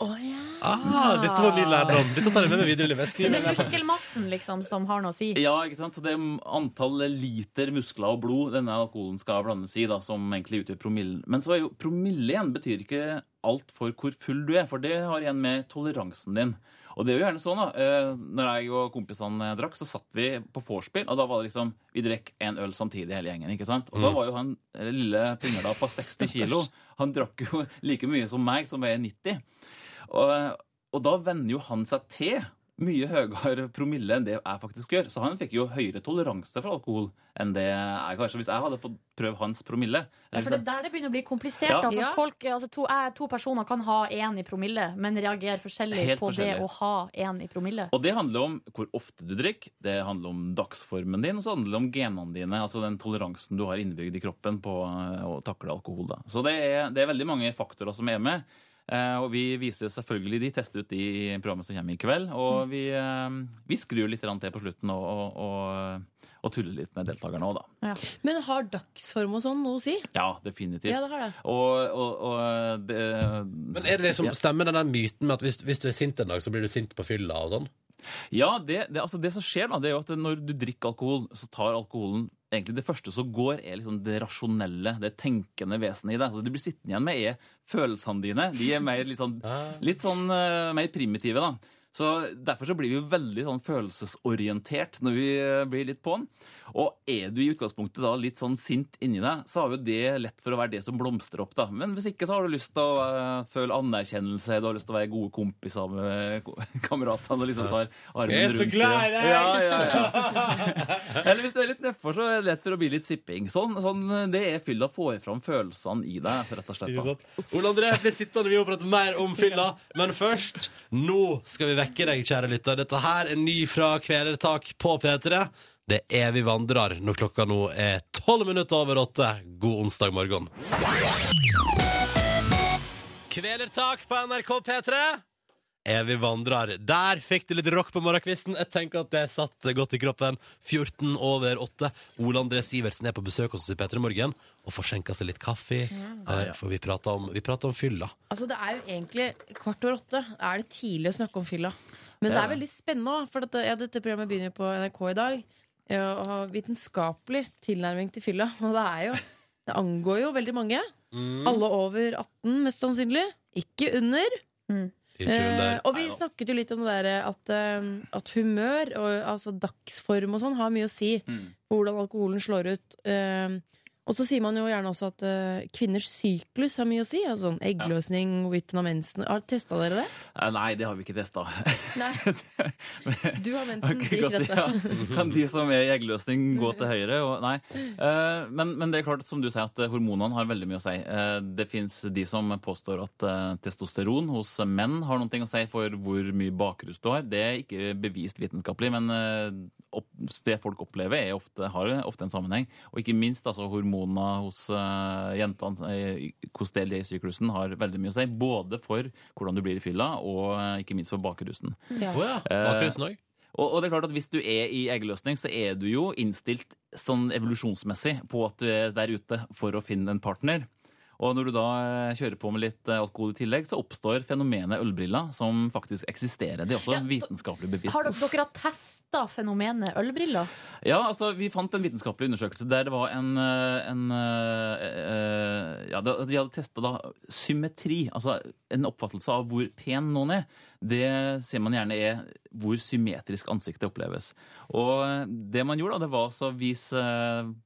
Ah, dette var ny lærdom. Dette tar jeg med meg videre i livet. Jeg Det skriver er det ned. muskelmassen liksom som har noe å si. Ja, ikke sant? Så det er antall liter muskler og blod denne alkoholen skal blandes i, da, som egentlig utgjør promillen. Men så er jo promille igjen betyr ikke alt for hvor full du er, for det har igjen med toleransen din. Og det er jo gjerne sånn da, eh, når jeg og kompisene drakk, så satt vi på vorspiel, og da var det liksom, vi drekk en øl samtidig hele gjengen, ikke sant? Og da Mm. var jo han eh, lille pingla på 60 kilo, han drakk jo like mye som meg, som veier 90. Og, og da venner jo han seg til mye høyere promille enn det jeg faktisk gjør. Så han fikk jo høyere toleranse for alkohol enn det jeg har. Så hvis jeg hadde fått prøve hans promille Ja, eller for hvis Det jeg- er der det begynner å bli komplisert. Ja. Da, for at Ja. folk, altså, to, jeg, to personer kan ha én i promille, men reagerer forskjellig Helt på forskjellig. det å ha én i promille. Og det handler om hvor ofte du drikker, det handler om dagsformen din, og så handler det om genene dine, altså den toleransen du har innebygd i kroppen på eh, å takle alkohol. Da. Så det er, det er veldig mange faktorer som er med. eh, Og vi viser jo selvfølgelig de tester ut de i programmet som kommer i kveld. Og Mm. vi, eh, vi skrur litt grann til på slutten og, og, og, og tuller litt med deltakerne òg, da. Men har dagsform og sånn noe å si? Ja, definitivt. Ja, det har det. Og, og, og det, Men er det liksom, Stemmer den der myten med at hvis, hvis du er sint en dag, så blir du sint på fylla og sånn? Ja, det, det, altså det som skjer da, det er jo at når du drikker alkohol, så tar alkoholen egentlig det første som går, er liksom det rasjonelle, det tenkende vesenet i deg. Så det du blir sittende igjen med, er følelsene dine. De er mer, litt sånn, Ah. litt sånn eh, mer primitive, da. Så Derfor så blir vi jo veldig sånn følelsesorientert når vi eh, blir litt på'n. Og er du i utgangspunktet da litt sånn sint inni deg, så har jo det lett for å være det som blomstrer opp. da. Men hvis ikke så har du lyst til å eh, føle anerkjennelse, du har lyst til å være gode kompiser med ko- kameratene og liksom tar armen rundt Jeg er så glad i deg! Ja, ja, ja. Eller hvis du er litt nedfor, så er det lett for å bli litt sipping. Sånn, sånn eh, Det er fylla får fram følelsene i deg, altså, rett og slett. Ikke da. Ole André blir sittende, vi må prate mer om fylla. Men først, nå skal vi vekke deg, kjære lytter. Dette her er ny fra Kvelertak på P3. Det er Vi vandrer når klokka nå er tolv minutter over åtte. God onsdag morgen. Kvelertak på NRK P3. Er vi vandrer. Der fikk du litt rock på morgenkvisten. Jeg tenker at det satt godt i kroppen. 14 over 8. Ole André Sivertsen er på besøk hos oss i P3 Morgen og får skjenka seg litt kaffe. Mm. Ah, Eh, For vi prater om, vi prater om fylla. Altså det er jo egentlig kvart over åtte Er det tidlig å snakke om fylla Det Men det er er det. veldig spennende også, For dette, ja, dette programmet begynner jo på NRK i dag Eh, eh, å ha vitenskapelig tilnærming til fylla. Og det er jo Det angår jo veldig mange. Mm. Alle over 18, mest sannsynlig. Ikke under. Ikke under. Eh, og vi Neida. snakket jo litt om det der at, eh, at humør, og, altså dagsform og sånn, har mye å si Mm. på hvordan alkoholen slår ut. Eh, og så sier man jo gjerne også at eh, kvinners syklus har mye å si. Altså sånn eggløsning, hvorvidt hun har mensen. Har testa dere det? Eh, Nei, det har vi ikke testa. Du har mensen, drikk dette. Kan de som er i eggløsning, gå til høyre? Og, nei. Eh, Men, men det er klart, som du sier, at eh, hormonene har veldig mye å si. Eh, Det fins de som påstår at eh, testosteron hos menn har noe å si for hvor mye bakrus du har. Det er ikke bevist vitenskapelig, men eh, opp- det folk opplever, er ofte, har ofte en sammenheng. Og ikke minst altså, hormonene hos eh, jentene, eh, hvordan det er i syklusen, har veldig mye å si. Både for hvordan du blir i fylla, og eh, ikke minst for bakrusen. Ja. Å ja, bakrusen også? Og, og Eh, det er klart at hvis du er i eggløsning, så er du jo innstilt sånn evolusjonsmessig på at du er der ute for å finne en partner. Og når du da eh, kjører på med litt eh, alkohol i tillegg, så oppstår fenomenet ølbriller, som faktisk eksisterer. Det er også vitenskapelig bevist. Har dere, dere har testa fenomenet ølbriller? Ja, altså, Vi fant en vitenskapelig undersøkelse der det var en, eh, en eh, eh, ja, det- De hadde testa symmetri, altså en oppfattelse av hvor pen noen er. Det sier man gjerne er hvor symmetrisk ansiktet oppleves. Og eh, det man gjorde, da, det var altså å vise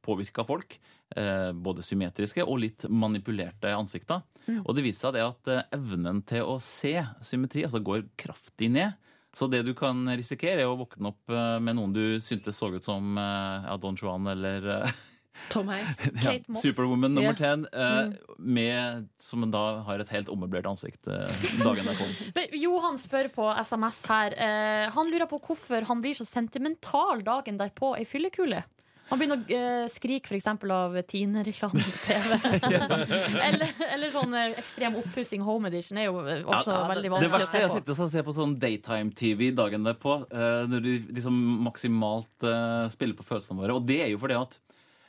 påvirka folk. eh, Både symmetriske og litt manipulerte ansikter. Mm. Og det viste seg det at eh, evnen til å se symmetri altså går kraftig ned. Så det du kan risikere, er å våkne opp eh, med noen du syntes så ut som eh, ja, Don Juan eller eh, Tom Hanks. ja, Superwoman nummer Ja. 10, eh, med, som da har et helt ommøblert ansikt eh, dagen derpå. Men Johan spør på SMS her. Eh, han lurer på hvorfor han blir så sentimental dagen derpå ei fyllekule. Han begynner å eh, skrike f.eks. av Tine-reklame på TV. eller, eller sånn eh, ekstrem oppussing home edition er jo eh, også Ja, det- veldig det vanskelig å verste se er å på. sitte og se på sånn daytime-TV dagen derpå, eh, når de liksom maksimalt eh, spiller på følelsene våre. Og det er jo fordi at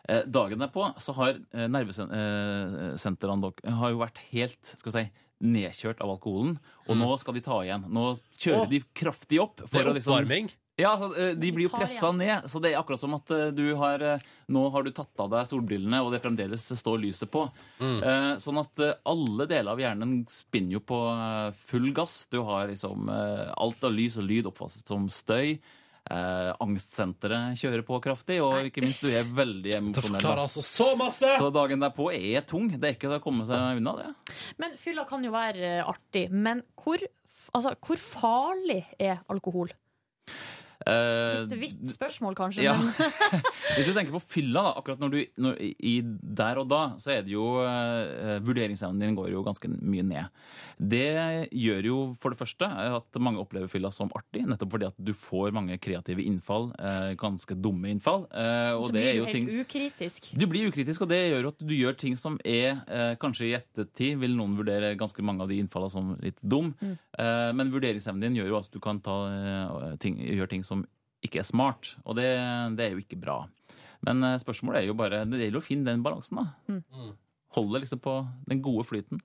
eh, dagen derpå så har eh, nervesentrene dere- har jo vært helt skal vi si, nedkjørt av alkoholen. Og nå skal de ta igjen. Nå kjører Åh. de kraftig opp. Det er å liksom- oppvarming? Ja, altså, eh, De blir jo tar pressa ned. Så det er akkurat som at eh, du har eh, Nå har du tatt av deg solbrillene, og det fremdeles står lyset på. Eh, Sånn at eh, alle deler av hjernen spinner jo på eh, full gass. Du har liksom eh, alt av lys og lyd oppfattet som støy. Eh, angstsenteret kjører på kraftig, og ikke minst du er veldig emosjonell. forklarer altså så masse! Så dagen derpå er tung. Det er ikke til å komme seg unna, det. Men fylla kan jo være eh, artig. Men hvor, f- altså, hvor farlig er alkohol? Eh, Et vidt spørsmål, kanskje. Ja. Men Hvis du tenker på fylla, da, akkurat når du, når, i, der og da, så er det jo eh, Vurderingsevnen din går jo ganske mye ned. Det gjør jo for det første at mange opplever fylla som artig, nettopp fordi at du får mange kreative innfall, eh, ganske dumme innfall. eh, og så det blir du er jo helt ting ukritisk. du blir ukritisk, og det gjør at du gjør ting som er eh, Kanskje i ettertid vil noen vurdere ganske mange av de innfallene som litt dum, Mm. eh, men vurderingsevnen din gjør jo at du kan ta, eh, ting, gjøre ting som ikke er smart, og det, det er jo ikke bra. Men eh, spørsmålet er jo bare Det gjelder å finne den balansen, da. Holde liksom på den gode flyten.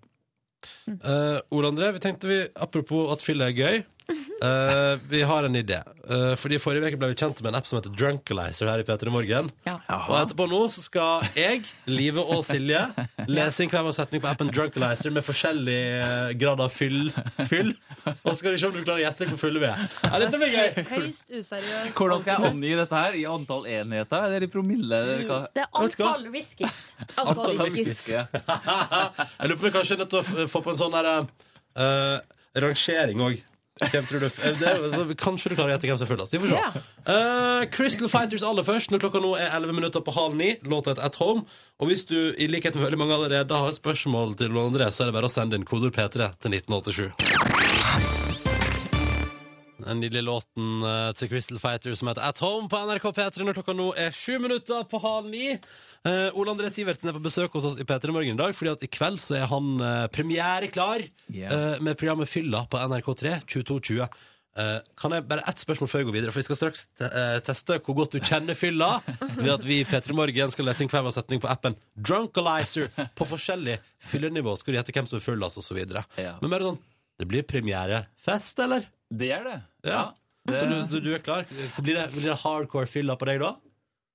Eh, Ole André, vi tenkte vi, apropos at fyll er gøy eh, Vi har en idé uh, Fordi forrige vek ble vi kjent med en app som heter Drunkalyzer Her i Peter i morgen Og etterpå nå så skal jeg, Live og Silje Lese inn hver vår setning på appen Drunkalyzer Med forskjellig eh, grad av fyll, fyll Og så skal vi se om du klarer å gjette hvor fulle vi er Ja, dette blir gøy Høyst useriøs. Hvordan skal jeg omgi dette her? I antall enheter, eller i promille? eller hva? Det er antall whiskys. Antall whiskys. Jeg lurer på om vi kanskje er nødt til å f- få på en sånn der eh, rangering òg. Hvem tror du f- eh, det, er- så vi- Kanskje du klarer å gjette hvem som er fullest. Vi får se. Eh, Crystal Fighters aller først. Når klokka nå er 11 minutter på halv ni. Låta heter At Home. Og hvis du i likhet med veldig mange allerede har spørsmål til Ole André, så er det bare å sende inn koder P3 til 1987. Den nydelige låten eh, til Crystal Fighter som heter At Home på NRK P3 når klokka nå er sju minutter på halv ni. Eh, Ole André Sivertsen er på besøk hos oss i P3 Morgen i dag, fordi at i kveld så er han eh, premiere klar Yeah. eh, med programmet Fylla på NRK3 2220. Eh, kan jeg bare ett spørsmål før jeg går videre, for vi skal straks te eh, teste hvor godt du kjenner fylla ved at vi i P3 Morgen skal lese inn hver vår setning på appen Drunkalizer på forskjellig fyllenivå. Skal du gjette hvem som er full, altså, og så videre. Men bare sånn, det blir premierefest, eller? Det er det. Ja. det- Så du, du, du er klar? Blir det, blir det hardcore fylla på deg da?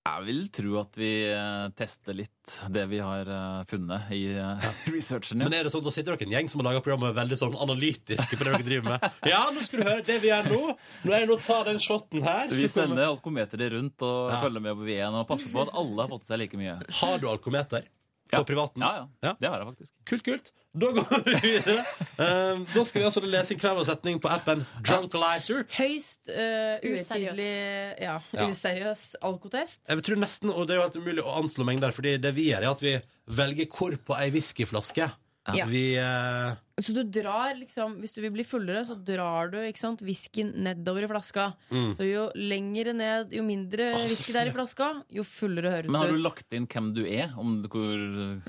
Jeg vil tro at vi eh, tester litt det vi har eh, funnet i eh, researchen. Men er det sånn, da sitter dere en gjeng som har laga programmet veldig sånn analytiske på det dere driver med. Ja, nå skal du høre det vi gjør nå. Nå er det nå å ta den shotten her. så Vi kommer- sender alkometeret rundt og følger med på V1 og passer på at alle har fått seg like mye. Har du alkometer? På privaten? Ja, ja, Det har jeg faktisk. Kult, kult. Da går vi videre. Eh, da skal vi altså lese inn hver vår setning på appen Drunkalizer. Høyst eh, Useriøst. uhøytidelig ja, Ja. useriøs alkotest. Jeg tror nesten, og Det er jo helt umulig å anslå mengder, fordi det vi gjør, er at vi velger hvor på ei whiskyflaske. Ja. Vi eh, Så du drar liksom, Hvis du vil bli fullere, så drar du ikke sant, whiskyen nedover i flaska. Mm. Så jo lengre ned, jo mindre whisky det er i flaska, jo fullere høres Men har du det ut. lagt inn hvem du er? Om du- hvor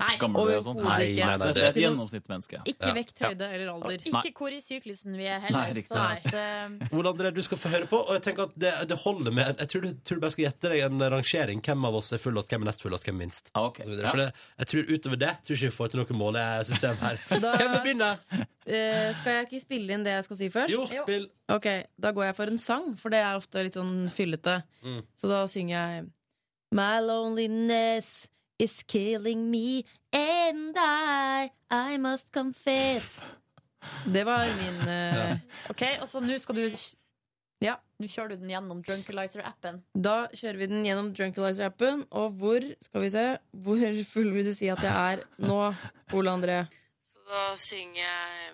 Nei, gammel du er og sånn? overhodet Nei, ikke. nei, nei, Så det er det- et gjennomsnittsmenneske. Ikke Ja. vekt, høyde eller alder. Nei. Ikke hvor i syklusen vi er heller. Nei, riktig. så at, eh, Ole André, du skal få høre på. Og jeg tenker at det, det holder med Jeg tror du, tror du bare skal gjette deg en rangering. Hvem av oss er fullest, hvem er nest fullest, hvem er minst? Og så videre. Ah, ja. For det, jeg tror utover det tror ikke vi får til noe målesystem her. Da Hvem vil begynne? eh, skal jeg ikke spille inn det jeg skal si først? Jo, spill. Ok, Da går jeg for en sang, for det er ofte litt sånn fyllete. Mm. Så da synger jeg My loneliness is killing me and I I must confess. Det var min eh, Ok, og så altså, nå skal du Ja. Nå kjører du den gjennom Drunkalizer-appen. Da kjører vi den gjennom Drunkalizer-appen. Og hvor skal vi se Hvor full vil du si at jeg er nå, Ole André? Så da synger jeg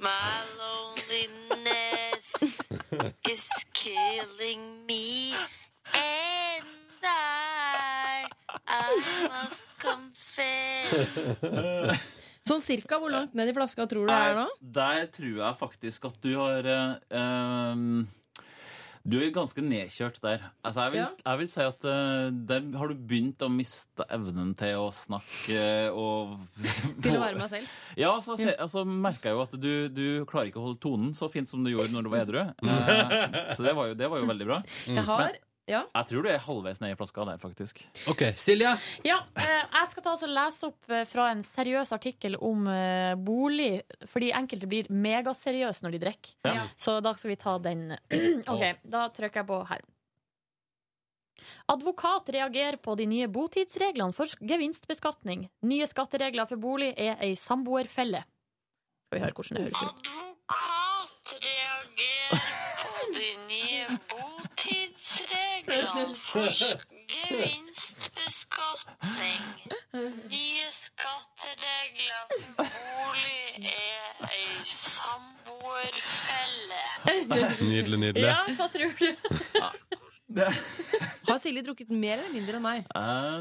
My loneliness is killing me and I I must confess Sånn cirka hvor langt ned i flaska tror du jeg er nå? Der tror jeg faktisk at du har eh, ehm, Du er ganske nedkjørt der. Altså, jeg, vil, jeg vil si at eh, der har du begynt å miste evnen til å snakke eh, og Til å være meg selv? Ja, så se, altså, merka jeg jo at du, du klarer ikke å holde tonen så fint som du gjorde når du var edru. Eh, så det var, jo, det var jo veldig bra. Jeg har Men Ja. jeg tror du er halvveis ned i flaska der, faktisk. OK. Silje? Ja, eh, jeg skal ta altså lese opp eh, fra en seriøs artikkel om eh, bolig, fordi enkelte blir megaseriøse når de drikker. Ja. Så da skal vi ta den. OK, da trykker jeg på her. Advokat reagerer på de nye botidsreglene for gevinstbeskatning. Nye skatteregler for bolig er ei samboerfelle. Skal vi høre hvordan det høres ut. på de nye botidsreglene for gevinstbeskatning. Nye skatteregler for bolig er ei samboerfelle. Nydelig, nydelig. Ja, hva tror du? Har Silje drukket mer eller mindre enn meg? Eh,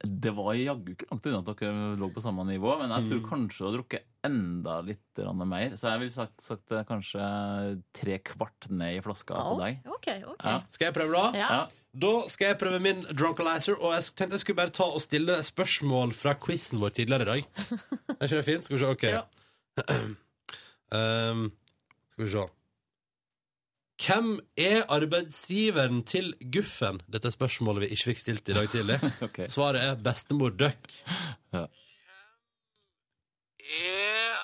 Det var jaggu ikke langt unna at dere lå på samme nivå, men jeg tror kanskje du har drukket enda litt grann mer. Så jeg ville sagt, sagt eh, kanskje tre kvart ned i flaska på deg. OK. ok Ja. Skal jeg prøve, da? Ja. Da skal jeg prøve min drunkalizer. Og jeg tenkte jeg skulle bare ta og stille spørsmål fra quizen vår tidligere i dag. Er ikke det fint? Skal vi se. OK. um, skal vi se. Hvem er arbeidsgiveren til Guffen? Dette er spørsmålet vi ikke fikk stilt i dag tidlig. Svaret er bestemor Døkk. Er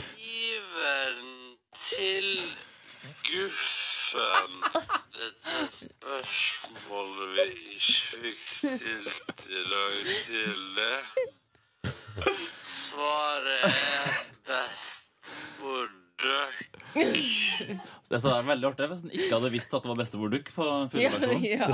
arbeidsgiveren til guffen Dette er spørsmålet vi ikke fikk stilt i dag tidlig. Svaret er bestemor Døkk. Det hadde vært veldig artig hvis en ikke hadde visst at det var bestemor Duck på Ja, sånn. fullversjonen. ja.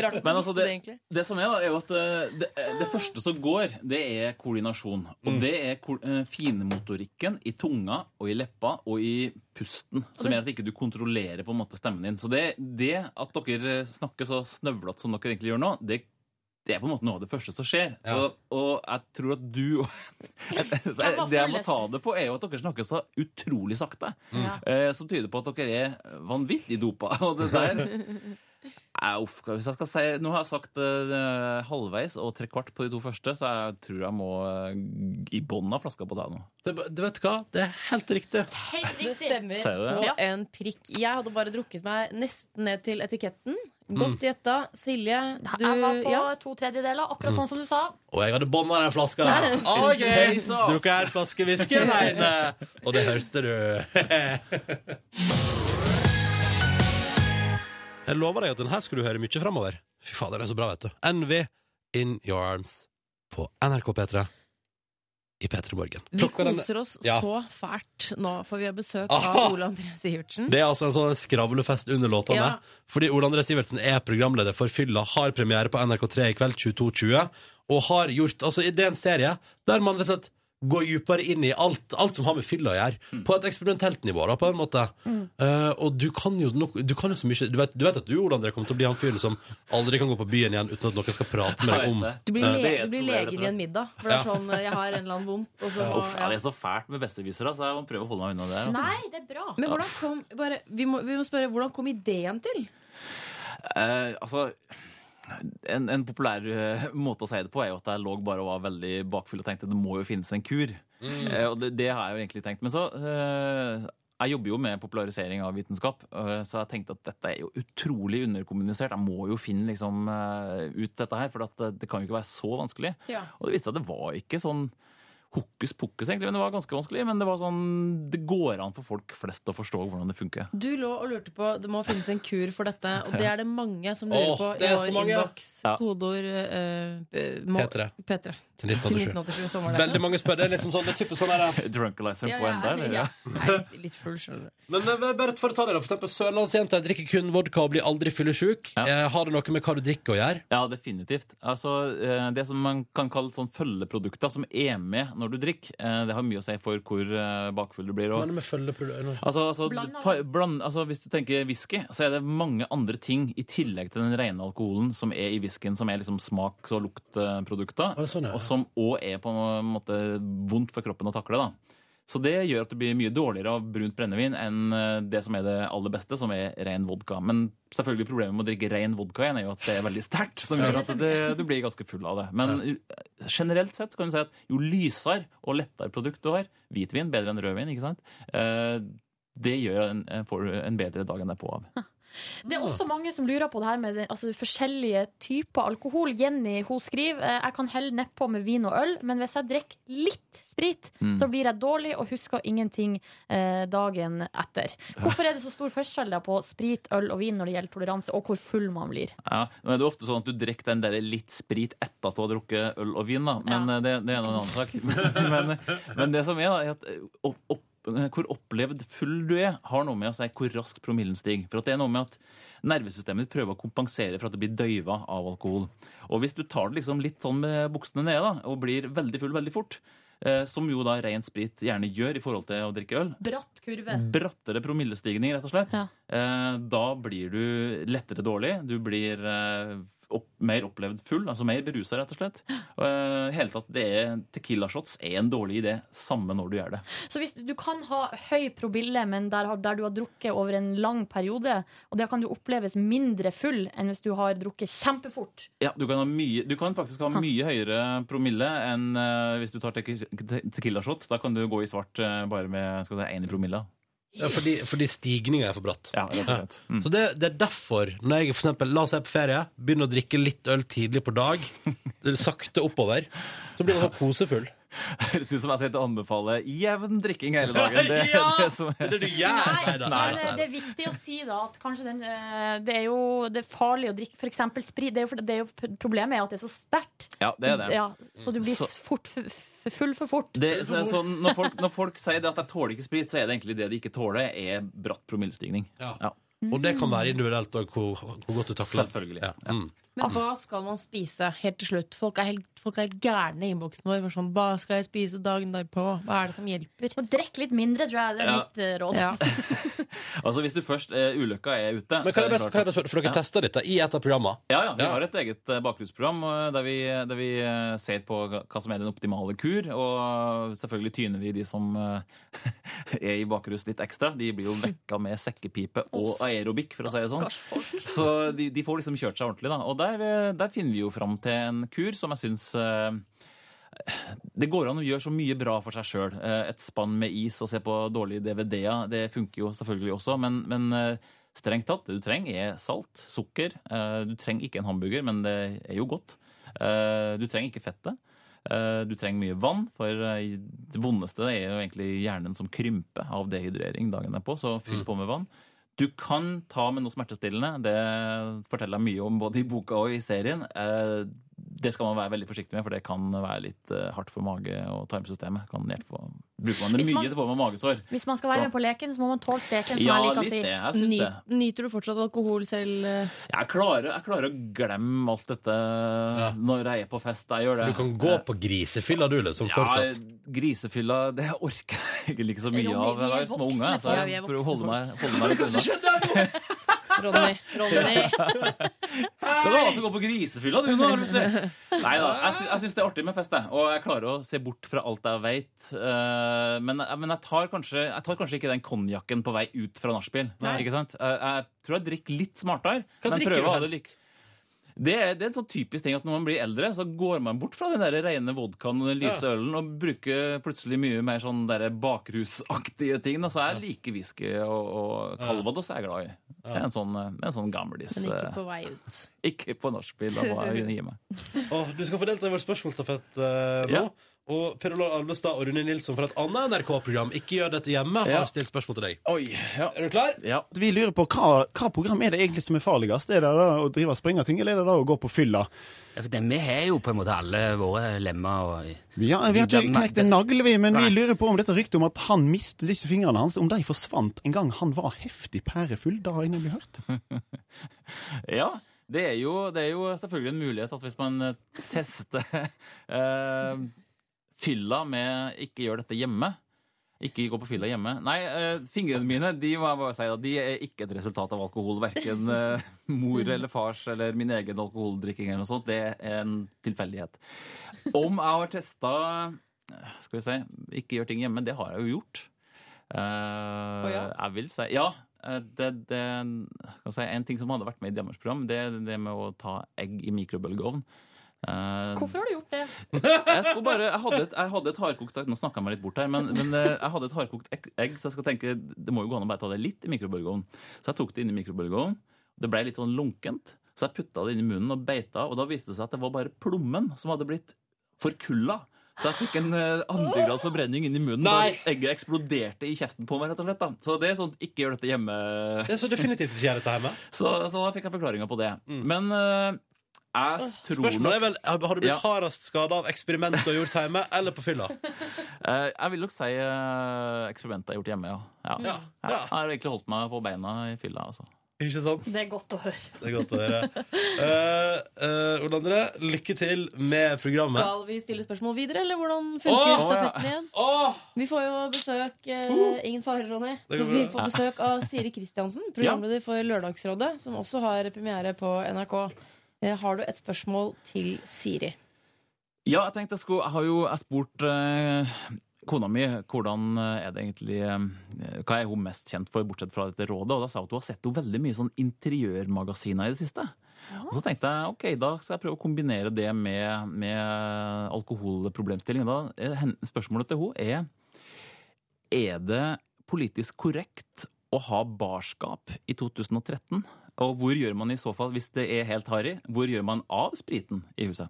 Rart man Men visste altså, det, det egentlig. det som er, da, er jo at eh, det, det første som går, det er koordinasjon. Og det er ko- eh, finmotorikken i tunga og i leppa og i pusten, som gjør at ikke du kontrollerer på en måte stemmen din. Så det, det at dere eh, snakker så snøvlete som dere egentlig gjør nå, det det er på en måte noe av det første som skjer. Så, og jeg tror at du og så jeg, var Det jeg må fullest? ta det på, er jo at dere snakker så utrolig sakte. Ja. Eh, som tyder på at dere er vanvittig dopa. Og det der Nei, uff, hvis jeg skal si, Nå har jeg sagt eh, halvveis og trekvart på de to første, så jeg tror jeg må eh, i bånn av flaska på deg nå. Det, det vet du hva? Det er helt riktig. Det stemmer Sier du det? på Ja. en prikk. Jeg hadde bare drukket meg nesten ned til etiketten. Mm. Godt gjetta. Silje, du Jeg var på ja. to tredjedeler, akkurat sånn som du sa. Og jeg hadde bånda den flaska der. Ah, OK! Hei, så. Drukket her flaske whisky aleine. Og det hørte du. Jeg lover deg at den her skal du høre mye framover. Fy fader, det er så bra, vet du. Envy, In Your Arms, på NRK P3 i P3 Morgen. Vi Klokka den- koser oss Ja. Ah. så fælt nå, for vi har besøk Aha! av Ole André Sivertsen. Det er altså en sånn skravlefest under låtene. Ja. Fordi Ole André Sivertsen er programleder for Fylla, har premiere på NRK3 i kveld 22.20, og har gjort altså i- Det er en serie der man rett og slett går dypere inn i alt, alt som har med fylla å gjøre. På et eksperimentelt nivå, da, på en måte. Mm. Eh, og du kan jo nok, du kan jo så mye du vet, du vet at du, Ole André, kommer til å bli han fyren som aldri kan gå på byen igjen uten at noen skal prate med deg om Du blir, eh, le du blir legen i en middag. For det er Ja. sånn Jeg har en eller annen vondt. Og så, Ja, Uff, ja. det er så fælt med bestevisere, så jeg må prøve å holde meg unna det. Altså. Nei, det er bra. Men hvordan kom, bare, vi, må, vi må spørre, hvordan kom ideen til? Eh, altså, en, en populær eh, måte å si det på er jo at jeg lå bare og var veldig bakfull og tenkte det må jo finnes en kur. Mm. Eh, og det, det har jeg jo egentlig tenkt. Men så eh, Jeg jobber jo med popularisering av vitenskap, eh, så jeg tenkte at dette er jo utrolig underkommunisert. Jeg må jo finne liksom, eh, ut dette her, for at eh, det kan jo ikke være så vanskelig. Ja. Og det viste seg at det var ikke sånn hokus pokus, egentlig, men det var ganske vanskelig. Men det var sånn, det går an for folk flest å forstå hvordan det funker. Du lå og lurte på det må finnes en kur for dette, og det er det mange som lurer Åh, på. det i er vår så mange. Innboks, Ja. kodeord eh, eh, må- P3. P3. Til 1987. sommerdagen. Veldig mange spør. Det er liksom sånn, det er typisk sånn her ja. Drunkalyzeren Ja, på ja, enda, eller? ja. Nei, litt full, skjønner du. Men eh, bare for å ta det, da. For eksempel sørlandsjenter drikker kun vodka og blir aldri fyllesyk. Eh, Har det noe med hva du drikker å gjøre? Ja, definitivt. Altså, eh, det som man kan kalle sånn følgeprodukter som er med når du drikker, eh, det har mye å si for hvor eh, bakfull du blir. Hva Og, er det med følgeprodu- Altså, altså, Bland fa- bland, altså, hvis du tenker whisky, så er det mange andre ting i tillegg til den rene alkoholen som er i whiskyen, som er liksom smaks- og luktprodukter, og som òg er på en måte vondt for kroppen å takle. da. Så det gjør at du blir mye dårligere av brunt brennevin enn eh, det som er det aller beste, som er ren vodka. Men selvfølgelig problemet med å drikke ren vodka igjen er jo at det er veldig sterkt, som gjør at det, du blir ganske full av det. Men generelt sett så kan du si at jo lysere og lettere produkt du har, hvitvin bedre enn rødvin, ikke sant? Eh, det gjør en, en- får du en bedre dag enn derpå av. Det er også mange som lurer på det her med den- altså, forskjellige typer alkohol. Jenny hun skriver eh, jeg kan helle nedpå med vin og øl, men hvis jeg drikker litt sprit, Mm. så blir jeg dårlig og husker ingenting eh, dagen etter. Hvorfor er det så stor forskjell da på sprit, øl og vin når det gjelder toleranse, og hvor full man blir? Ja, nå er det ofte sånn at du drikker den der litt sprit etter at du har drukket øl og vin, da. men eh, det, det er nå en annen sak. men, men det som er, da, er at eh, opp, opp, eh, hvor opplevd full du er, har noe med å si hvor raskt promillen stiger. For at det er noe med at nervesystemet ditt prøver å kompensere for at det blir døyva av alkohol. Og hvis du tar det liksom litt sånn med buksene nede da, og blir veldig full veldig fort, eh, som jo da ren sprit gjerne gjør i forhold til å drikke øl, Bratt kurve. Mm. Brattere promillestigning, rett og slett. Eh, da blir du lettere dårlig. Du blir eh, opp, mer opplevd full, altså mer berusa, rett og slett. Eh, hele tatt, det er, Tequila shots er en dårlig idé, samme når du gjør det. Så hvis du kan ha høy probille, men der, har- der du har drukket over en lang periode, og det kan du oppleves mindre full enn hvis du har drukket kjempefort. Ja, du kan, ha mye, du kan faktisk ha mye høyere promille enn eh, hvis du tar tequi- te tequila shot. Da kan du gå i svart eh, bare med skal vi si, én i promille. Ja, fordi, fordi stigninga er for bratt. rett og slett. Så det, det er derfor, når jeg for eksempel, la oss si på ferie, begynner å drikke litt øl tidlig på dag, sakte oppover, så blir man så kosefull. Det høres ut som jeg sitter og anbefaler jevn drikking hele dagen. Det, Ja! det, som er. det du gjør! Nei, Men eh, det er viktig å si da at kanskje den, eh, det er jo det er farlig å drikke f.eks. sprit. Det er jo, for- det er jo, problemet er at det er så sterkt. Ja, det er det. Ja, så du blir Så- fort, f- f- full for fort. Det, så, så når, folk, når folk sier det at jeg tåler ikke sprit, så er det egentlig det de ikke tåler, er bratt promillestigning. Ja. Og det kan være individuelt og hvor, hvor godt du takler. Selvfølgelig. Ja. Mm. Men hva skal man spise helt til slutt? Folk er helt, folk er helt gærne i innboksen vår. for Sånn, hva skal jeg spise dagen derpå? Hva er det som hjelper? Drikk litt mindre, tror jeg. Det er Ja. mitt eh, råd. Altså Hvis du først eh, ulykka er ute Men så kan jeg er det bare, kan jeg klart at- bare spørre, for dere ja. tester dette i et av programmene? Ja, ja, vi har et eget eh, bakgrunnsprogram eh, der vi, der vi eh, ser på hva som er den optimale kur. Og eh, selvfølgelig tyner vi de som eh, er i bakrus litt ekstra. De blir jo vekka med sekkepipe og aerobikk, for å si det sånn. Så de, de får liksom kjørt seg ordentlig, da. Og der, eh, der finner vi jo fram til en kur som jeg syns eh, det går an å gjøre så mye bra for seg sjøl. Et spann med is og se på dårlige DVD-er, det funker jo selvfølgelig også. Men, men eh, strengt tatt, det du trenger er salt, sukker. Eh, Du trenger ikke en hamburger, men det er jo godt. Eh, Du trenger ikke fettet. Eh, Du trenger mye vann, for eh, Mm. det vondeste er jo egentlig hjernen som krymper av dehydrering dagen derpå, så fyll på med vann. Du kan ta med noe smertestillende. Det forteller jeg mye om både i boka og i serien. Eh, Det skal man være veldig forsiktig med, for det kan være litt eh, hardt for mage- og tarmsystemet. Kan hjelpe på. Bruker man det Hvis man- mye, så får man magesår. Hvis man skal være Så- med på leken, så må man tåle steken. som Ja, jeg litt det. liker å Jeg si. syns det. Nyter du fortsatt alkohol selv? eh? Jeg klarer, jeg klarer å glemme alt dette når jeg er på fest. Jeg gjør det. For du kan gå på grisefylla, du, liksom, fortsatt. Ja, grisefylla det orker jeg egentlig ikke så mye Ronny, av. vi Jeg er har små voksne unger, så folk. Ja, vi jeg er prøver å voksne holde meg, holde meg litt unna. Ronny. Ronny. Skal du altså gå på grisefylla, du, nå? har du lyst til? Nei da. Jeg, sy jeg syns det er artig med fest, jeg. Og jeg klarer å se bort fra alt jeg veit. Eh, men men jeg, tar kanskje, jeg tar kanskje ikke den konjakken på vei ut fra nachspiel. Ikke sant? Jeg, jeg tror jeg drikker litt smartere. Hva men drikker prøver du å ha det helst? lik- Det er, det er en sånn typisk ting at når man blir eldre, så går man bort fra den der rene vodkaen og den lyse Ja. ølen og bruker plutselig mye mer sånn der bakrusaktige ting. Da. Så jeg liker whisky og, og calvados er jeg glad i. Det er en sånn, eh, det er en sånn gamlis Men ikke eh, på vei ut. ikke på nachspiel, da må jeg gi meg. Åh, du skal få delta i vår spørsmålstafett eh, nå. Ja. Og Per Olav Alvestad og Rune Nilsson fra et annet NRK-program, Ikke gjør dette hjemme, Ja. har stilt spørsmål til deg. Er du klar? Vi lurer på hva, hva program er det egentlig som er farligst? Er det da å drive og springe ting, eller er det da å gå på fylla? Ja, for det, vi har jo på en måte alle våre lemmer og Ja, vi har ikke Det- knekt en nagle, vi, men vi lurer på om dette ryktet om at han mistet disse fingrene hans, om de forsvant en gang han var heftig pærefull. Det har jeg nemlig hørt. Ja, det er, jo, det er jo selvfølgelig en mulighet at hvis man eh, tester eh, fylla med ikke gjør dette hjemme, ikke gå på fylla hjemme Nei, eh, fingrene mine de må jeg bare si da, de er ikke et resultat av alkohol. Verken eh, mor eller fars eller min egen alkoholdrikking eller noe sånt. Det er en tilfeldighet. Om jeg har testa Skal vi se Ikke gjør ting hjemme. Det har jeg jo gjort. Eh, Jeg vil si Ja. eh, Det, det, skal vi si, en ting som hadde vært med i Diamonds program, det er det med å ta egg i mikrobølgeovn. Eh, Hvorfor har du gjort det? jeg, skulle bare, jeg, hadde et, jeg hadde et hardkokt egg Nå snakket jeg meg litt bort her Men, men eh, jeg hadde et hardkokt egg, egg Så jeg skal tenke, det må jo gå an å bare ta det litt i mikrobølgeovnen Så jeg tok det inn i mikrobølgeovnen Det ble litt sånn lunkent Så jeg puttet det inn i munnen og beita Og da viste det seg at det var bare plommen som hadde blitt forkulla så jeg fikk en eh, andregrads forbrenning inn i munnen Nei. Da egget eksploderte i kjeften på meg rett og slett da. Så det er sånn, ikke gjør dette hjemme Det er så definitivt ikke gjør dette hjemme. Så, så da fikk jeg forklaringa på det Men eh, jeg tror Mm. Spørsmålet er vel, har du blitt Ja. hardest skada av eksperimenter du har gjort hjemme, eller på fylla? Eh, jeg vil nok si uh, eksperimentet jeg har gjort hjemme, ja. Ja. Ja, ja. Jeg har egentlig holdt meg på beina i fylla. Altså. Ikke sant? Det er godt å høre. Det er godt å høre. Eh, eh, Ole André, lykke til med programmet. Skal vi stille spørsmål videre, eller hvordan Åh! funker stafetten igjen? Vi får jo besøk eh, Ingen fare, Ronny. Uh-huh. Det går bra. Vi får besøk av Siri Kristiansen, programleder for Lørdagsrådet, som også har premiere på NRK. Eh, Har du et spørsmål til Siri? Ja, jeg tenkte jeg skulle Jeg har jo jeg spurt eh, kona mi hvordan eh, er det egentlig eh, Hva er hun mest kjent for, bortsett fra dette rådet? Og da sa hun at hun har sett henne veldig mye sånn interiørmagasiner i det siste. Og så tenkte jeg ok, da skal jeg prøve å kombinere det med, med alkoholproblemstilling. Da, eh, hen- spørsmålet til hun er Er det politisk korrekt å ha barskap i 2013? Og hvor gjør man i så fall, hvis det er helt harry, hvor gjør man av spriten i huset?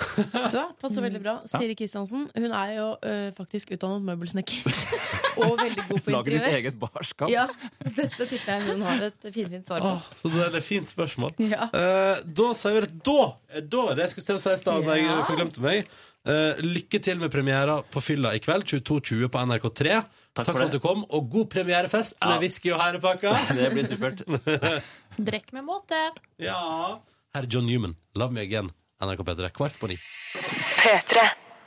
Vet du hva? Passer veldig bra. Ja. Siri Kristiansen hun er jo eh, faktisk utdannet møbelsnekker. og veldig god på Lage ditt interiør. eget barskap. Ja, Dette tipper jeg hun har et finfint svar på. Åh, så det er et fint spørsmål. Ja. Eh, da sier vi at da, da er det jeg skulle til å si i stad, da jeg Ja. forglemte meg. Eh, lykke til med premiera på Fylla i kveld, 22.20 på NRK3. Takk, for for, at du det. kom, og god premierefest med whisky og herrepakka. Det blir supert. Drikk med måte. ja. Herr John Newman, Love Me Again, NRK P3, kvart på ni.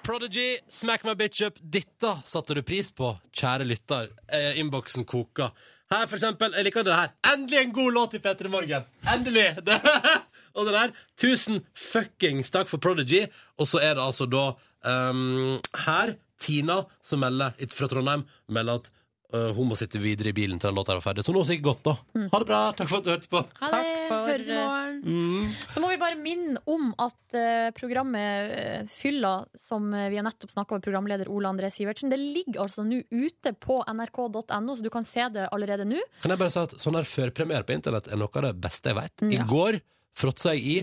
Prodigy, Smack My Bitch Up, dette satte du pris på, kjære lytter. Eh, Innboksen koker. Her, for eksempel, jeg liker det her. Endelig en god låt i P3 Morgen! Endelig! Det. Og den her. Tusen fuckings takk for Prodigy. Og så er det altså da ehm, her Tina som melder it- fra Trondheim melder at eh, hun må sitte videre i bilen til den låta er ferdig. Så nå sikkert godt, da. Ha det bra. Takk for at du hørte på. Takk for Høres i morgen. Mm. Så må vi bare minne om at eh, programmet eh, Fylla, som eh, vi har nettopp snakka med programleder Ole André Sivertsen, det ligger altså nå ute på nrk.no, så du kan se det allerede nå. Kan jeg bare si at sånn her førpremiere på internett er noe av det beste jeg vet. I går fråtsa jeg i,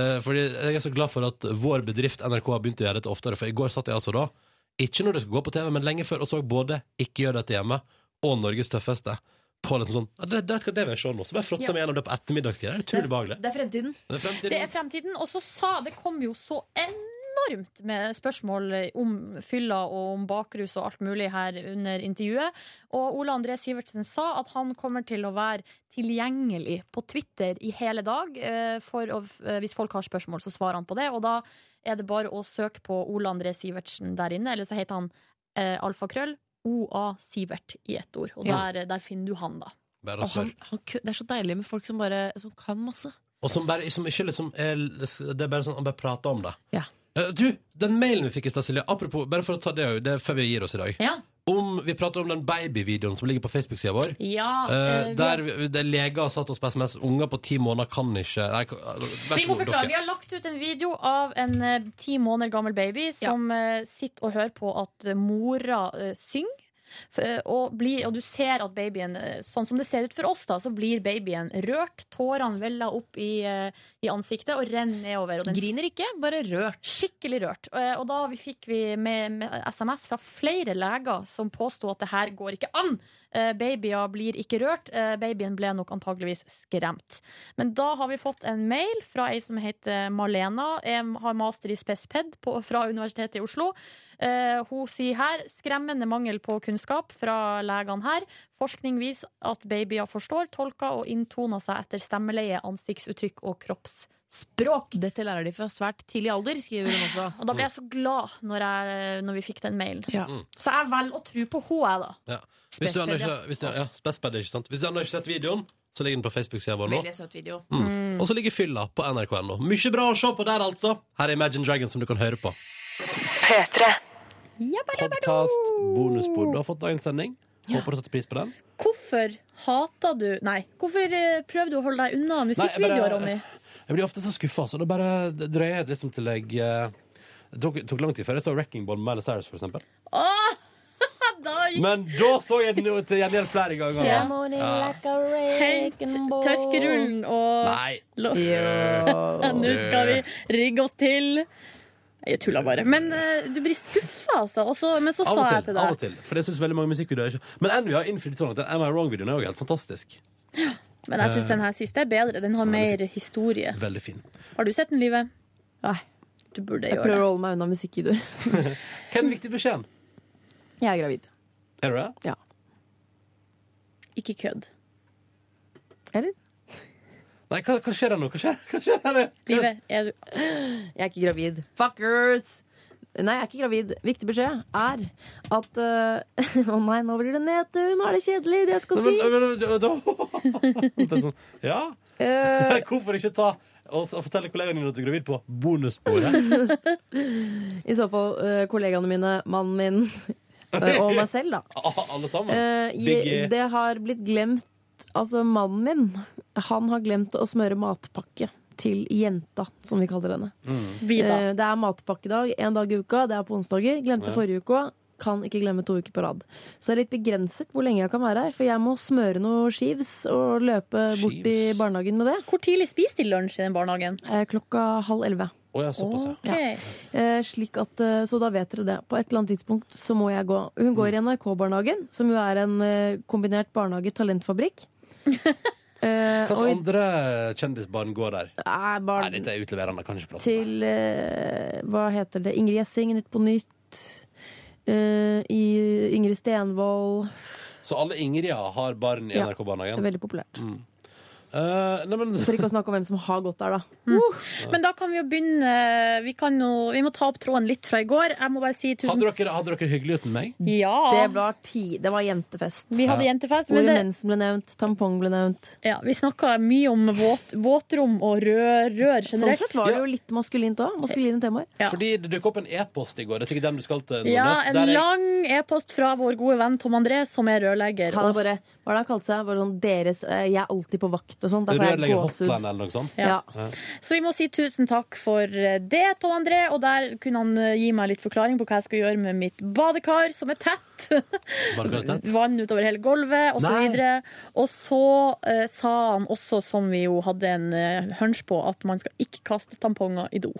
eh, fordi jeg er så glad for at vår bedrift NRK har begynt å gjøre dette oftere, for i går satt jeg altså da, ikke når det skulle gå på TV, men lenge før, og så både Ikke gjør dette hjemme og Norges tøffeste på liksom sånn ja, det, det, det, vil jeg se nå. Så bare fråtser jeg meg gjennom det på ettermiddagstida. Det er utrolig behagelig. Det er fremtiden. Det er fremtiden. Det er fremtiden. Og så sa Det kom jo så enormt med spørsmål om fylla og om bakrus og alt mulig her under intervjuet. Og Ole André Sivertsen sa at han kommer til å være tilgjengelig på Twitter i hele dag. eh, For å, eh, hvis folk har spørsmål, så svarer han på det. Og da er det bare å søke på Ole André Sivertsen der inne, eller så heter han eh, alfakrøll OA Sivert i ett ord. Og Ja. der, der finner du han, da. Bare å Og han, spørre. han, ku- det er så deilig med folk som bare som kan masse. Og som bare som ikke liksom er, Det er bare sånn han bare prater om det. Ja. Eh, Du, den mailen vi fikk i stad, Silje, apropos, bare for å ta det, jo, det er før vi gir oss i dag Ja. om, Vi prater om den babyvideoen som ligger på Facebook-sida vår. Ja, Eh, eh, vi- der vi- det leger har satt oss på SMS Unger på ti måneder kan ikke Nei, k- vær Vi så må god, forklare. Vi dere. har lagt ut en video av en eh, ti måneder gammel baby som eh, sitter og hører på at eh, mora eh, synger. F- eh, Og, blir, og du ser at babyen, eh, sånn som det ser ut for oss, da, så blir babyen rørt. Tårene veller opp i, eh, i ansiktet og renner nedover. Og Griner ikke, bare rørt. Skikkelig rørt. Eh, Og da vi fikk vi med, med SMS fra flere leger som påsto at det her går ikke an. Eh, Babyer blir ikke rørt. Eh, Babyen ble nok antageligvis skremt. Men da har vi fått en mail fra ei som heter Malena, em, har master i spesped på, fra Universitetet i Oslo. Eh, hun sier her skremmende mangel på kunnskap fra legene her. Forskning viser at babyer forstår, tolker og inntoner seg etter stemmeleie, ansiktsuttrykk og kroppsspråk. Dette lærer de fra svært tidlig alder, skriver hun også. Og da ble jeg så glad når, jeg, når vi fikk den mailen. Mm. Så jeg velger å tro på henne, jeg, da. Ja. Hvis du ennå ikke, Spesped, ja. hvis du, ja, spesped, ikke sant? Hvis du ennå ikke har sett videoen, så ligger den på Facebook-sida vår nå. Veldig søt video. Mm. Og så ligger Fylla på nrk.no. Mye bra å se på der, altså! Her er Imagine Dragons som du kan høre på. P3. Podkast, bonusbord. Du har fått dagens sending. Håper du setter pris på den. Hvorfor hater du Nei, hvorfor eh, prøver du å holde deg unna Nei, musikkvideoer, jeg bare- Ronny? Jeg blir ofte så skuffa, så da bare drøyer jeg liksom til jeg eh, Det tok, tok lang tid før jeg så Wrecking Ball med Miley Cyrus, for eksempel. Åh, da gikk Men da så jeg den jo til gjengjeld flere ganger. Ja. Ja. Hent tørkerullen og Nei. Lo- Eh. Nå skal vi rigge oss til. Jeg tulla bare. Men eh, du blir skuffa, altså. Og så- men så Av og sa jeg til Av og deg til. For det syns veldig mange musikkvideoer ikke. Men Envy har innfridd sånn at den Am I Wrong-videoen er jo helt fantastisk. Men Eh. jeg syns den her siste er bedre. Den har mer historie. Veldig fin. Har du sett den, Live? Nei. Du burde Jeg gjøre prøver det. å holde meg unna musikkvideoer. Hva er den viktige beskjeden? Jeg er gravid. Er du det? Ja. Ikke kødd. Eller? Nei, hva, hva skjer da nå? Hva skjer? Hva skjer her? Live, er du Jeg er ikke gravid. Fuckers! Nei, jeg er ikke gravid. Viktig beskjed er at øh, Å nei, nå blir det nedtur! Nå er det kjedelig, det jeg skal Nei, si! men- men- men- da- Det er sånn, Ja. Eh. Hvorfor ikke ta og s- og fortelle kollegaene dine at du er gravid på bonussporet? I så fall øh, kollegaene mine, mannen min øh, og meg selv, da. A- Alle sammen? Eh, Biggie. jeg, det har blitt glemt Altså, mannen min, han har glemt å smøre matpakke til jenta, som vi kaller henne. Vi da. Eh, det er matpakkedag én dag i uka. Det er på onsdager. Glemte Ja. forrige uke òg. Kan ikke glemme to uker på rad. Så det er litt begrenset hvor lenge jeg kan være her. For jeg må smøre noe skives og løpe bort i barnehagen med det. eh, Hvor tidlig spiser de lunsj i den barnehagen? Klokka halv elleve. Å ja, såpass, ja. Ja. Eh, slik at, eh, så da vet dere det. På et eller annet tidspunkt så må jeg gå. Hun går Mm. i NRK-barnehagen, som jo er en eh, kombinert barnehage-talentfabrikk. Eh, Hvilke og sånn? i- andre kjendisbarn går der? Nei, barn- Nei, dette er utleverende. Kan ikke prate. til eh, Hva heter det? Ingrid Gjessing, Nytt på Nytt. eh, i Ingrid Stenvold. Så alle Ingrid har barn i Ja, NRK-barnehagen? det er veldig populært. Mm. Eh, nei, men For ikke å snakke om hvem som har gått der, da. Men da kan vi jo begynne Vi, kan jo, vi må ta opp tråden litt fra i går. Jeg må bare si tusen hadde dere, hadde dere hyggelig uten meg? Ja. Det var, ti, det var jentefest. Vi hadde Ja. jentefest. Ordet Men det, mensen ble nevnt, tampong ble nevnt. ja, vi snakka mye om våt, våtrom og rør, rør Sånn generelt. sett var det jo litt maskulint òg. Maskuline temaer. Fordi det dukket opp en e-post i går. Det er sikkert den du skal til? Ja, Nordnes, en der jeg- lang e-post fra vår gode venn Tom André, som er rørlegger. Han Og- er bare, hva er det han kalte seg? Bare sånn, deres, eh, jeg er alltid på vakt og sånn. Da får jeg Rørlegger Hotline gåsehud. eller noe sånt? Ja. Så vi må si tusen takk for eh, det, Tom André. Og der kunne han eh, gi meg litt forklaring på hva jeg skal gjøre med mitt badekar, som er tett. Badekar er tett? Vann utover hele gulvet, og så Nei. videre. Og så eh, sa han også, som vi jo hadde en uh, hunch på, at man skal ikke kaste tamponger i do.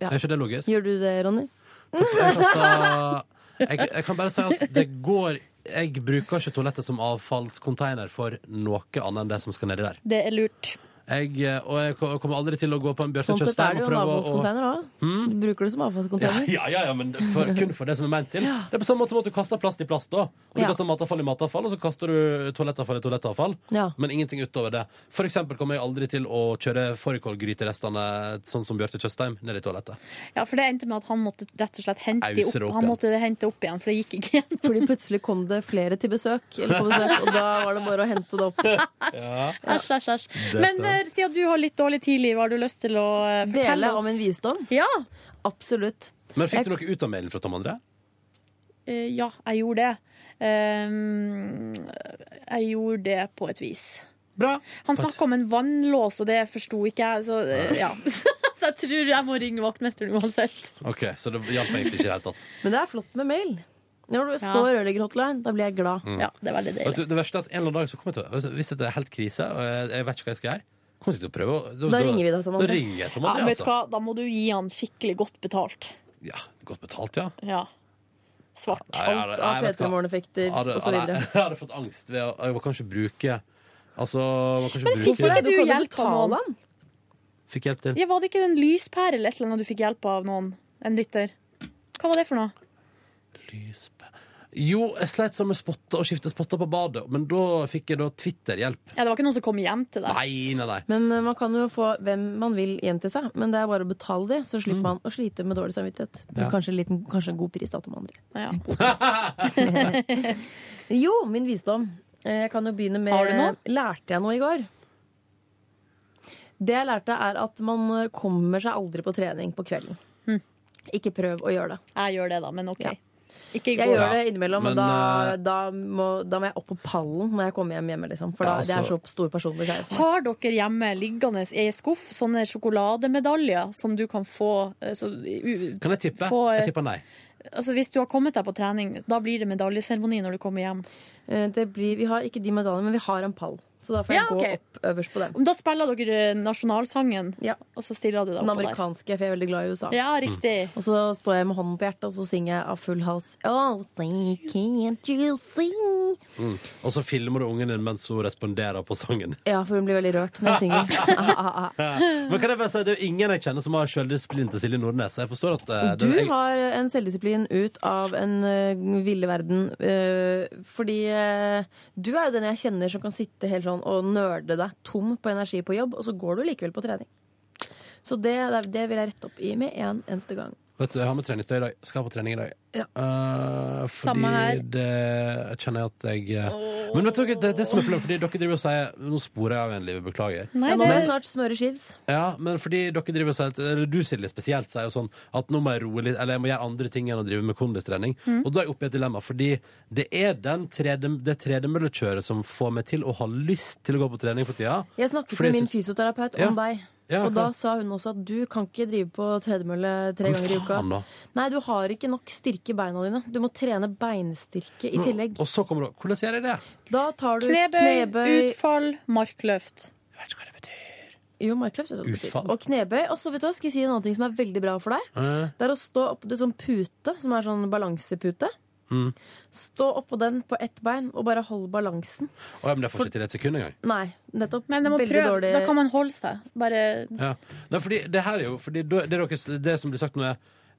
Er ikke det logisk? Gjør du det, Ronny? Jeg, kastet- jeg, jeg kan bare si at det går jeg bruker ikke toalettet som avfallscontainer for noe annet enn det som skal nedi der. Det er lurt. Jeg, eh, og jeg ko- kommer aldri til å gå på en Bjarte Sånn sett Tjøstheim er og det jo en prøve å avfallsconteiner òg. Hmm? Du bruker det som ja, avfallsconteiner. ja, ja, ja, men for, kun for det som er ment til. Det er på samme måte som at du kaster plast i plast. da Og Du Ja. kaster matavfall i matavfall, og så kaster du toalettavfall i toalettavfall. Ja. Men ingenting utover det. For eksempel kommer jeg aldri til å kjøre fårikålgryterestene sånn som Bjarte Tjøstheim ned i toalettet. Ja, for det endte med at han måtte rett og slett hente de Ause det opp, opp han igjen. måtte hente opp igjen, for det gikk ikke igjen. Fordi plutselig kom det flere til besøk, eller på besøk, og da var det bare å hente det opp. Æsj, æsj, æsj. Det Men stemmer. eh, siden du har litt dårlig tidlig, har du lyst til å eh, fortelle Dele oss? av min visdom? Ja. Absolutt. Men fikk du noe ut av mailen fra Tom André? Eh, ja, jeg gjorde det. Ehm, jeg gjorde det på et vis. Bra. Han snakka om en vannlås, og det forsto ikke jeg, så eh, ja. Så jeg tror jeg må ringe vaktmesteren uansett. OK, så det hjalp egentlig ikke i det hele tatt. Men det er flott med mail. Når du Ja. står rørleggerhotline, da blir jeg glad. Mm. det er veldig Vet du, det verste er at en eller annen dag så kommer jeg til å Hvis dette er helt krise, og jeg, jeg vet ikke hva jeg skal gjøre kommer jeg til å prøve å- Da ringer vi deg, Tom Da André. ringer jeg Tom Ja, André, vet du hva, altså. da må du gi han skikkelig godt betalt. Ja, godt betalt, ja. Ja. Svart. Nei, jeg hadde- Alt nei, av vet du hva? P3-morgeneffekter Jeg hadde- og så hadde- videre. Jeg hadde fått angst ved å jeg må kanskje bruke Altså, man kan ikke Men fikk bruke ikke du kan jo hjelp av betale noen? Fikk hjelp til. Ja, var det ikke en lyspære eller et eller annet du fikk hjelp av noen? En lytter? Hva var det for noe? Jo, jeg sleit sånn med spotter og skifte spotter på badet, men da fikk jeg da Twitter-hjelp. Ja, Det var ikke noen som kom hjem til deg? Nei, nei, nei. Men eh, man kan jo få hvem man vil hjem til seg, men det er bare å betale det, så slipper man å slite med dårlig samvittighet. Men Mm. Ja. Kanskje, en liten, kanskje en god pris da, Tom André. Ja. jo, min visdom. Eh, Jeg kan jo begynne med Har du noe? Lærte jeg noe i går? Det jeg lærte, er at man eh, kommer seg aldri på trening på kvelden. Hm. Ikke prøv å gjøre det. Jeg gjør det, da, men OK. Ikke i Jeg går. gjør det Ja, innimellom, men, men da, eh, da, må, da må jeg opp på pallen når jeg kommer hjem hjemme. Liksom, for da, Ja, det er så altså. stor personlig greie. for meg. Har dere hjemme liggende i ei skuff sånne sjokolademedaljer som du kan få eh, så, u- Kan jeg tippe? Få, eh, Jeg tipper nei. Altså, Hvis du har kommet deg på trening, da blir det medaljeseremoni når du kommer hjem. Eh, Det blir, vi har ikke de medaljene, men vi har en pall. Så da får jeg Ja, gå ok. opp øverst på den. Da spiller dere eh, nasjonalsangen, og så stiller du deg Den oppå der. amerikanske, for jeg er veldig glad i USA. Ja, riktig. Og så står jeg med hånden på hjertet, og så synger jeg av full hals. Oh, say, can't you sing? Mm. Og så filmer du ungen din mens hun responderer på sangen. Ja, for hun blir veldig rørt når jeg synger. Ah, ah, ah. Men kan jeg bare si, det er jo ingen jeg kjenner som har sjøldisiplin til Silje Nordnes. Jeg forstår at eh, Du det- jeg, har en selvdisiplin ut av en eh, ville verden. eh, fordi eh, du er jo den jeg kjenner som kan sitte helt sånn og nerde deg tom på energi på jobb, og så går du likevel på trening. Så det, det vil jeg rette opp i med en eneste gang. Vet du, jeg har med treningstøy i dag. Skal på trening i dag. Ja. Eh, fordi Samme her. det jeg kjenner jeg at jeg eh, Men vet dere, det, det som er problemet, fordi dere driver og sier Nå sporer jeg av igjen, livet, beklager. ja, nå må jeg snart smøre skivs. Ja, men fordi dere driver og sier at- Eller du, Silje, spesielt, sier jo sånn at nå må jeg roe litt, eller jeg må gjøre andre ting enn å drive med kondistrening. Mm. Og da er jeg oppe i et dilemma, fordi det er den tredje, det tredemøllekjøret som får meg til å ha lyst til å gå på trening for tida. Jeg snakket Fordi jeg med min synes- fysioterapeut om Ja. deg. Ja, og da klart. sa hun også at du kan ikke drive på tredemølle tre Men ganger i uka. faen da. Nei, du har ikke nok styrke i beina dine. Du må trene beinstyrke i Men- tillegg. Og så kommer det Hvordan gjør jeg det? Da tar du Knebøy, knebøy utfall, markløft. Jo, markløft. vet du hva det betyr. Utfall. Og knebøy. Og så vet du hva, skal jeg si en annen ting som er veldig bra for deg. Eh, Det er å stå opp det er sånn pute, som er sånn balansepute. Mm. Stå oppå den på ett bein og bare hold balansen. Å, ja, men det får ikke til et sekund engang. Nei, nettopp. Men det må veldig prøve. dårlig Da kan man holde seg. Bare Ja. Nei, fordi det her er jo fordi det, det, dere, det som blir sagt nå, er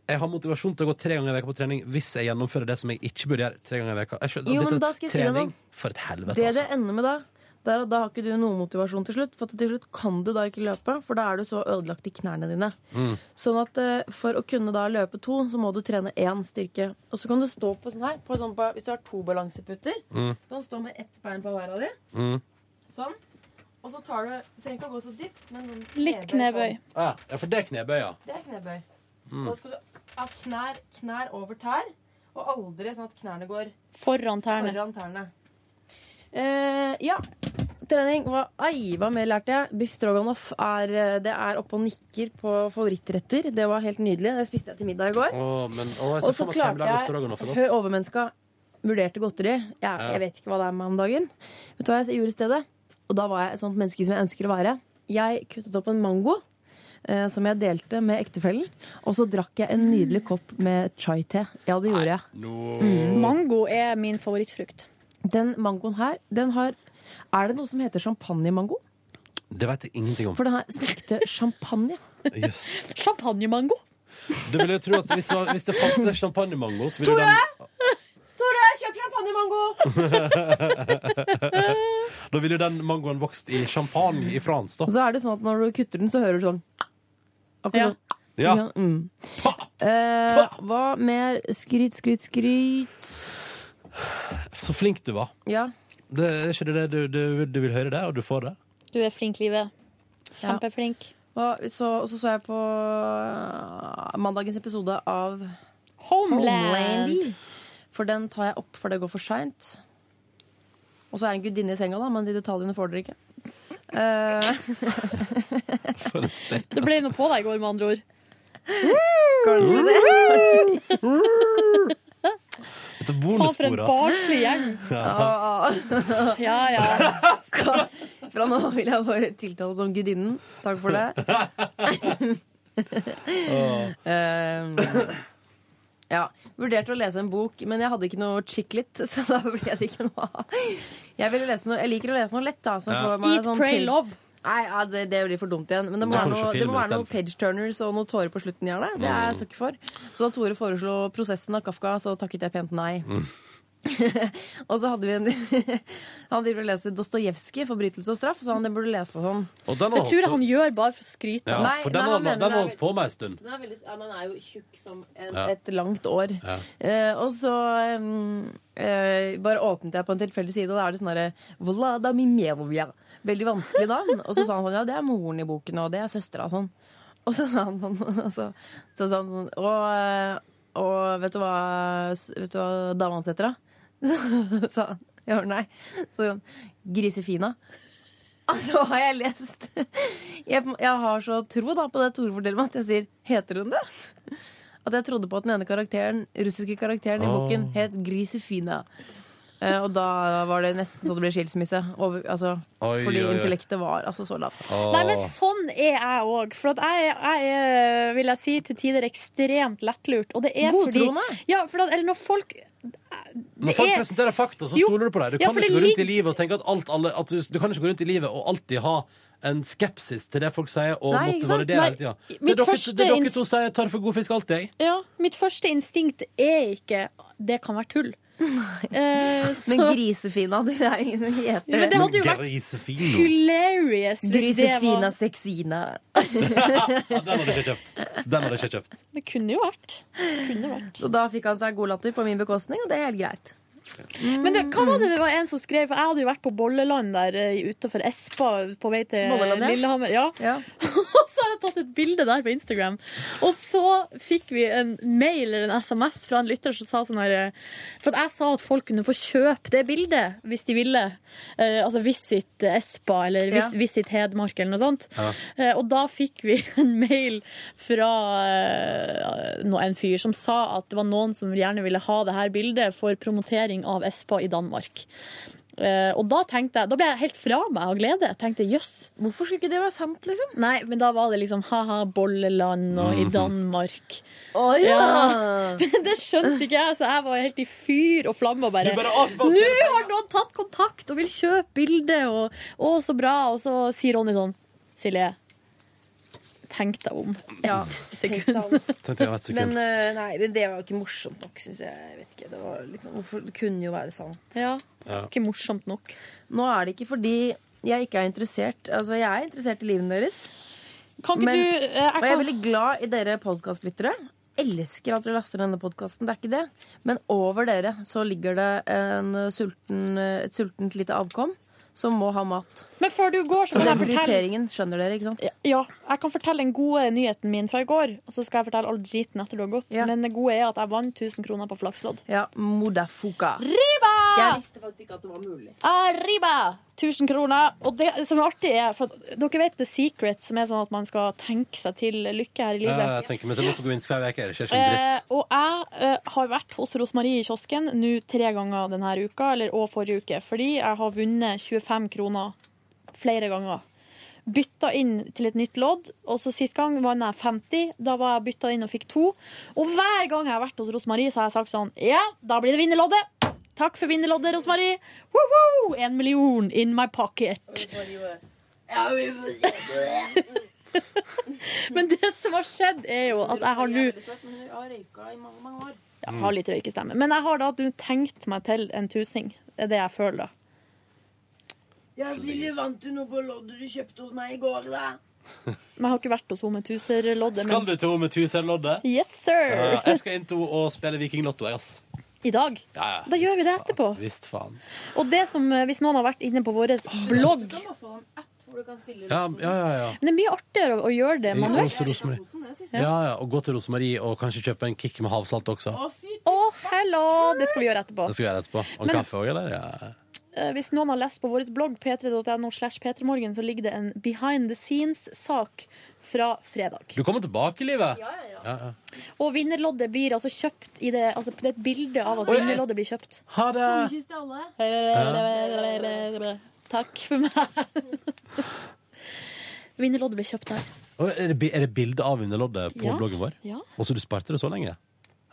jeg har motivasjon til å gå tre ganger i veka på trening hvis jeg gjennomfører det som jeg ikke burde gjøre tre ganger i veka. Jeg skjønner- Jo, men dette- da skal jeg si deg trening noe. for et helvete, Det altså. det ender med da, det er at da har ikke du noen motivasjon til slutt. For at til slutt kan du da ikke løpe, for da er du så ødelagt i knærne dine. Mm. Sånn at eh, for å kunne da løpe to, så må du trene én styrke. Og så kan du stå på sånn her. På sånn på, hvis du har to balanseputter, Mm. så kan du stå med ett bein på hver av de. Mm. Sånn. Og så tar du Du trenger ikke å gå så dypt, men sånn Litt knebøy. Sånn. Ah, ja, for det er knebøy, ja. Det er knebøy. Mm. Og da skal du ha knær, knær over tær, og aldri sånn at knærne går foran tærne. Foran tærne. Eh, ja. Trening. Hva, ei, hva mer lærte jeg? Biff stroganoff er, eh, det er oppe og nikker på favorittretter. Det var helt nydelig. Det spiste jeg til middag i går. Å, men, å, jeg ser Og så for meg at klarte hjemmelaget jeg stroganoff er godt. Hør, overmenneska. Vurderte godteri. Jeg, Ja. jeg vet ikke hva det er med meg om dagen. Vet du hva jeg gjorde i stedet? Og da var jeg et sånt menneske som jeg ønsker å være. Jeg kuttet opp en mango. eh, som jeg delte med ektefellen. Og så drakk jeg en nydelig kopp med chai-te. Ja, det gjorde jeg. Mm. Mango er min favorittfrukt. Den mangoen her, den har Er det noe som heter champagnemango? Det vet jeg ingenting om. For den her smakte champagne. Yes. Champagnemango? Du ville jo tro at hvis det, var, hvis det fantes champagnemango, så ville Tore! den Tore, kjøp champagnemango! da ville den mangoen vokst i champagne i France, da. Og så er det sånn at når du kutter den, så hører du sånn Akkurat sånn. Ja. Ikke sant? Mm. Eh, hva mer? Skryt, skryt, skryt. Så flink du var. Ja. Det er ikke det du, du, du vil høre det, og du får det? Du er flink, Live. Kjempeflink. Og så og så, så jeg på eh, mandagens episode av Homeland. For den tar jeg opp, for det går for seint. Og så er jeg en gudinne i senga, da, men de detaljene får dere ikke. Eh, Det ble noe på deg i går, med andre ord. Kanskje det. Dette altså. Faen, for en barnslig gjeng. Ja. Ja, Så fra nå vil jeg bare tiltale som gudinnen. Takk for det. Eh, ja. Vurderte å lese en bok, men jeg hadde ikke noe chicklit, så da ble det ikke noe av. Jeg, ville lese noe- jeg liker å lese noe lett, da. Som Ja. får meg Eat, sånn pray, til- love. Nei, ja, det, det blir for dumt igjen. Men det må Da være kan du noe, se det må film være noe istedenfor. page turners og noe tårer på slutten, gjerne. Det er jeg så ikke for. Så da Tore foreslo 'Prosessen' av Kafka, så takket jeg pent nei. og så hadde vi en Han driver og leser Dostojevskij, 'Forbrytelse og straff', så han den burde lese sånn. Og den har Det tror jeg holdt han på- gjør bare for å skryte. Ja, Nei, for nei, den han har mener den har det er holdt på meg en stund. Den er, veldig, ja, den er jo tjukk som en, Ja. et langt år. Ja. Eh, og så mm, eh, bare åpnet jeg på en tilfeldig side, og da er det sånn derre Vladimirovja. Veldig vanskelig navn. Og så sa han sånn, ja, det er moren i boken, og det er søstera og sånn. Og så sa han sånn, og så, så sa han sånn Og, eh, og vet du hva, vet du hva dama hans heter, da? Så sa han ja, nei. Så sa han Grisefina. Altså, har jeg lest jeg, jeg har så tro da, på det Tore forteller meg, at jeg sier 'heter hun det?' At jeg trodde på at den ene karakteren, russiske karakteren i Åh. boken het Grisefina. Eh, og da var det nesten så det ble skilsmisse. Over, altså, Oi, fordi oi, oi. intellektet var altså så lavt. Nei, men sånn er jeg òg. For at jeg, jeg er, vil jeg si, til tider ekstremt lettlurt. Og det er Godtroende? fordi Ja, for at, eller når folk Når folk er- presenterer fakta, så Jo, stoler du på dem. Du ja, kan for ikke det gå rundt i ligger- livet og tenke at alt alle at du, du kan ikke gå rundt i livet og alltid ha en skepsis til det folk sier, og Nei, ikke måtte sant? validere Nei, hele tida. Det, mitt dere- første det inn- dere to sier, tar for god fisk alltid, jeg. Ja, mitt første instinkt er ikke Det kan være tull. Eh, så- Men Grisefina, det er ingen som heter Ja, men det hadde jo vært hilarious hvis det var- Grisefina Sexina. Den hadde jeg ikke kjøpt. Den hadde jeg ikke kjøpt. Det kunne jo vært. Så da fikk han seg god latter på min bekostning, og det er helt greit. Mm. Men det, hva var det det var en som skrev? For jeg hadde jo vært på Bolleland der eh, utenfor Espa på vei til Bolleland, ja. Lillehammer. Ja. Og så har jeg tatt et bilde der på Instagram. Og så fikk vi en mail eller en SMS fra en lytter som sa sånn her eh, For at jeg sa at folk kunne få kjøpe det bildet hvis de ville. Eh, altså Visit Espa eller Ja. vis, Visit Hedmark eller noe sånt. Eh, Og da fikk vi en mail fra eh, nå- en fyr som sa at det var noen som gjerne ville ha det her bildet for promotering av Espa i Danmark. Eh, Og da tenkte jeg, da ble jeg helt fra meg av glede. Jeg tenkte jøss. Hvorfor skulle ikke det være sant, liksom? Nei, men da var det liksom ha-ha, Bolleland og i Mhm. Danmark. Å ja. Men det skjønte ikke jeg, så jeg var helt i fyr og flamme og bare, Du bare, «Å, fy faen, Nå det er har noen tatt kontakt og vil kjøpe bilde, og å, så bra. Og så sier Ronny sånn Silje, tenk deg om. Ja, tenk deg om. Tenkte jeg var et sekund. Men eh, nei, det, det var jo ikke morsomt nok, syns jeg. jeg vet ikke. Det, var liksom, hvorfor, det kunne jo være sant. Ja. Ikke morsomt nok. Nå er det ikke fordi jeg ikke er interessert. Altså, jeg er interessert i livene deres. Kan ikke du, eh, jeg Og jeg kan- er veldig glad i dere podkastlyttere. Elsker at dere laster denne podkasten, det er ikke det. Men over dere så ligger det en sulten, et sultent lite avkom som må ha mat. Men før du går, så Så kan den jeg fortelle prioriteringen skjønner dere, ikke sant? Ja, jeg kan fortelle den gode nyheten min fra i går, og så skal jeg fortelle all driten etter du har gått. Men det gode er at jeg vant 1000 kroner på flakslodd. Ja, modafuka. Riba! Jeg visste faktisk ikke at det var mulig. Arriba! 1000 kroner. Og det som er artig er, for at dere vet The Secret, som er sånn at man skal tenke seg til lykke eh, her Ja, i livet. jeg tenker meg til å gå inn hver uke. Det skjer ikke en dritt. Eh, og jeg eh, har vært hos Rosmarie i kiosken nå tre ganger denne uka, eller og forrige uke, fordi jeg har vunnet 25 kroner flere ganger. bytta inn til et nytt lodd. Og så Sist gang vant jeg 50, da var jeg bytta inn og fikk to. Og hver gang jeg har vært hos Rosmarie, så har jeg sagt sånn Ja, da blir det vinnerloddet! Takk for vinnerloddet, Rosmarie! Woho! En million in my pocket. Men det som har skjedd, er jo at jeg har nå Jeg Mm. har litt røykestemme. Men jeg har da nå tenkt meg til en tusing. Det er det jeg føler, da. Ja, Silje, vant du noe på loddet du kjøpte hos meg i går, da? Men jeg har ikke vært hos henne med tuserloddet. Skal Men du til Ometusen-loddet? Yes, sir. Ja, jeg skal inn til henne og spille Vikinglotto, jeg, ass. i dag. Ja, ja. Da gjør vi det etterpå. Visst faen. Og det som, eh, hvis noen har vært inne Ah, på vår blogg Du kan bare få en app hvor du kan spille Ja, ja, ja. ja. Men det er mye artigere å- å gjøre det Jeg manuelt. koser Rosemarie. Ja. Ja, ja, og gå til Rosemarie og kanskje kjøpe en kick med havsalt også. Å, hello! Det skal vi gjøre etterpå. Det skal vi gjøre etterpå. Og Men- kaffe òg, eller? Ja. Eh, Hvis noen har lest på vår blogg p3.no, slash p3morgen, så ligger det en behind the scenes-sak fra fredag. Du kommer tilbake i livet? Ja, ja, ja. Og vinnerloddet blir altså kjøpt i det Altså, det er et bilde av at Oi, jeg- vinnerloddet blir kjøpt. Ha Tommekyss til alle. Takk for meg. Vinnerloddet blir kjøpt her. Og Er det, bi- er det bilde av underloddet på Ja, bloggen vår? ja. Og så du sparte det så lenge?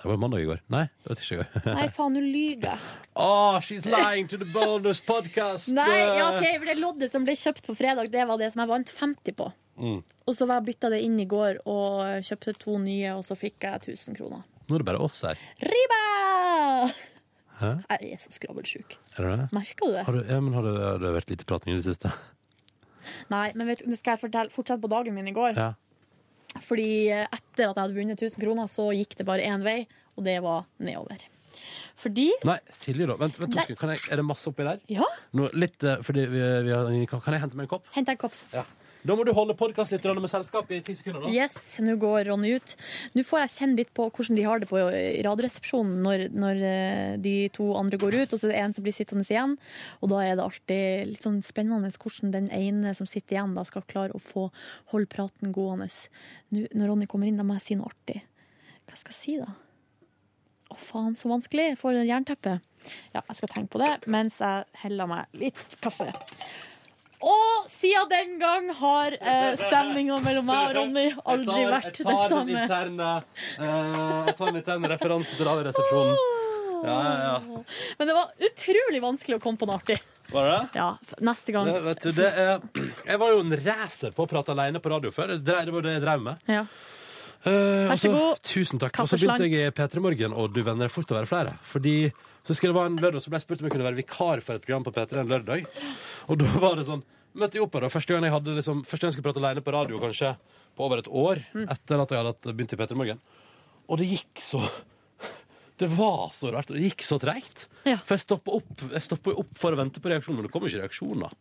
Det var jo mandag i går. Nei, det var tirsdag i Nei, går. faen, nå lyver jeg. oh, she's lying to the bonus podcast! Nei, ja, ok, for det loddet som ble kjøpt på fredag, det var det som jeg vant 50 på. Mm. Og så var jeg bytta det inn i går og kjøpte to nye, og så fikk jeg 1000 kroner. Nå er det bare oss her. Riba! Hæ? Jeg er så skravelsjuk. Er det det? Merker du det? Har du, ja, men har, du, har det vært lite prating i det siste? Nei, men vet du, nå skal jeg fortelle, fortsette på dagen min i går. Ja. Fordi eh, etter at jeg hadde vunnet 1000 kroner, så gikk det bare én vei, og det var nedover. Fordi Nei, Silje, da. Vent, vent to sekunder. Kan jeg, er det masse oppi der? Ja. Nå, litt, eh, fordi vi, vi har, kan jeg hente meg en kopp? Hent deg en kopp. Ja. Da må du holde podkastlytterne med selskap i ti sekunder. da. Yes, nå går Ronny ut. Nå får jeg kjenne litt på hvordan de har det på i radioresepsjonen når, når eh, de to andre går ut, og så er det en som blir sittende igjen. Og da er det alltid litt sånn spennende hvordan den ene som sitter igjen, da skal klare å få holde praten gående. Nå, når Ronny kommer inn, da må jeg si noe artig. Hva skal jeg si, da? Å, faen, så vanskelig. Jeg får jernteppe. Ja, jeg skal tenke på det mens jeg heller meg litt kaffe. Og siden den gang har eh, stemninga mellom meg og Ronny aldri vært jeg det tar den samme. interne eh, Jeg tar den interne referanse til Radioresepsjonen. Ja, ja, ja. Men det var utrolig vanskelig å komme på noe artig. Var det det? Ja, f- neste gang. Det, vet du, det er, jeg var jo en racer på å prate alene på radio før. Det drev- det var det jeg drev med. Ja. Eh, og Vær så så- god. Tusen takk. Og Kaffe så begynte slank. jeg i P3 Morgen, og du venner det er fort å være flere. Fordi så skulle det være en lørdag, så ble jeg spurt om jeg kunne være vikar for et program på P3 en lørdag. Og da var det sånn Møtte jeg opp her, da. Første gang jeg hadde liksom, første gang jeg skulle prate alene på radio, kanskje, på over et år Mm. etter at jeg hadde hatt- begynt i P3 Morgen. Og det gikk så Det var så rart, og det gikk så treigt. For jeg stoppa opp, jeg stoppet jo opp for å vente på reaksjonen, men det kom jo ikke reaksjoner.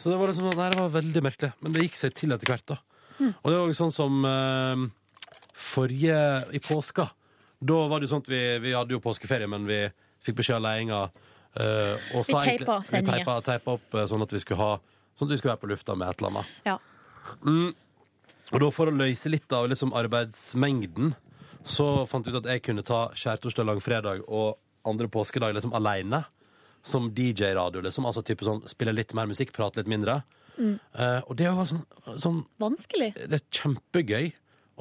Så det var liksom sånn, nei, det var veldig merkelig. Men det gikk seg til etter hvert, da. Mm. Og det var jo sånn som eh, forrige i påska. Da var det jo sånn at vi, vi hadde jo påskeferie, men vi fikk beskjed av ledelsen. eh, Vi teipa vi sendingen. teipa, teipa opp eh, sånn at vi skulle ha Sånn at vi skulle være på lufta med et eller annet. Ja. Mm. Og da for å løse litt av liksom arbeidsmengden, så fant jeg ut at jeg kunne ta skjærtorsdag, langfredag og andre påskedag liksom aleine. Som DJ-radio, liksom. Altså type sånn spille litt mer musikk, prate litt mindre. Mm. Eh, og det var sånn, sånn Vanskelig. det er kjempegøy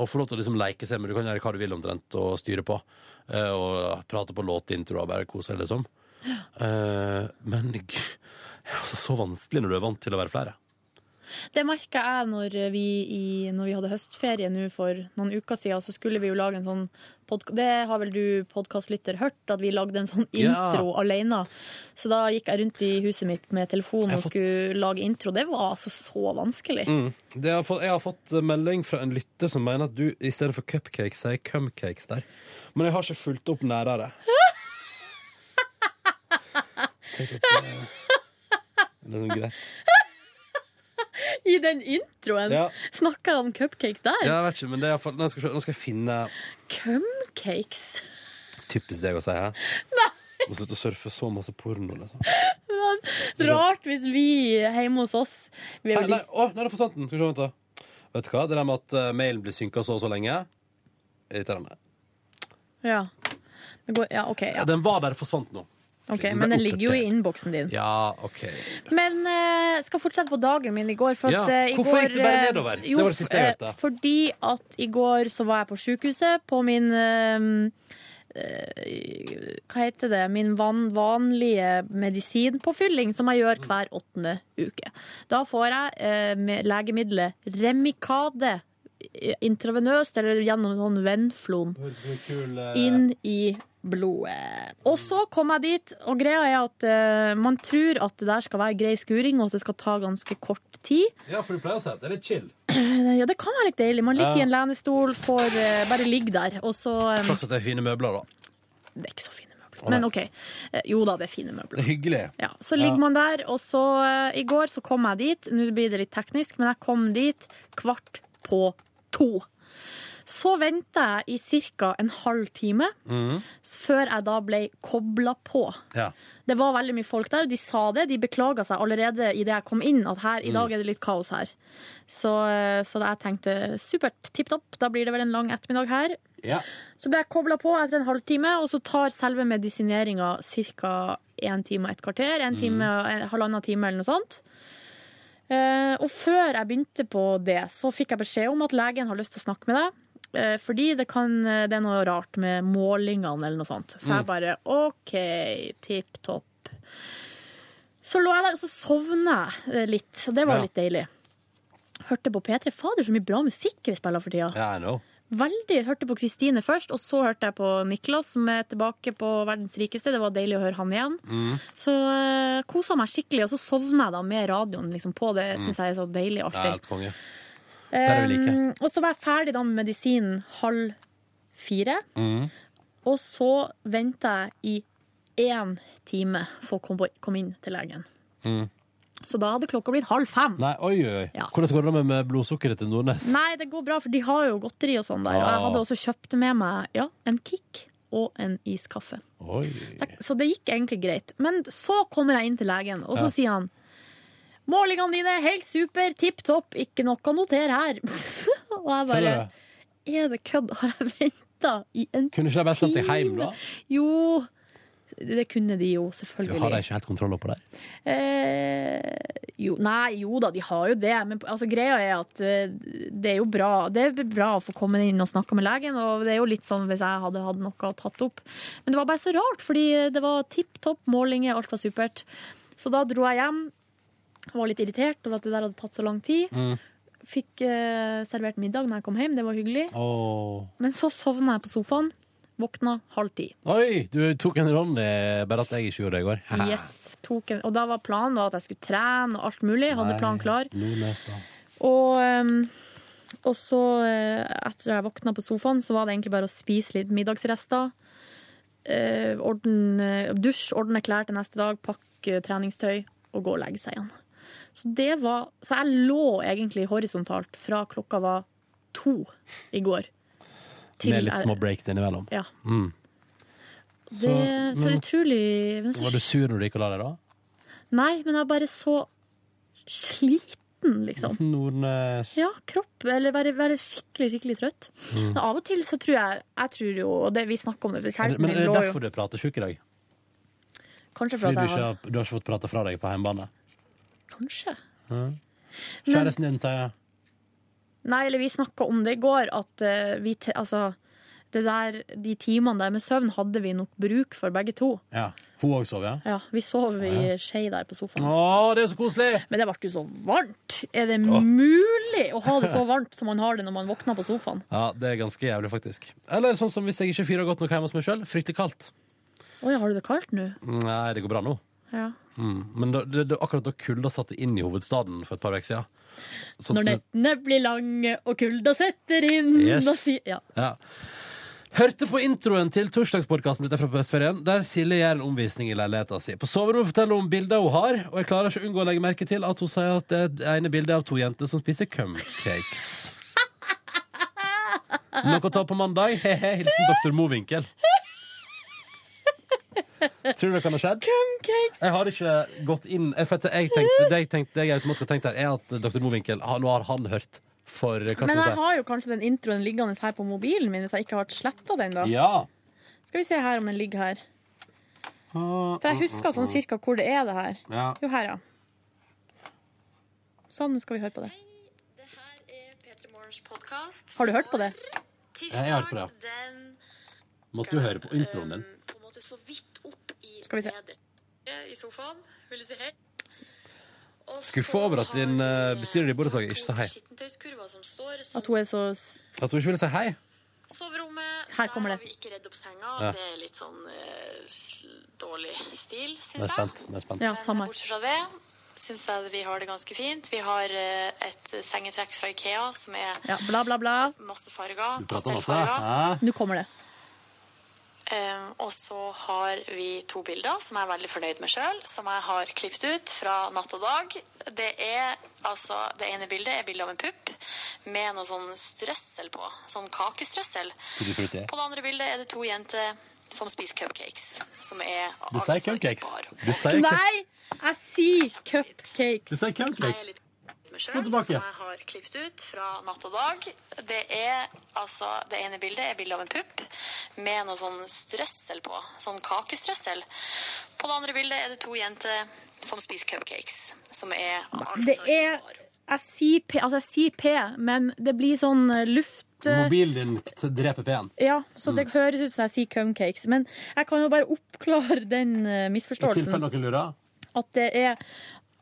å få lov til å liksom leke seg, men du kan gjøre hva du vil omtrent og styre på. eh, Og prate på låtintro og bare kose deg, liksom. Eh, Men g- det er altså så vanskelig når du er vant til å være flere. Det merka jeg når vi, i, når vi hadde høstferie nå for noen uker siden. Så skulle vi jo lage en sånn podkast Det har vel du podkastlytter hørt, at vi lagde en sånn Ja. intro alene. Så da gikk jeg rundt i huset mitt med telefon og skulle lage intro. Det var altså så vanskelig. Mm. Det har fått, jeg har fått melding fra en lytter som mener at du i stedet for cupcakes sier cumcakes der. Men jeg har ikke fulgt opp nærere. Tenk at det det er liksom greit. I den introen Ja. snakka jeg om cupcakes der. Ja, jeg vet ikke, men det er i hvert fall- Nå skal jeg se- nå skal jeg finne Cumcakes. Typisk deg å si, hæ? Må slutte å surfe så masse porno, liksom. Men det er Rart hvis vi hjemme hos oss vi Nei, er jo nei, å, nei, det er for sant den. Skal vi se, vent da. Vet du hva? Det der med at eh, mailen blir synka så og så lenge, irriterende. Ja. Det går, ja, OK. Ja. Den var der, forsvant nå. Ok, Men den ligger jo i innboksen din. Ja, OK. Men eh, skal fortsette på dagen min i går. For Ja, at, eh, i hvorfor gikk går, det bare eh, nedover? Det Jo, var det siste jeg eh, hørte. Fordi at i går så var jeg på sykehuset på min eh, eh, Hva heter det? Min van, vanlige medisinpåfylling, som jeg Mm. gjør hver åttende uke. Da får jeg eh, med legemiddelet Remicade eh, intravenøst, eller gjennom sånn Venflon eh, inn i blodet. Og så kom jeg dit, og greia er at eh, man tror at det der skal være grei skuring, og at det skal ta ganske kort tid. Eh, Ja, for du pleier å si at det er litt chill. Ja, det kan være litt deilig. Man Ja. ligger i en lenestol, får eh, bare ligge der, og så eh, Flaks at det er fine møbler, da. Det er ikke så fine møbler. Å, nei. Men OK. Eh, Jo da, det er fine møbler. Det er hyggelig. Ja, så ligger man der, og så eh, i går så kom jeg dit. Nå blir det litt teknisk, men jeg kom dit kvart på to. Så venta jeg i ca. en halv time Mm. før jeg da ble kobla på. Ja. Det var veldig mye folk der, og de sa det. De beklaga seg allerede idet jeg kom inn, at her, i Mm. dag er det litt kaos her. Så, eh, så da jeg tenkte supert, tipp topp, da blir det vel en lang ettermiddag her. Ja. Så ble jeg kobla på etter en halvtime, og så tar selve medisineringa ca. én time og et kvarter. En time, en halvannen time eller noe sånt. Eh, og før jeg begynte på det, så fikk jeg beskjed om at legen har lyst til å snakke med deg. eh, Fordi det, kan, eh, det er noe rart med målingene eller noe sånt. Så Mm. jeg bare OK, tipp topp. Så lå jeg der, og så sovna jeg eh, litt. Og det var Ja. litt deilig. Hørte på P3. Fader, så mye bra musikk vi spiller for tida. Ja, I know. Veldig. Hørte på Kristine først, og så hørte jeg på Niklas, som er tilbake på Verdens rikeste. Det var deilig å høre han igjen. Mm. Så uh, kosa meg skikkelig, og så sovna jeg da med radioen liksom, på. Det Mm. syns jeg er så deilig Det er alltid. helt konge. Det er det vi liker. Um, og så var jeg ferdig da med medisinen halv fire, Mm. og så venta jeg i én time for å komme komme inn til legen. Mm. Så da hadde klokka blitt halv fem. Nei, oi, oi, oi. Ja. Hvordan går det med, med blodsukkeret til Nordnes? Nei, det går bra, for de har jo godteri og sånn der. Og jeg hadde Ah. også kjøpt med meg ja, en Kick og en iskaffe. Oi. Så det gikk egentlig greit. Men så kommer jeg inn til legen, og så Ja. sier han Målingene dine er helt super, tipp topp, ikke nok å notere her. og jeg bare Kødder Er det kødd? Har jeg venta i en Kunne ikke de bare sendt deg hjem, da? Jo. Det kunne de jo, Jo, selvfølgelig. Har de ikke helt kontroll på deg? Eh, jo, nei, jo da, de har jo det. Men altså, greia er at eh, det er jo bra Det er bra å få komme inn og snakke med legen. Og det er jo litt sånn hvis jeg hadde hatt noe å tatt opp. Men det var bare så rart, fordi det var tipp topp målinger, alt var supert. Så da dro jeg hjem. Var litt irritert over at det der hadde tatt så lang tid. Mm. Fikk eh, servert middag når jeg kom hjem, det var hyggelig. Åh. Men så sovna jeg på sofaen. Våkna halv ti. Oi, du tok en Ronny, bare at jeg ikke gjorde det i går. Yes, tok en, og da var planen da at jeg skulle trene og alt mulig. Hadde Nei, planen klar. Nordnes, da. Og, ehm, og så, eh, etter jeg våkna på sofaen, så var det egentlig bare å spise litt middagsrester. eh, ordne, dusj, ordne klær til neste dag, pakke treningstøy og gå og legge seg igjen. Så, det var, så jeg lå egentlig horisontalt fra klokka var to i går. til Med litt jeg- små breaks innimellom. Ja. Mm. Det, så men- utrolig men så Var du sur når du gikk og la deg, da? Nei, men jeg er bare så sliten, liksom. Nordnes Ja, kropp. Eller være, være skikkelig, skikkelig trøtt. Mm. Men av og til så tror jeg Jeg tror jo, og det, vi snakker om det, for Er det- kjæresten Men er min det lå jo derfor du prater sjuk i dag? Kanskje for Fordi at du jeg ikke har har, du har ikke fått prate fra deg på hjemmebane? Kanskje. Hæ? Men- Kjæresten din sier Nei, eller vi snakka om det i går, at eh, vi te, Altså, det der, de timene der med søvn hadde vi nok bruk for, begge to. ja. Hun òg sover, ja? Ja, Vi sov Ja. i skje der på sofaen. Å, det er så koselig! Men det ble jo så varmt! Er det mulig å ha det så varmt som man har det når man våkner på sofaen? Ja, Det er ganske jævlig, faktisk. Eller sånn som hvis jeg ikke fyrer godt nok hjemme hos meg sjøl. Fryktelig kaldt. Å ja, har du det kaldt nå? Nei, det går bra nå. Ja. Mm. Men da, det, det, akkurat da kulda satte inn i hovedstaden for et par uker siden så- Når nettene blir lange og kulda setter inn Yes. og sier ja. Ja. Hørte på introen til torsdagspodkasten litt fra på Østferien, der Silje gjør en omvisning i leiligheten sin. På soverommet forteller hun om bilder hun har, og jeg klarer ikke å unngå å legge merke til at hun sier at det er det ene bildet av to jenter som spiser cumcakes. Noe å ta på mandag? He-he, hilsen doktor Mowinckel. Tror du det kan ha skjedd? Cumcakes. Jeg har ikke gått inn jeg, for at jeg tenkte, Det jeg tenkte, det jeg automatisk har tenkt her, er at doktor Mowinckel han- Nå har han hørt for hva skal Men man jeg si? har jo kanskje den introen liggende her på mobilen min hvis jeg ikke har sletta den, da. Ja. Skal vi se her om den ligger her. For jeg husker sånn cirka hvor det er, det her. Ja. Jo, her, ja. Sånn, nå skal vi høre på det. Har du hørt på det? Jeg har hørt på det, ja. Måtte jo høre på introen din. Skal vi se. I sofaen. Vil du si hei? Skuffa over at din eh, bestyrer i borettslaget ikke sa hei. Skittentøyskurva som står At hun er så At hun ikke ville si hei. Soverommet. Her kommer Der har det. vi ikke redd opp senga. Ja. Det er litt sånn eh, s- dårlig stil, Nå er syns jeg jeg. spent. Nå er jeg spent. Ja, samme. Men eh, Bortsett fra det syns jeg vi har det ganske fint. Vi har eh, et sengetrekk fra Ikea som er Ja, bla, bla, bla. masse farger. Nå kommer det. Eh, og så har vi to bilder som jeg er veldig fornøyd med sjøl, som jeg har klippet ut fra natt og dag. Det, er, altså, det ene bildet er bilde av en pupp med noe sånn strøssel på. Sånn kakestrøssel. Tutti-frutti. På det andre bildet er det to jenter som spiser cupcakes. Som er Du sier cupcakes. Du sier cup- Nei, jeg sier cupcakes. Du sier cupcakes. med Gå sjøl, som tilbake. jeg har klippet ut fra natt og dag. Det, er, altså, det ene bildet er bilde av en pupp med noe sånn strøssel på. Sånn kakestrøssel. På det andre bildet er det to jenter som spiser cupcakes. Som er Det er Jeg sier P, altså jeg sier P, men det blir sånn eh, luft... eh, Mobilen din t- dreper P-en. Ja, så det Mm. høres ut som jeg sier cumcakes. Men jeg kan jo bare oppklare den eh, I tilfelle misforståelsen. noen lurer. At det er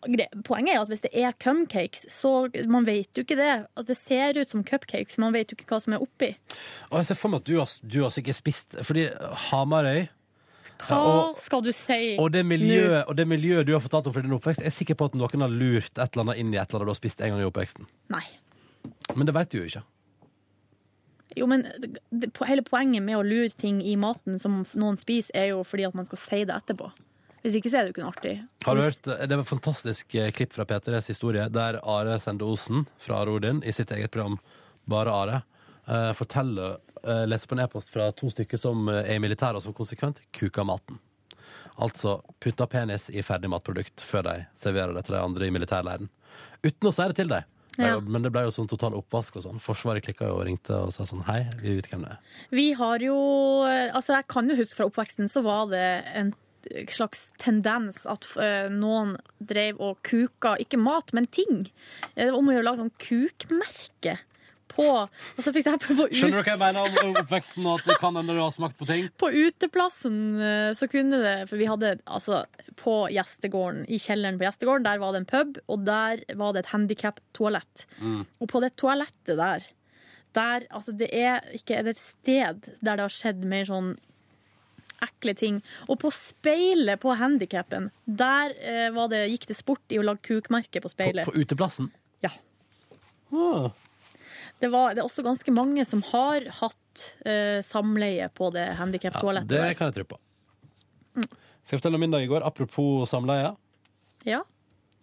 gre- Poenget er jo at hvis det er cumcakes, så man vet jo ikke det. Altså, det ser ut som cupcakes, men man vet jo ikke hva som er oppi. Og jeg ser for meg at du har, du har sikkert spist Fordi Hamarøy Hva ja, og, skal du si og, det nå? miljøet, og det miljøet du har fortalt om fra din oppvekst, jeg er sikker på at noen har lurt et eller annet inn i et eller annet du har spist en gang i oppveksten. Nei. Men det vet du jo ikke. Jo, men det, det, po- hele poenget med å lure ting i maten som f- noen spiser, er jo fordi at man skal si det etterpå. Hvis ikke så er det jo ikke noe artig. Har du hørt, eh, Det var et fantastisk eh, klipp fra P3s historie, der Are Sende Osen fra Are Odin i sitt eget program Bare Are eh, forteller, eh, leser på en e-post fra to stykker som eh, er i militæret, og som konsekvent kuker maten. Altså putter penis i ferdig matprodukt før de serverer det til de andre i militærleiren. Uten å si det til dem. Ja. Eh, Men det ble jo sånn total oppvask og sånn. Forsvaret klikka jo og ringte og sa sånn hei, vi vet hvem det er. Vi har jo Altså, jeg kan jo huske fra oppveksten, så var det en slags tendens at eh, noen drev og kuka, ikke mat, men ting. Eh, Det var om å gjøre å lage sånn kukmerke på altså, Og så fikk jeg prøve å Skjønner du hva jeg mener om oppveksten og at det kan hende du har smakt på ting? På uteplassen eh, så kunne det For vi hadde altså på gjestegården, i kjelleren på gjestegården, der var det en pub, og der var det et handikap-toalett. Mm. Og på det toalettet der, der altså det er ikke det er et sted der det har skjedd mer sånn ekle ting. Og på speilet på handikappen, der eh, var det, gikk det sport i å lage kukmerke på På, speilet. på uteplassen? Ja. Ah. Det, var, det er også ganske mange som har hatt eh, samleie på det handikap-toalettet. Det kan jeg tro på. Mm. Skal jeg fortelle om min dag i går? Apropos samleie. Ja,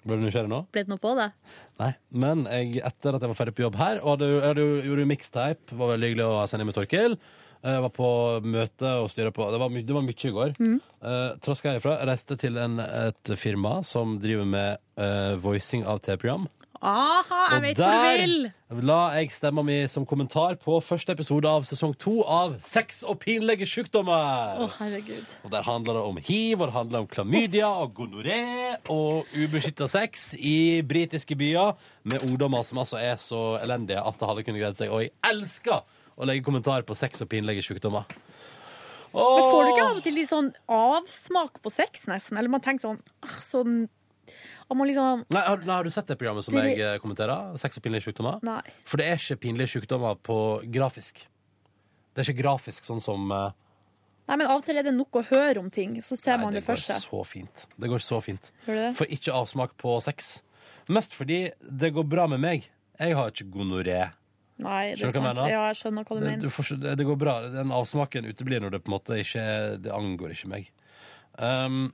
Ble du nysgjerrig nå? ble det noe på det? Nei. Men jeg, etter at jeg var ferdig på jobb her, og hadde, jeg hadde, jo- gjorde jo mixtape, var veldig hyggelig å sende inn med Torkil. Jeg var på møte og styret på Det var, my- det var mye i går. Mm. Uh, Traska herifra. Reiste til en, et firma som driver med eh, voicing av TV-program. Aha, jeg Og vet hvor du vil! der la jeg stemma mi som kommentar på første episode av sesong to av Sex og pinlige Å, sykdommer. herregud. Og der handler det om hiv, og det handler om klamydia og gonoré og ubeskytta sex i britiske byer med ungdommer som altså er så elendige at det hadde kunnet greid seg. Og jeg elsker å legge kommentar på sex og pinlige sykdommer. Men får du ikke av og til litt sånn avsmak på sex, nesten? Eller man tenker sånn, ah, sånn Om man liksom Nei, har, nei, har du sett det programmet som Dere- jeg eh, kommenterer? Sex og pinlige sykdommer? Nei. For det er ikke pinlige sykdommer på grafisk. Det er ikke grafisk sånn som eh, Nei, men av og til er det nok å høre om ting, så ser man det, det går for seg. så fint. Det går så fint. Gjør det det? Får ikke avsmak på sex. Mest fordi det går bra med meg. Jeg har ikke gonoré. Nei, Skjønner det er du hva jeg sant. mener? Ja, jeg skjønner hva du Det, du mener. får, ikke- det, det går bra. Den avsmaken uteblir når det på en måte ikke Det angår ikke meg. Um,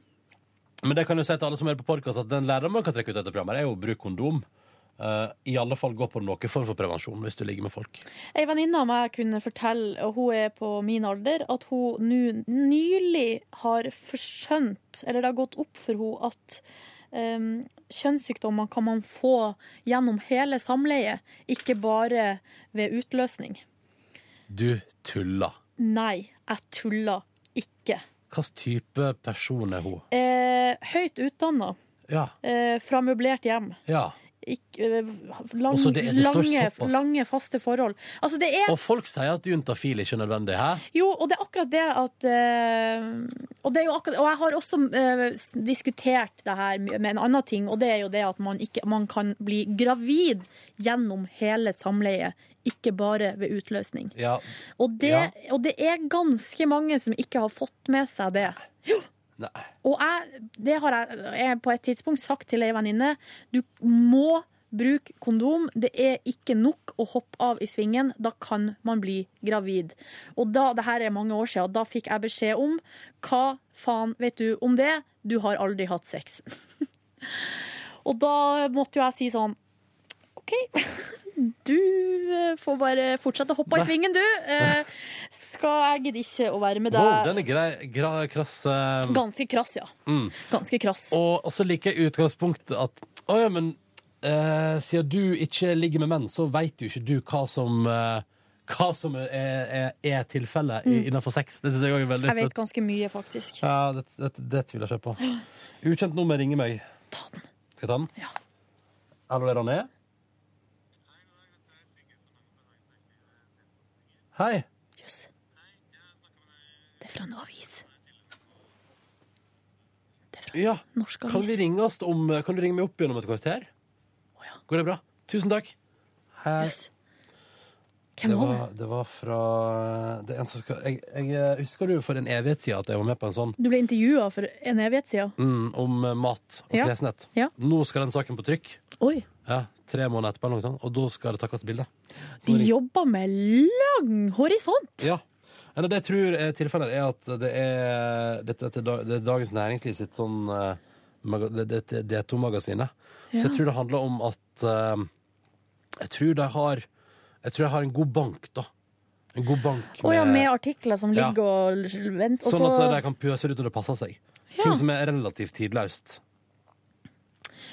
men det kan jo si til alle som er på podkast, at den læreren man kan trekke ut etter programmet, er jo å bruke kondom. Uh, I alle fall gå på noe form for prevensjon hvis du ligger med folk. Ei venninne av meg kunne fortelle, og hun er på min alder, at hun nu, nylig har forskjønt, eller det har gått opp for henne, at em, kjønnssykdommer kan man få gjennom hele samleie, ikke bare ved utløsning. Du tuller. Nei, jeg tuller ikke. Hvilken type person er hun? Eh, høyt utdanna. Ja. Eh, fra møblert hjem. ja. Ikk- eh, lang, Og så det- det står lange, såpass. lange, faste forhold. Altså, det er Og folk sier at juntafil ikke er nødvendig. Hæ? Jo, og det er akkurat det at eh, og, det er jo akkurat, og jeg har også eh, s- diskutert det her med en annen ting, og det er jo det at man, ikke, man kan bli gravid gjennom hele samleiet, ikke bare ved utløsning. Ja. Og det, Ja. og det er ganske mange som ikke har fått med seg det. Jo. Nei. Og jeg, det har jeg, jeg på et tidspunkt sagt til ei venninne. Du må bruke kondom. Det er ikke nok å hoppe av i svingen. Da kan man bli gravid. Og da, det her er mange år siden, og da fikk jeg beskjed om Hva faen vet du om det? Du har aldri hatt sex. og da måtte jo jeg si sånn du eh, får bare fortsette å hoppe i Nei. svingen, du. Eh, Skal jeg gidder ikke å være med deg. Wow, den er grei, gra, krass. eh, Ganske krass, ja. mm. Ganske krass. Og og så liker jeg utgangspunktet at Å ja, men eh, siden du ikke ligger med menn, så veit jo ikke du hva som eh, hva som er, er, er tilfellet i- Mm. innenfor sex. Det synes jeg også er veldig Jeg vet søtt. ganske mye, faktisk. Ja, det, det, det tviler jeg ikke på. Ukjent nummer ringer meg. Ta den. Skal jeg ta den? Ja. Hallo, det er Ronny? Hei. Det er fra en avis. Ja. Norsk kan, vi ringe oss om, kan du ringe meg opp igjen om et kvarter? Går det bra? Tusen takk. Hei. Hvem det var det? det? var fra eh, det er en som skal, jeg, jeg husker du for en evighet siden at jeg var med på en sånn Du ble intervjua for en evighet siden. mm, om eh, mat og Ja. kresenhet. Ja. Nå skal den saken på trykk. Oi. Ja, tre måneder etterpå, eller noe sånt, og da skal det takkes bilde. De jobber med lang horisont! Ja. Eller det jeg tror er tilfellet, er at det er, dette, dette, er da- det er Dagens Næringsliv sitt sånn eh, maga- det- det- det- D2-magasinet. Ja. Så jeg tror det handler om at eh, Jeg tror de har Jeg tror de har en god bank, da. En god bank Å ja, med artikler som Ja. ligger og venter. Sånn at de Og så, kan pøse det ut når det passer seg. Ting som er relativt tidløst.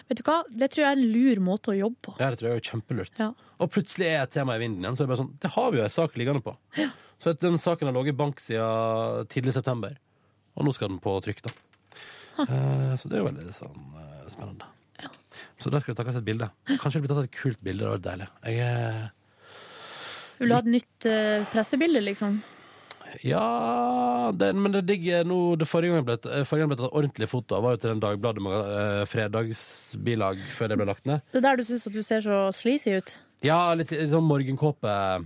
vet du hva, det tror jeg er en lur måte å jobbe på. Ja, det tror jeg er kjempelurt. Ja. Og plutselig er et tema i vinden igjen, så er det bare sånn Det har vi jo en sak liggende på. Så at den saken har ligget i bank siden tidlig september, og nå skal den på trykk, da. Ah. Eh, Så det er jo veldig sånn eh, spennende. Så der skal det takkes et bilde. Kanskje det blir tatt et kult bilde, det var deilig. Jeg eh, er Vil du ha et nytt eh, pressebilde, liksom? Ja det, Men det digger nå det Forrige gang ble et- eh, forrige gang ble tatt ordentlig foto av, var jo til den Dagbladet maga- eh, fredagsbilag før det ble lagt ned. Det er der du syns at du ser så sleazy ut. Ja, litt, litt sånn morgenkåpe.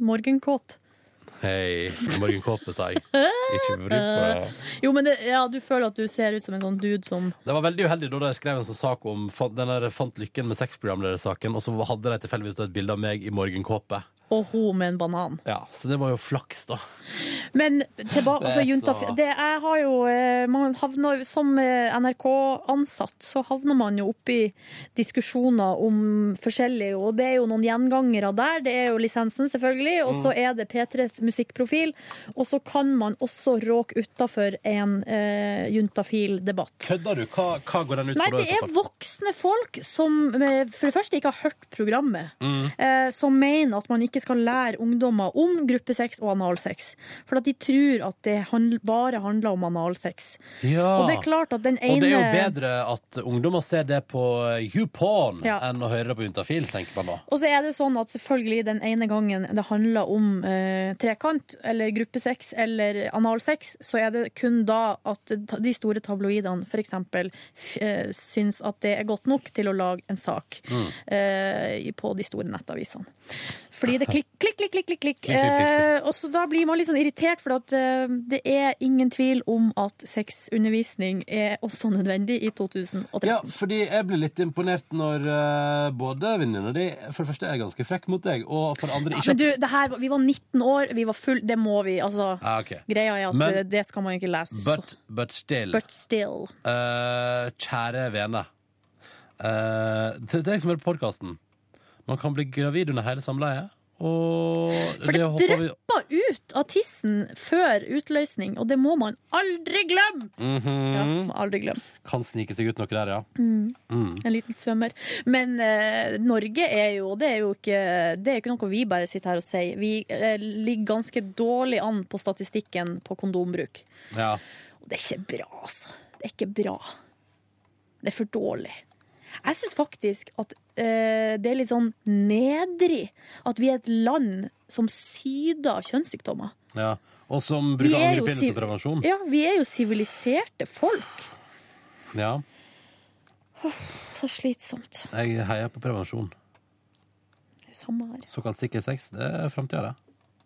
Morgenkåt. Hei, morgenkåpe, sa jeg. Ikke bry på det. Jo, men det, ja, du føler at du ser ut som en sånn dude som Det var veldig uheldig da de skrev en sånn sak om fan- den der Fant lykken med sexprogramledersaken, og så hadde de tilfeldigvis da et bilde av meg i morgenkåpe. Og hun med en banan. Ja, så det var jo flaks, da. Men tilbake, Det er altså junta så- det, Jeg har jo eh, man havner, jo- Som eh, NRK-ansatt så havner man jo oppi diskusjoner om forskjellig, og det er jo noen gjengangere der. Det er jo lisensen, selvfølgelig, og så er det P3s musikkprofil. Og så kan man også råke utafor en eh, juntafil debatt. Kødder du? Hva, hva går den ut på Nei, da? det er voksne folk som eh, for det første ikke har hørt programmet, Mm. eh, som mener at man ikke skal lære ungdommer om gruppesex og analsex. For at de tror at det handl bare handler om analsex. Ja. Og det er klart at den ene Ah. Og det er jo bedre at ungdommer ser det på YouPorn Ja. enn å høre det på Juntafil, tenker man da. Og så er det sånn at selvfølgelig den ene gangen det handler om eh, trekant, eller gruppesex, eller analsex, så er det kun da at ta- de store tabloidene f.eks. Eh, syns at det er godt nok til å lage en sak Mm. eh, i- på de store nettavisene. Fordi det klikk, klikk, klikk, klikk, klikk. klikk. Klikk, klikk, klikk, Eh, og så da blir man litt sånn irritert, for at, eh, det er ingen tvil om at sexundervisning er også nødvendig i 2013. Ja, fordi jeg blir litt imponert når eh, både venninnene di for det første er ganske frekk mot deg, og for det andre Ja, ikke men du, det her, vi var 19 år, vi var full, det må vi, altså. Ja, Ah, ok. Greia er at Men- eh, det skal man ikke lese. så- But, but still. But still. Eh, kjære vene. Eh, til dere som hører på podkasten. Man kan bli gravid under hele samleiet. Og For det håper vi- drypper ut av tissen før utløsning, og det må man aldri glemme! Mhm. Må aldri glemme. Kan snike seg ut noe der, ja. Mm. Mm. En liten svømmer. Men eh, Norge er jo Det er jo ikke, det er jo ikke noe vi bare sitter her og sier. Vi eh, ligger ganske dårlig an på statistikken på kondombruk. ja. Og det er ikke bra, altså. Det er ikke bra. Det er for dårlig. Jeg syns faktisk at eh, det er litt sånn nedrig at vi er et land som syder av kjønnssykdommer. Ja. Og som Vi bruker er jo angrepinne siv- som prevensjon. Ja, vi er jo siviliserte folk. Ja. Så slitsomt. Jeg heier på prevensjon. Samme her. Såkalt sikker sex, det er framtida, det.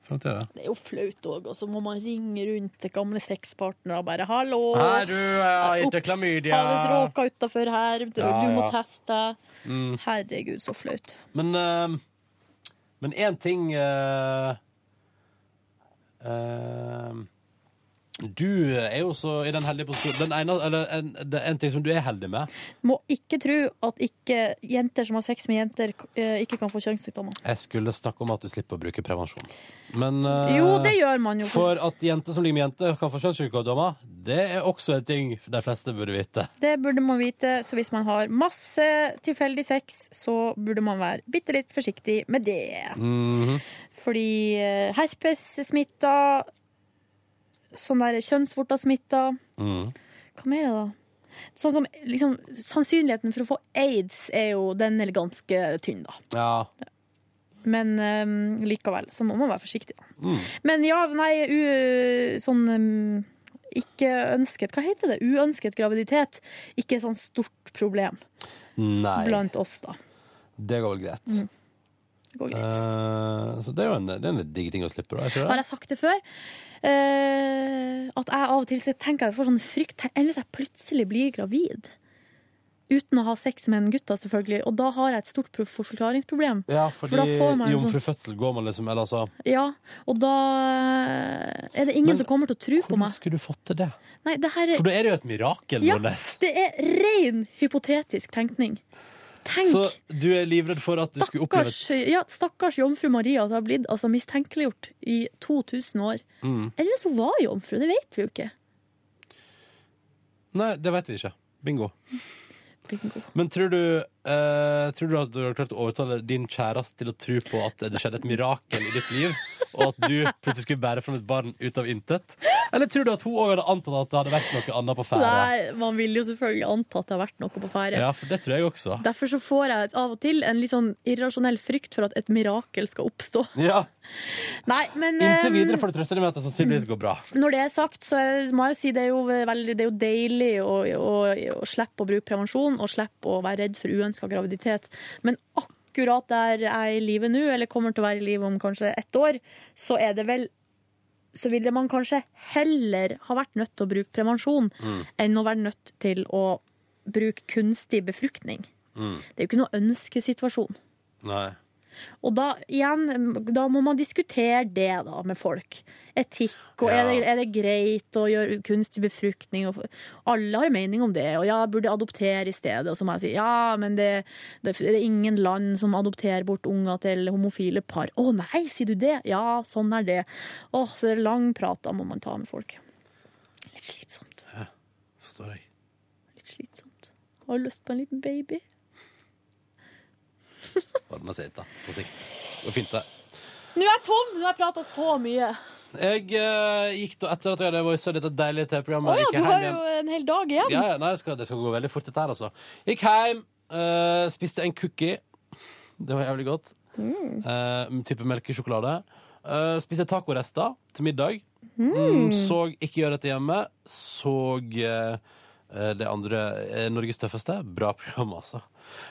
Framtida, det. Det er jo flaut òg, og så må man ringe rundt til gamle sexpartnere og bare 'hallo'. Hei, du, jeg har gitt deg Ops, klamydia.» Alles råka utafor her, du, Ja, du må ja. teste. Mm. Herregud, så flaut. Men eh, Men én ting eh, eh, Du er jo så i den heldige posisjonen Den ene, eller en, det er en ting som du er heldig med Må ikke tro at ikke jenter som har sex med jenter, eh, ikke kan få kjønnssykdommer. Jeg skulle snakke om at du slipper å bruke prevensjon Men eh, Jo, det gjør man jo. For at jenter som ligger med jenter kan få kjønnssykdommer Det er også en ting de fleste burde vite Det burde man vite, så hvis man har masse tilfeldig sex, så burde man være bitte litt forsiktig med det. Mhm. Fordi eh, herpes-smitta, sånn der kjønnsvorta-smitta Mhm. Hva mer er det da? Sånn som, liksom, sannsynligheten for å få aids er jo den er ganske tynn, da. Ja Men eh, likevel, så må man være forsiktig. da. Mm. Men ja, nei, u, sånn eh, ikke ønsket Hva heter det? Uønsket graviditet. Ikke sånn stort problem Nei, blant oss, da. det går vel greit Mm. Det går greit. Eh, Så det er jo en, det er en litt digg ting å slippe da, Har jeg sagt det før? Eh, at jeg av og til tenker at jeg får sånn frykt. Enn hvis jeg plutselig blir gravid? Uten å ha sex med en gutt, da, selvfølgelig. Og da har jeg et stort pro- forklaringsproblem. Ja, For fordi da får man en sånn- jomfrufødsel går man liksom Eller altså Ja, og da eh, er det ingen Men som kommer til å tro på meg. Hvordan skulle du fått til det? Nei, det her er, For da er det jo et mirakel, ja, Nordnes. det er ren hypotetisk tenkning. Tenk, Så du er livredd for at du skulle oppleve stakkars, et ja, stakkars jomfru Maria at det har blitt altså, mistenkeliggjort i 2000 år. mm. Eller hvis hun var jomfru, det vet vi jo ikke. Nei, det vet vi ikke. Bingo. Bingo. Men tror du, eh, tror du at du har klart å overtale din kjæreste til å tro på at det skjedde et mirakel i ditt liv, og at du plutselig skulle bære fram et barn ut av intet? Eller tror du at hun òg hadde antatt at det hadde vært noe annet på ferde? Nei, man vil jo selvfølgelig anta at det har vært noe på ferde. Ja, for det tror jeg også. Derfor så får jeg av og til en litt sånn irrasjonell frykt for at et mirakel skal oppstå. Ja, Nei, men Inntil eh, videre får du trøste deg med at det sannsynligvis går bra. Når det er sagt, så er- må jeg jo si det er jo, veldig, det er jo deilig å, å, å slippe å bruke prevensjon og slippe å være redd for uønska graviditet. Men akkurat der jeg er i livet nå, eller kommer til å være i livet om kanskje ett år, så er det vel så ville man kanskje heller ha vært nødt til å bruke prevensjon Mm. enn å være nødt til å bruke kunstig befruktning. Det er jo ikke noe ønskesituasjon. Nei. Og da, igjen, da må man diskutere det da med folk. Etikk, og er, det, er det greit å gjøre kunstig befruktning? Og, alle har en mening om det, og ja, burde adoptere i stedet. Og så må jeg si ja, men det, det, er ingen land som adopterer bort unger til homofile par. Å nei, sier du det? Ja, sånn er det. Åh, så er det lang prat da må man ta med folk. Litt slitsomt. Ja, forstår jeg. Litt slitsomt. Har lyst på en liten baby. Ordner seg litt, da. På sikt. Det går fint, det. Nå er jeg tom! Nå har jeg prata så mye. Jeg eh, gikk da etter at jeg hadde voisa dette deilige Å TV-programmet. ja, gikk du jeg hjem har igjen. jo en hel dag igjen. Ja, ja, nei, det skal, det skal gå veldig fort, dette her, altså. Gikk hjem, eh, spiste en cookie. Det var jævlig godt. Mm. Eh, type melkesjokolade. Eh, spiste tacorester til middag. Mm. Mm, så Ikke gjør dette hjemme. Så eh, eh, det andre eh, Norges tøffeste. Bra program, altså.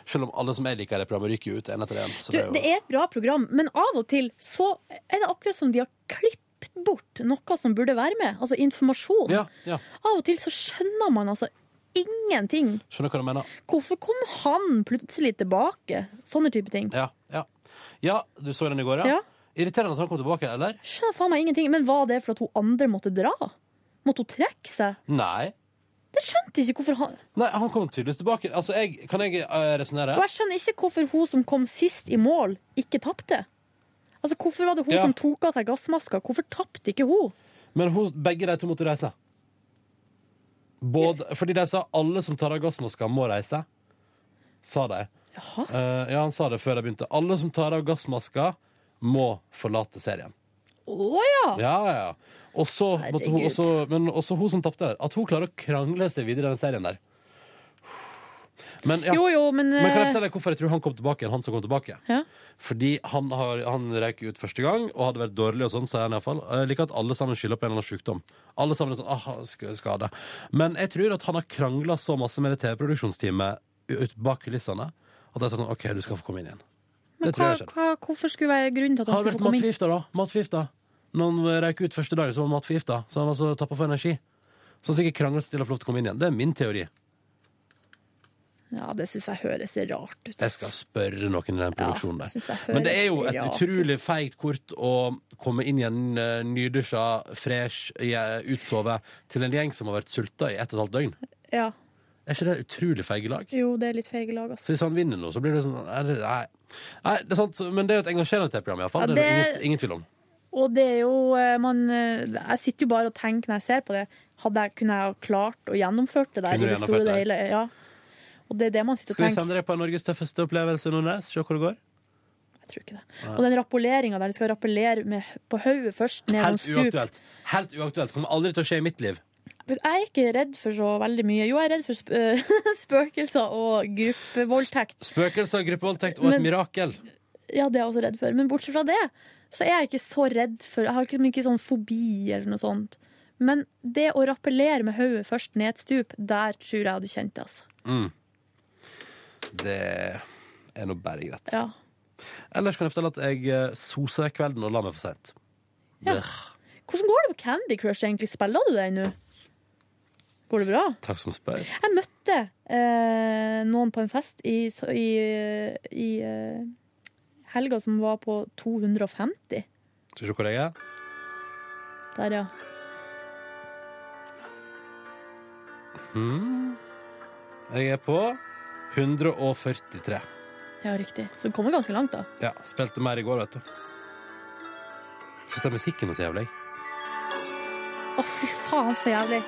Selv om alle som jeg liker det programmet, ryker jo ut en etter en. Så Du, det er jo- det er et bra program, men av og til så er det akkurat som de har klippet bort noe som burde være med. Altså informasjon. ja. Av og til så skjønner man altså ingenting. Skjønner hva du mener. Hvorfor kom han plutselig tilbake? Sånne type ting. Ja, ja. ja, du så den i går, ja? Ja. Irriterende at han kom tilbake, eller? Skjønner faen meg ingenting. Men var det for at hun andre måtte dra? Måtte hun trekke seg? Nei. Det skjønte jeg ikke hvorfor han Nei, han kom tydeligvis tilbake. Altså, jeg, kan jeg uh, resonnere? Og jeg skjønner ikke hvorfor hun som kom sist i mål, ikke tapte. Altså, hvorfor var det hun Ja. som tok av seg gassmaska? Hvorfor tapte ikke hun? Men hos, begge de to måtte reise. Både, fordi de sa alle som tar av gassmaska, må reise. Sa de. Eh, ja, han sa det før de begynte. Alle som tar av gassmaska, må forlate serien. Å ja! Ja, ja, ja. Og så måtte hun Herregud. også, Men også hun som tapte der. At hun klarer å krangle seg videre i den serien der. Men, ja. Jo, jo, men, kan jeg eh, fortelle deg hvorfor jeg tror han kom tilbake? igjen, Han som kom tilbake Ja. Fordi han, har, han røyk ut første gang og hadde vært dårlig, og sånn, sier han iallfall. Jeg liker at alle sammen skylder på en eller annen sykdom. Alle sammen er sånn, ah, sk- skade. Men jeg tror at han har krangla så masse med det TV-produksjonsteamet u- ut bak kulissene at de sa sånn OK, du skal få komme inn igjen. Men det tror hva, jeg skjedde. hva, hvorfor skulle være grunnen til at han Har det skulle vært få komme inn? matforgifta, da? Matforgifta. Når han røyk ut første dagen, så var han matforgifta. Så han var så tappa for energi. Så han sikkert krangla seg til å få lov til å komme inn igjen. Det er min teori. Ja, det syns jeg høres rart ut. Jeg skal spørre noen i den produksjonen synes jeg der. høres Men det er jo et rart ut. utrolig feigt kort å komme inn igjen eh, nydusja, fresh, eh, utsove til en gjeng som har vært sulta i ett og et halvt døgn. Ja. Er ikke det utrolig feige lag? Jo, det er litt feige lag, Så altså. hvis han vinner nå, så blir det sånn er det- Nei. nei det er sant, men det er jo et engasjerende TV-program, Ja, iallfall. Det er det det- ingen, ingen tvil om. Og det er jo eh, man, eh, Jeg sitter jo bare og tenker når jeg ser på det. Hadde jeg, kunne jeg ha klart og gjennomført det der Kunne i du det gjennomført store og det? hele? Ja. Og det er det man sitter og Skal vi tenker. sende deg på Norges tøffeste opplevelse noen Se hvor det går? Jeg Og den rappelleringa der de skal rappellere med, på hodet først ned noen Helt stup. uaktuelt. Helt uaktuelt. Kommer aldri til å skje i mitt liv. Jeg er ikke redd for så veldig mye. Jo, jeg er redd for sp øh, spøkelser og gruppevoldtekt. Spøkelser, gruppevoldtekt og et Men- mirakel. Ja, det er jeg også redd for. Men bortsett fra det, så er jeg ikke så redd for Jeg har liksom ikke sånn fobi eller noe sånt. Men det å rappellere med hodet først ned et stup, der tror jeg jeg hadde kjent det, altså. Mm. Det er nå bare greit. Ja. Ellers kan jeg fortelle at jeg eh, sosa kvelden og la meg for seint. Ja. Hvordan går det med Candy Crush egentlig? Spiller du det ennå? Går det bra? Takk som spør. Jeg møtte eh, noen på en fest i, s- i, i eh, helga som var på 250. Skal vi se hvor jeg er? Der, ja. Hmm. Jeg er på 143. Ja, riktig. Så det kommer ganske langt, da. Ja, spilte mer i går, vet du. Syns det er musikken er så jævlig. Å, fy faen, så jævlig.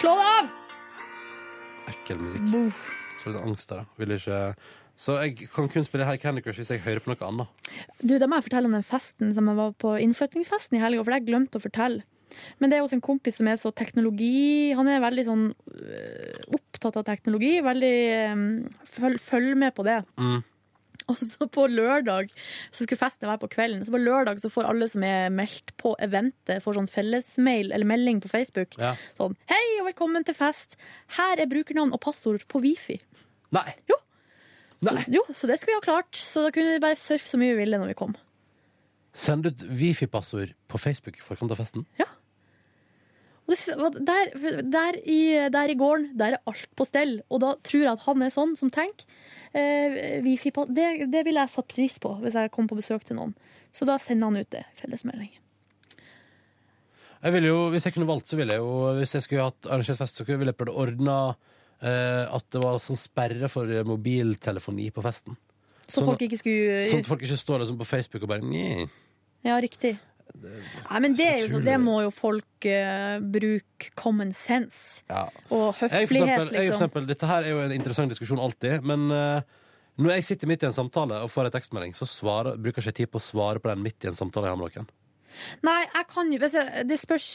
Slå det av! Ekkel musikk. Så litt angst der, da. Vil ikke Så jeg kan kun spille her Candy Crush hvis jeg hører på noe annet. Du, da må jeg fortelle om den festen som jeg var på innflytningsfesten i helga, for det har jeg glemt å fortelle. Men det er hos en kompis som er så teknologi Han er veldig sånn øh, opptatt av teknologi. Veldig øh, følg, følg med på det. Mm. Og så på lørdag, så skulle festen være på kvelden, så på lørdag så får alle som er meldt på eventet, får sånn fellesmail eller melding på Facebook. Ja. Sånn 'Hei og velkommen til fest. Her er brukernavn og passord på wifi'. Nei. Jo. Så, jo, så det skulle vi ha klart. Så da kunne vi bare surfe så mye vi ville når vi kom. Send ut wifi-passord på Facebook i forkant av festen. Og det, og der, der, i, der i gården, der er alt på stell. Og da tror jeg at han er sånn som tenker. Eh, wifi på, det, det ville jeg satt pris på hvis jeg kom på besøk til noen. Så da sender han ut det. Fellesmelding. Jeg ville jo, Hvis jeg kunne valgt, så ville jeg jo Hvis jeg skulle hatt arrangert fest, så ville jeg prøvd å ordne eh, at det var sånn sperre for mobiltelefoni på festen. Så Sånn- folk ikke skulle Sånn at folk ikke står liksom på Facebook og bare Nei. Ja, riktig. Nei, men det, er jo så, det må jo folk eh, bruke common sense. Ja. Og Jeg, for eksempel, høflighet, jeg, for liksom. eksempel, dette her er jo en interessant diskusjon alltid, men eh, når jeg sitter midt i en samtale og får en tekstmelding, så svarer, bruker jeg ikke tid på å svare på den midt i en samtale jeg har med noen. Nei, jeg kan jo hvis jeg, Det spørs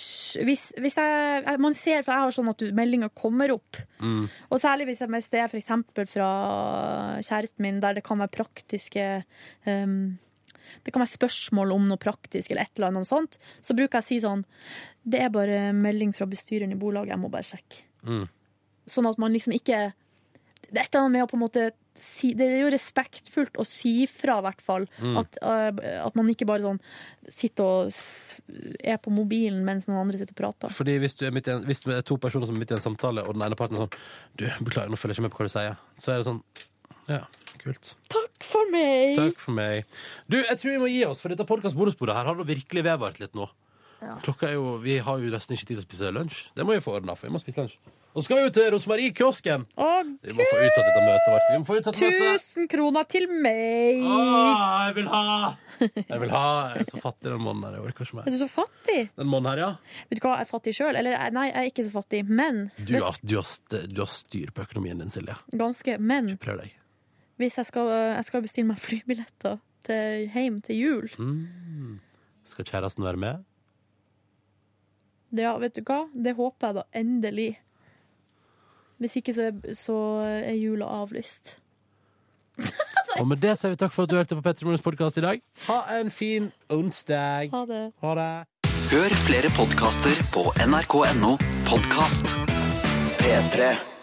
hvis, hvis jeg, jeg- Man ser, for jeg har sånn at du- meldinga kommer opp. Mm. Og særlig hvis, jeg- hvis det er for eksempel fra kjæresten min, der det kan være praktiske ehm, Det kan være spørsmål om noe praktisk eller et eller annet sånt. Så bruker jeg å si sånn Det er bare melding fra bestyreren i bolaget, jeg må bare sjekke. Mm. Sånn at man liksom ikke Det er et eller annet med å på en måte si, Det er jo respektfullt å si fra, i hvert fall. Mm. At, eh, at man ikke bare sånn sitter og s- er på mobilen mens noen andre sitter og prater. Fordi hvis, du er midt i en, hvis det er to personer som er midt i en samtale, og den ene parten er sånn Du, beklager, nå følger jeg ikke med på hva du sier. Så er det sånn Ja, kult. Takk for meg! Takk for meg. Du, jeg tror vi må gi oss, for dette podkast-bonusbordet her har nå virkelig vedvart litt nå. Klokka er jo, Vi har jo nesten ikke tid til å spise lunsj. Det må vi få ordna, for vi må spise lunsj. Og så skal vi jo til Rosmarie-kiosken. Å, Vi må få utsatt dette møtet vårt. Vi må få utsatt møtet. Tusen kroner til meg! Å, jeg vil ha! Jeg vil ha Jeg er så fattig, den mannen her. Jeg orker ikke Er du mer. så fattig? Den mannen her, ja. Vet du hva, jeg er fattig sjøl. Eller jeg- nei, jeg er ikke så fattig, men Du har, du, har, st- du har styr på økonomien din, Silje. Ganske. Men Prøv deg. hvis jeg skal, jeg skal bestille meg flybilletter til hjem til jul, Mm. Skal kjæresten være med? Ja, vet du hva? Det håper jeg da endelig. Hvis ikke så er, så er jula avlyst. Og med det sier vi takk for at du hørte på Petter Morgens podkast i dag. Ha en fin onsdag. Ha det. Ha det. Hør flere podkaster på nrk.no podkast. P3.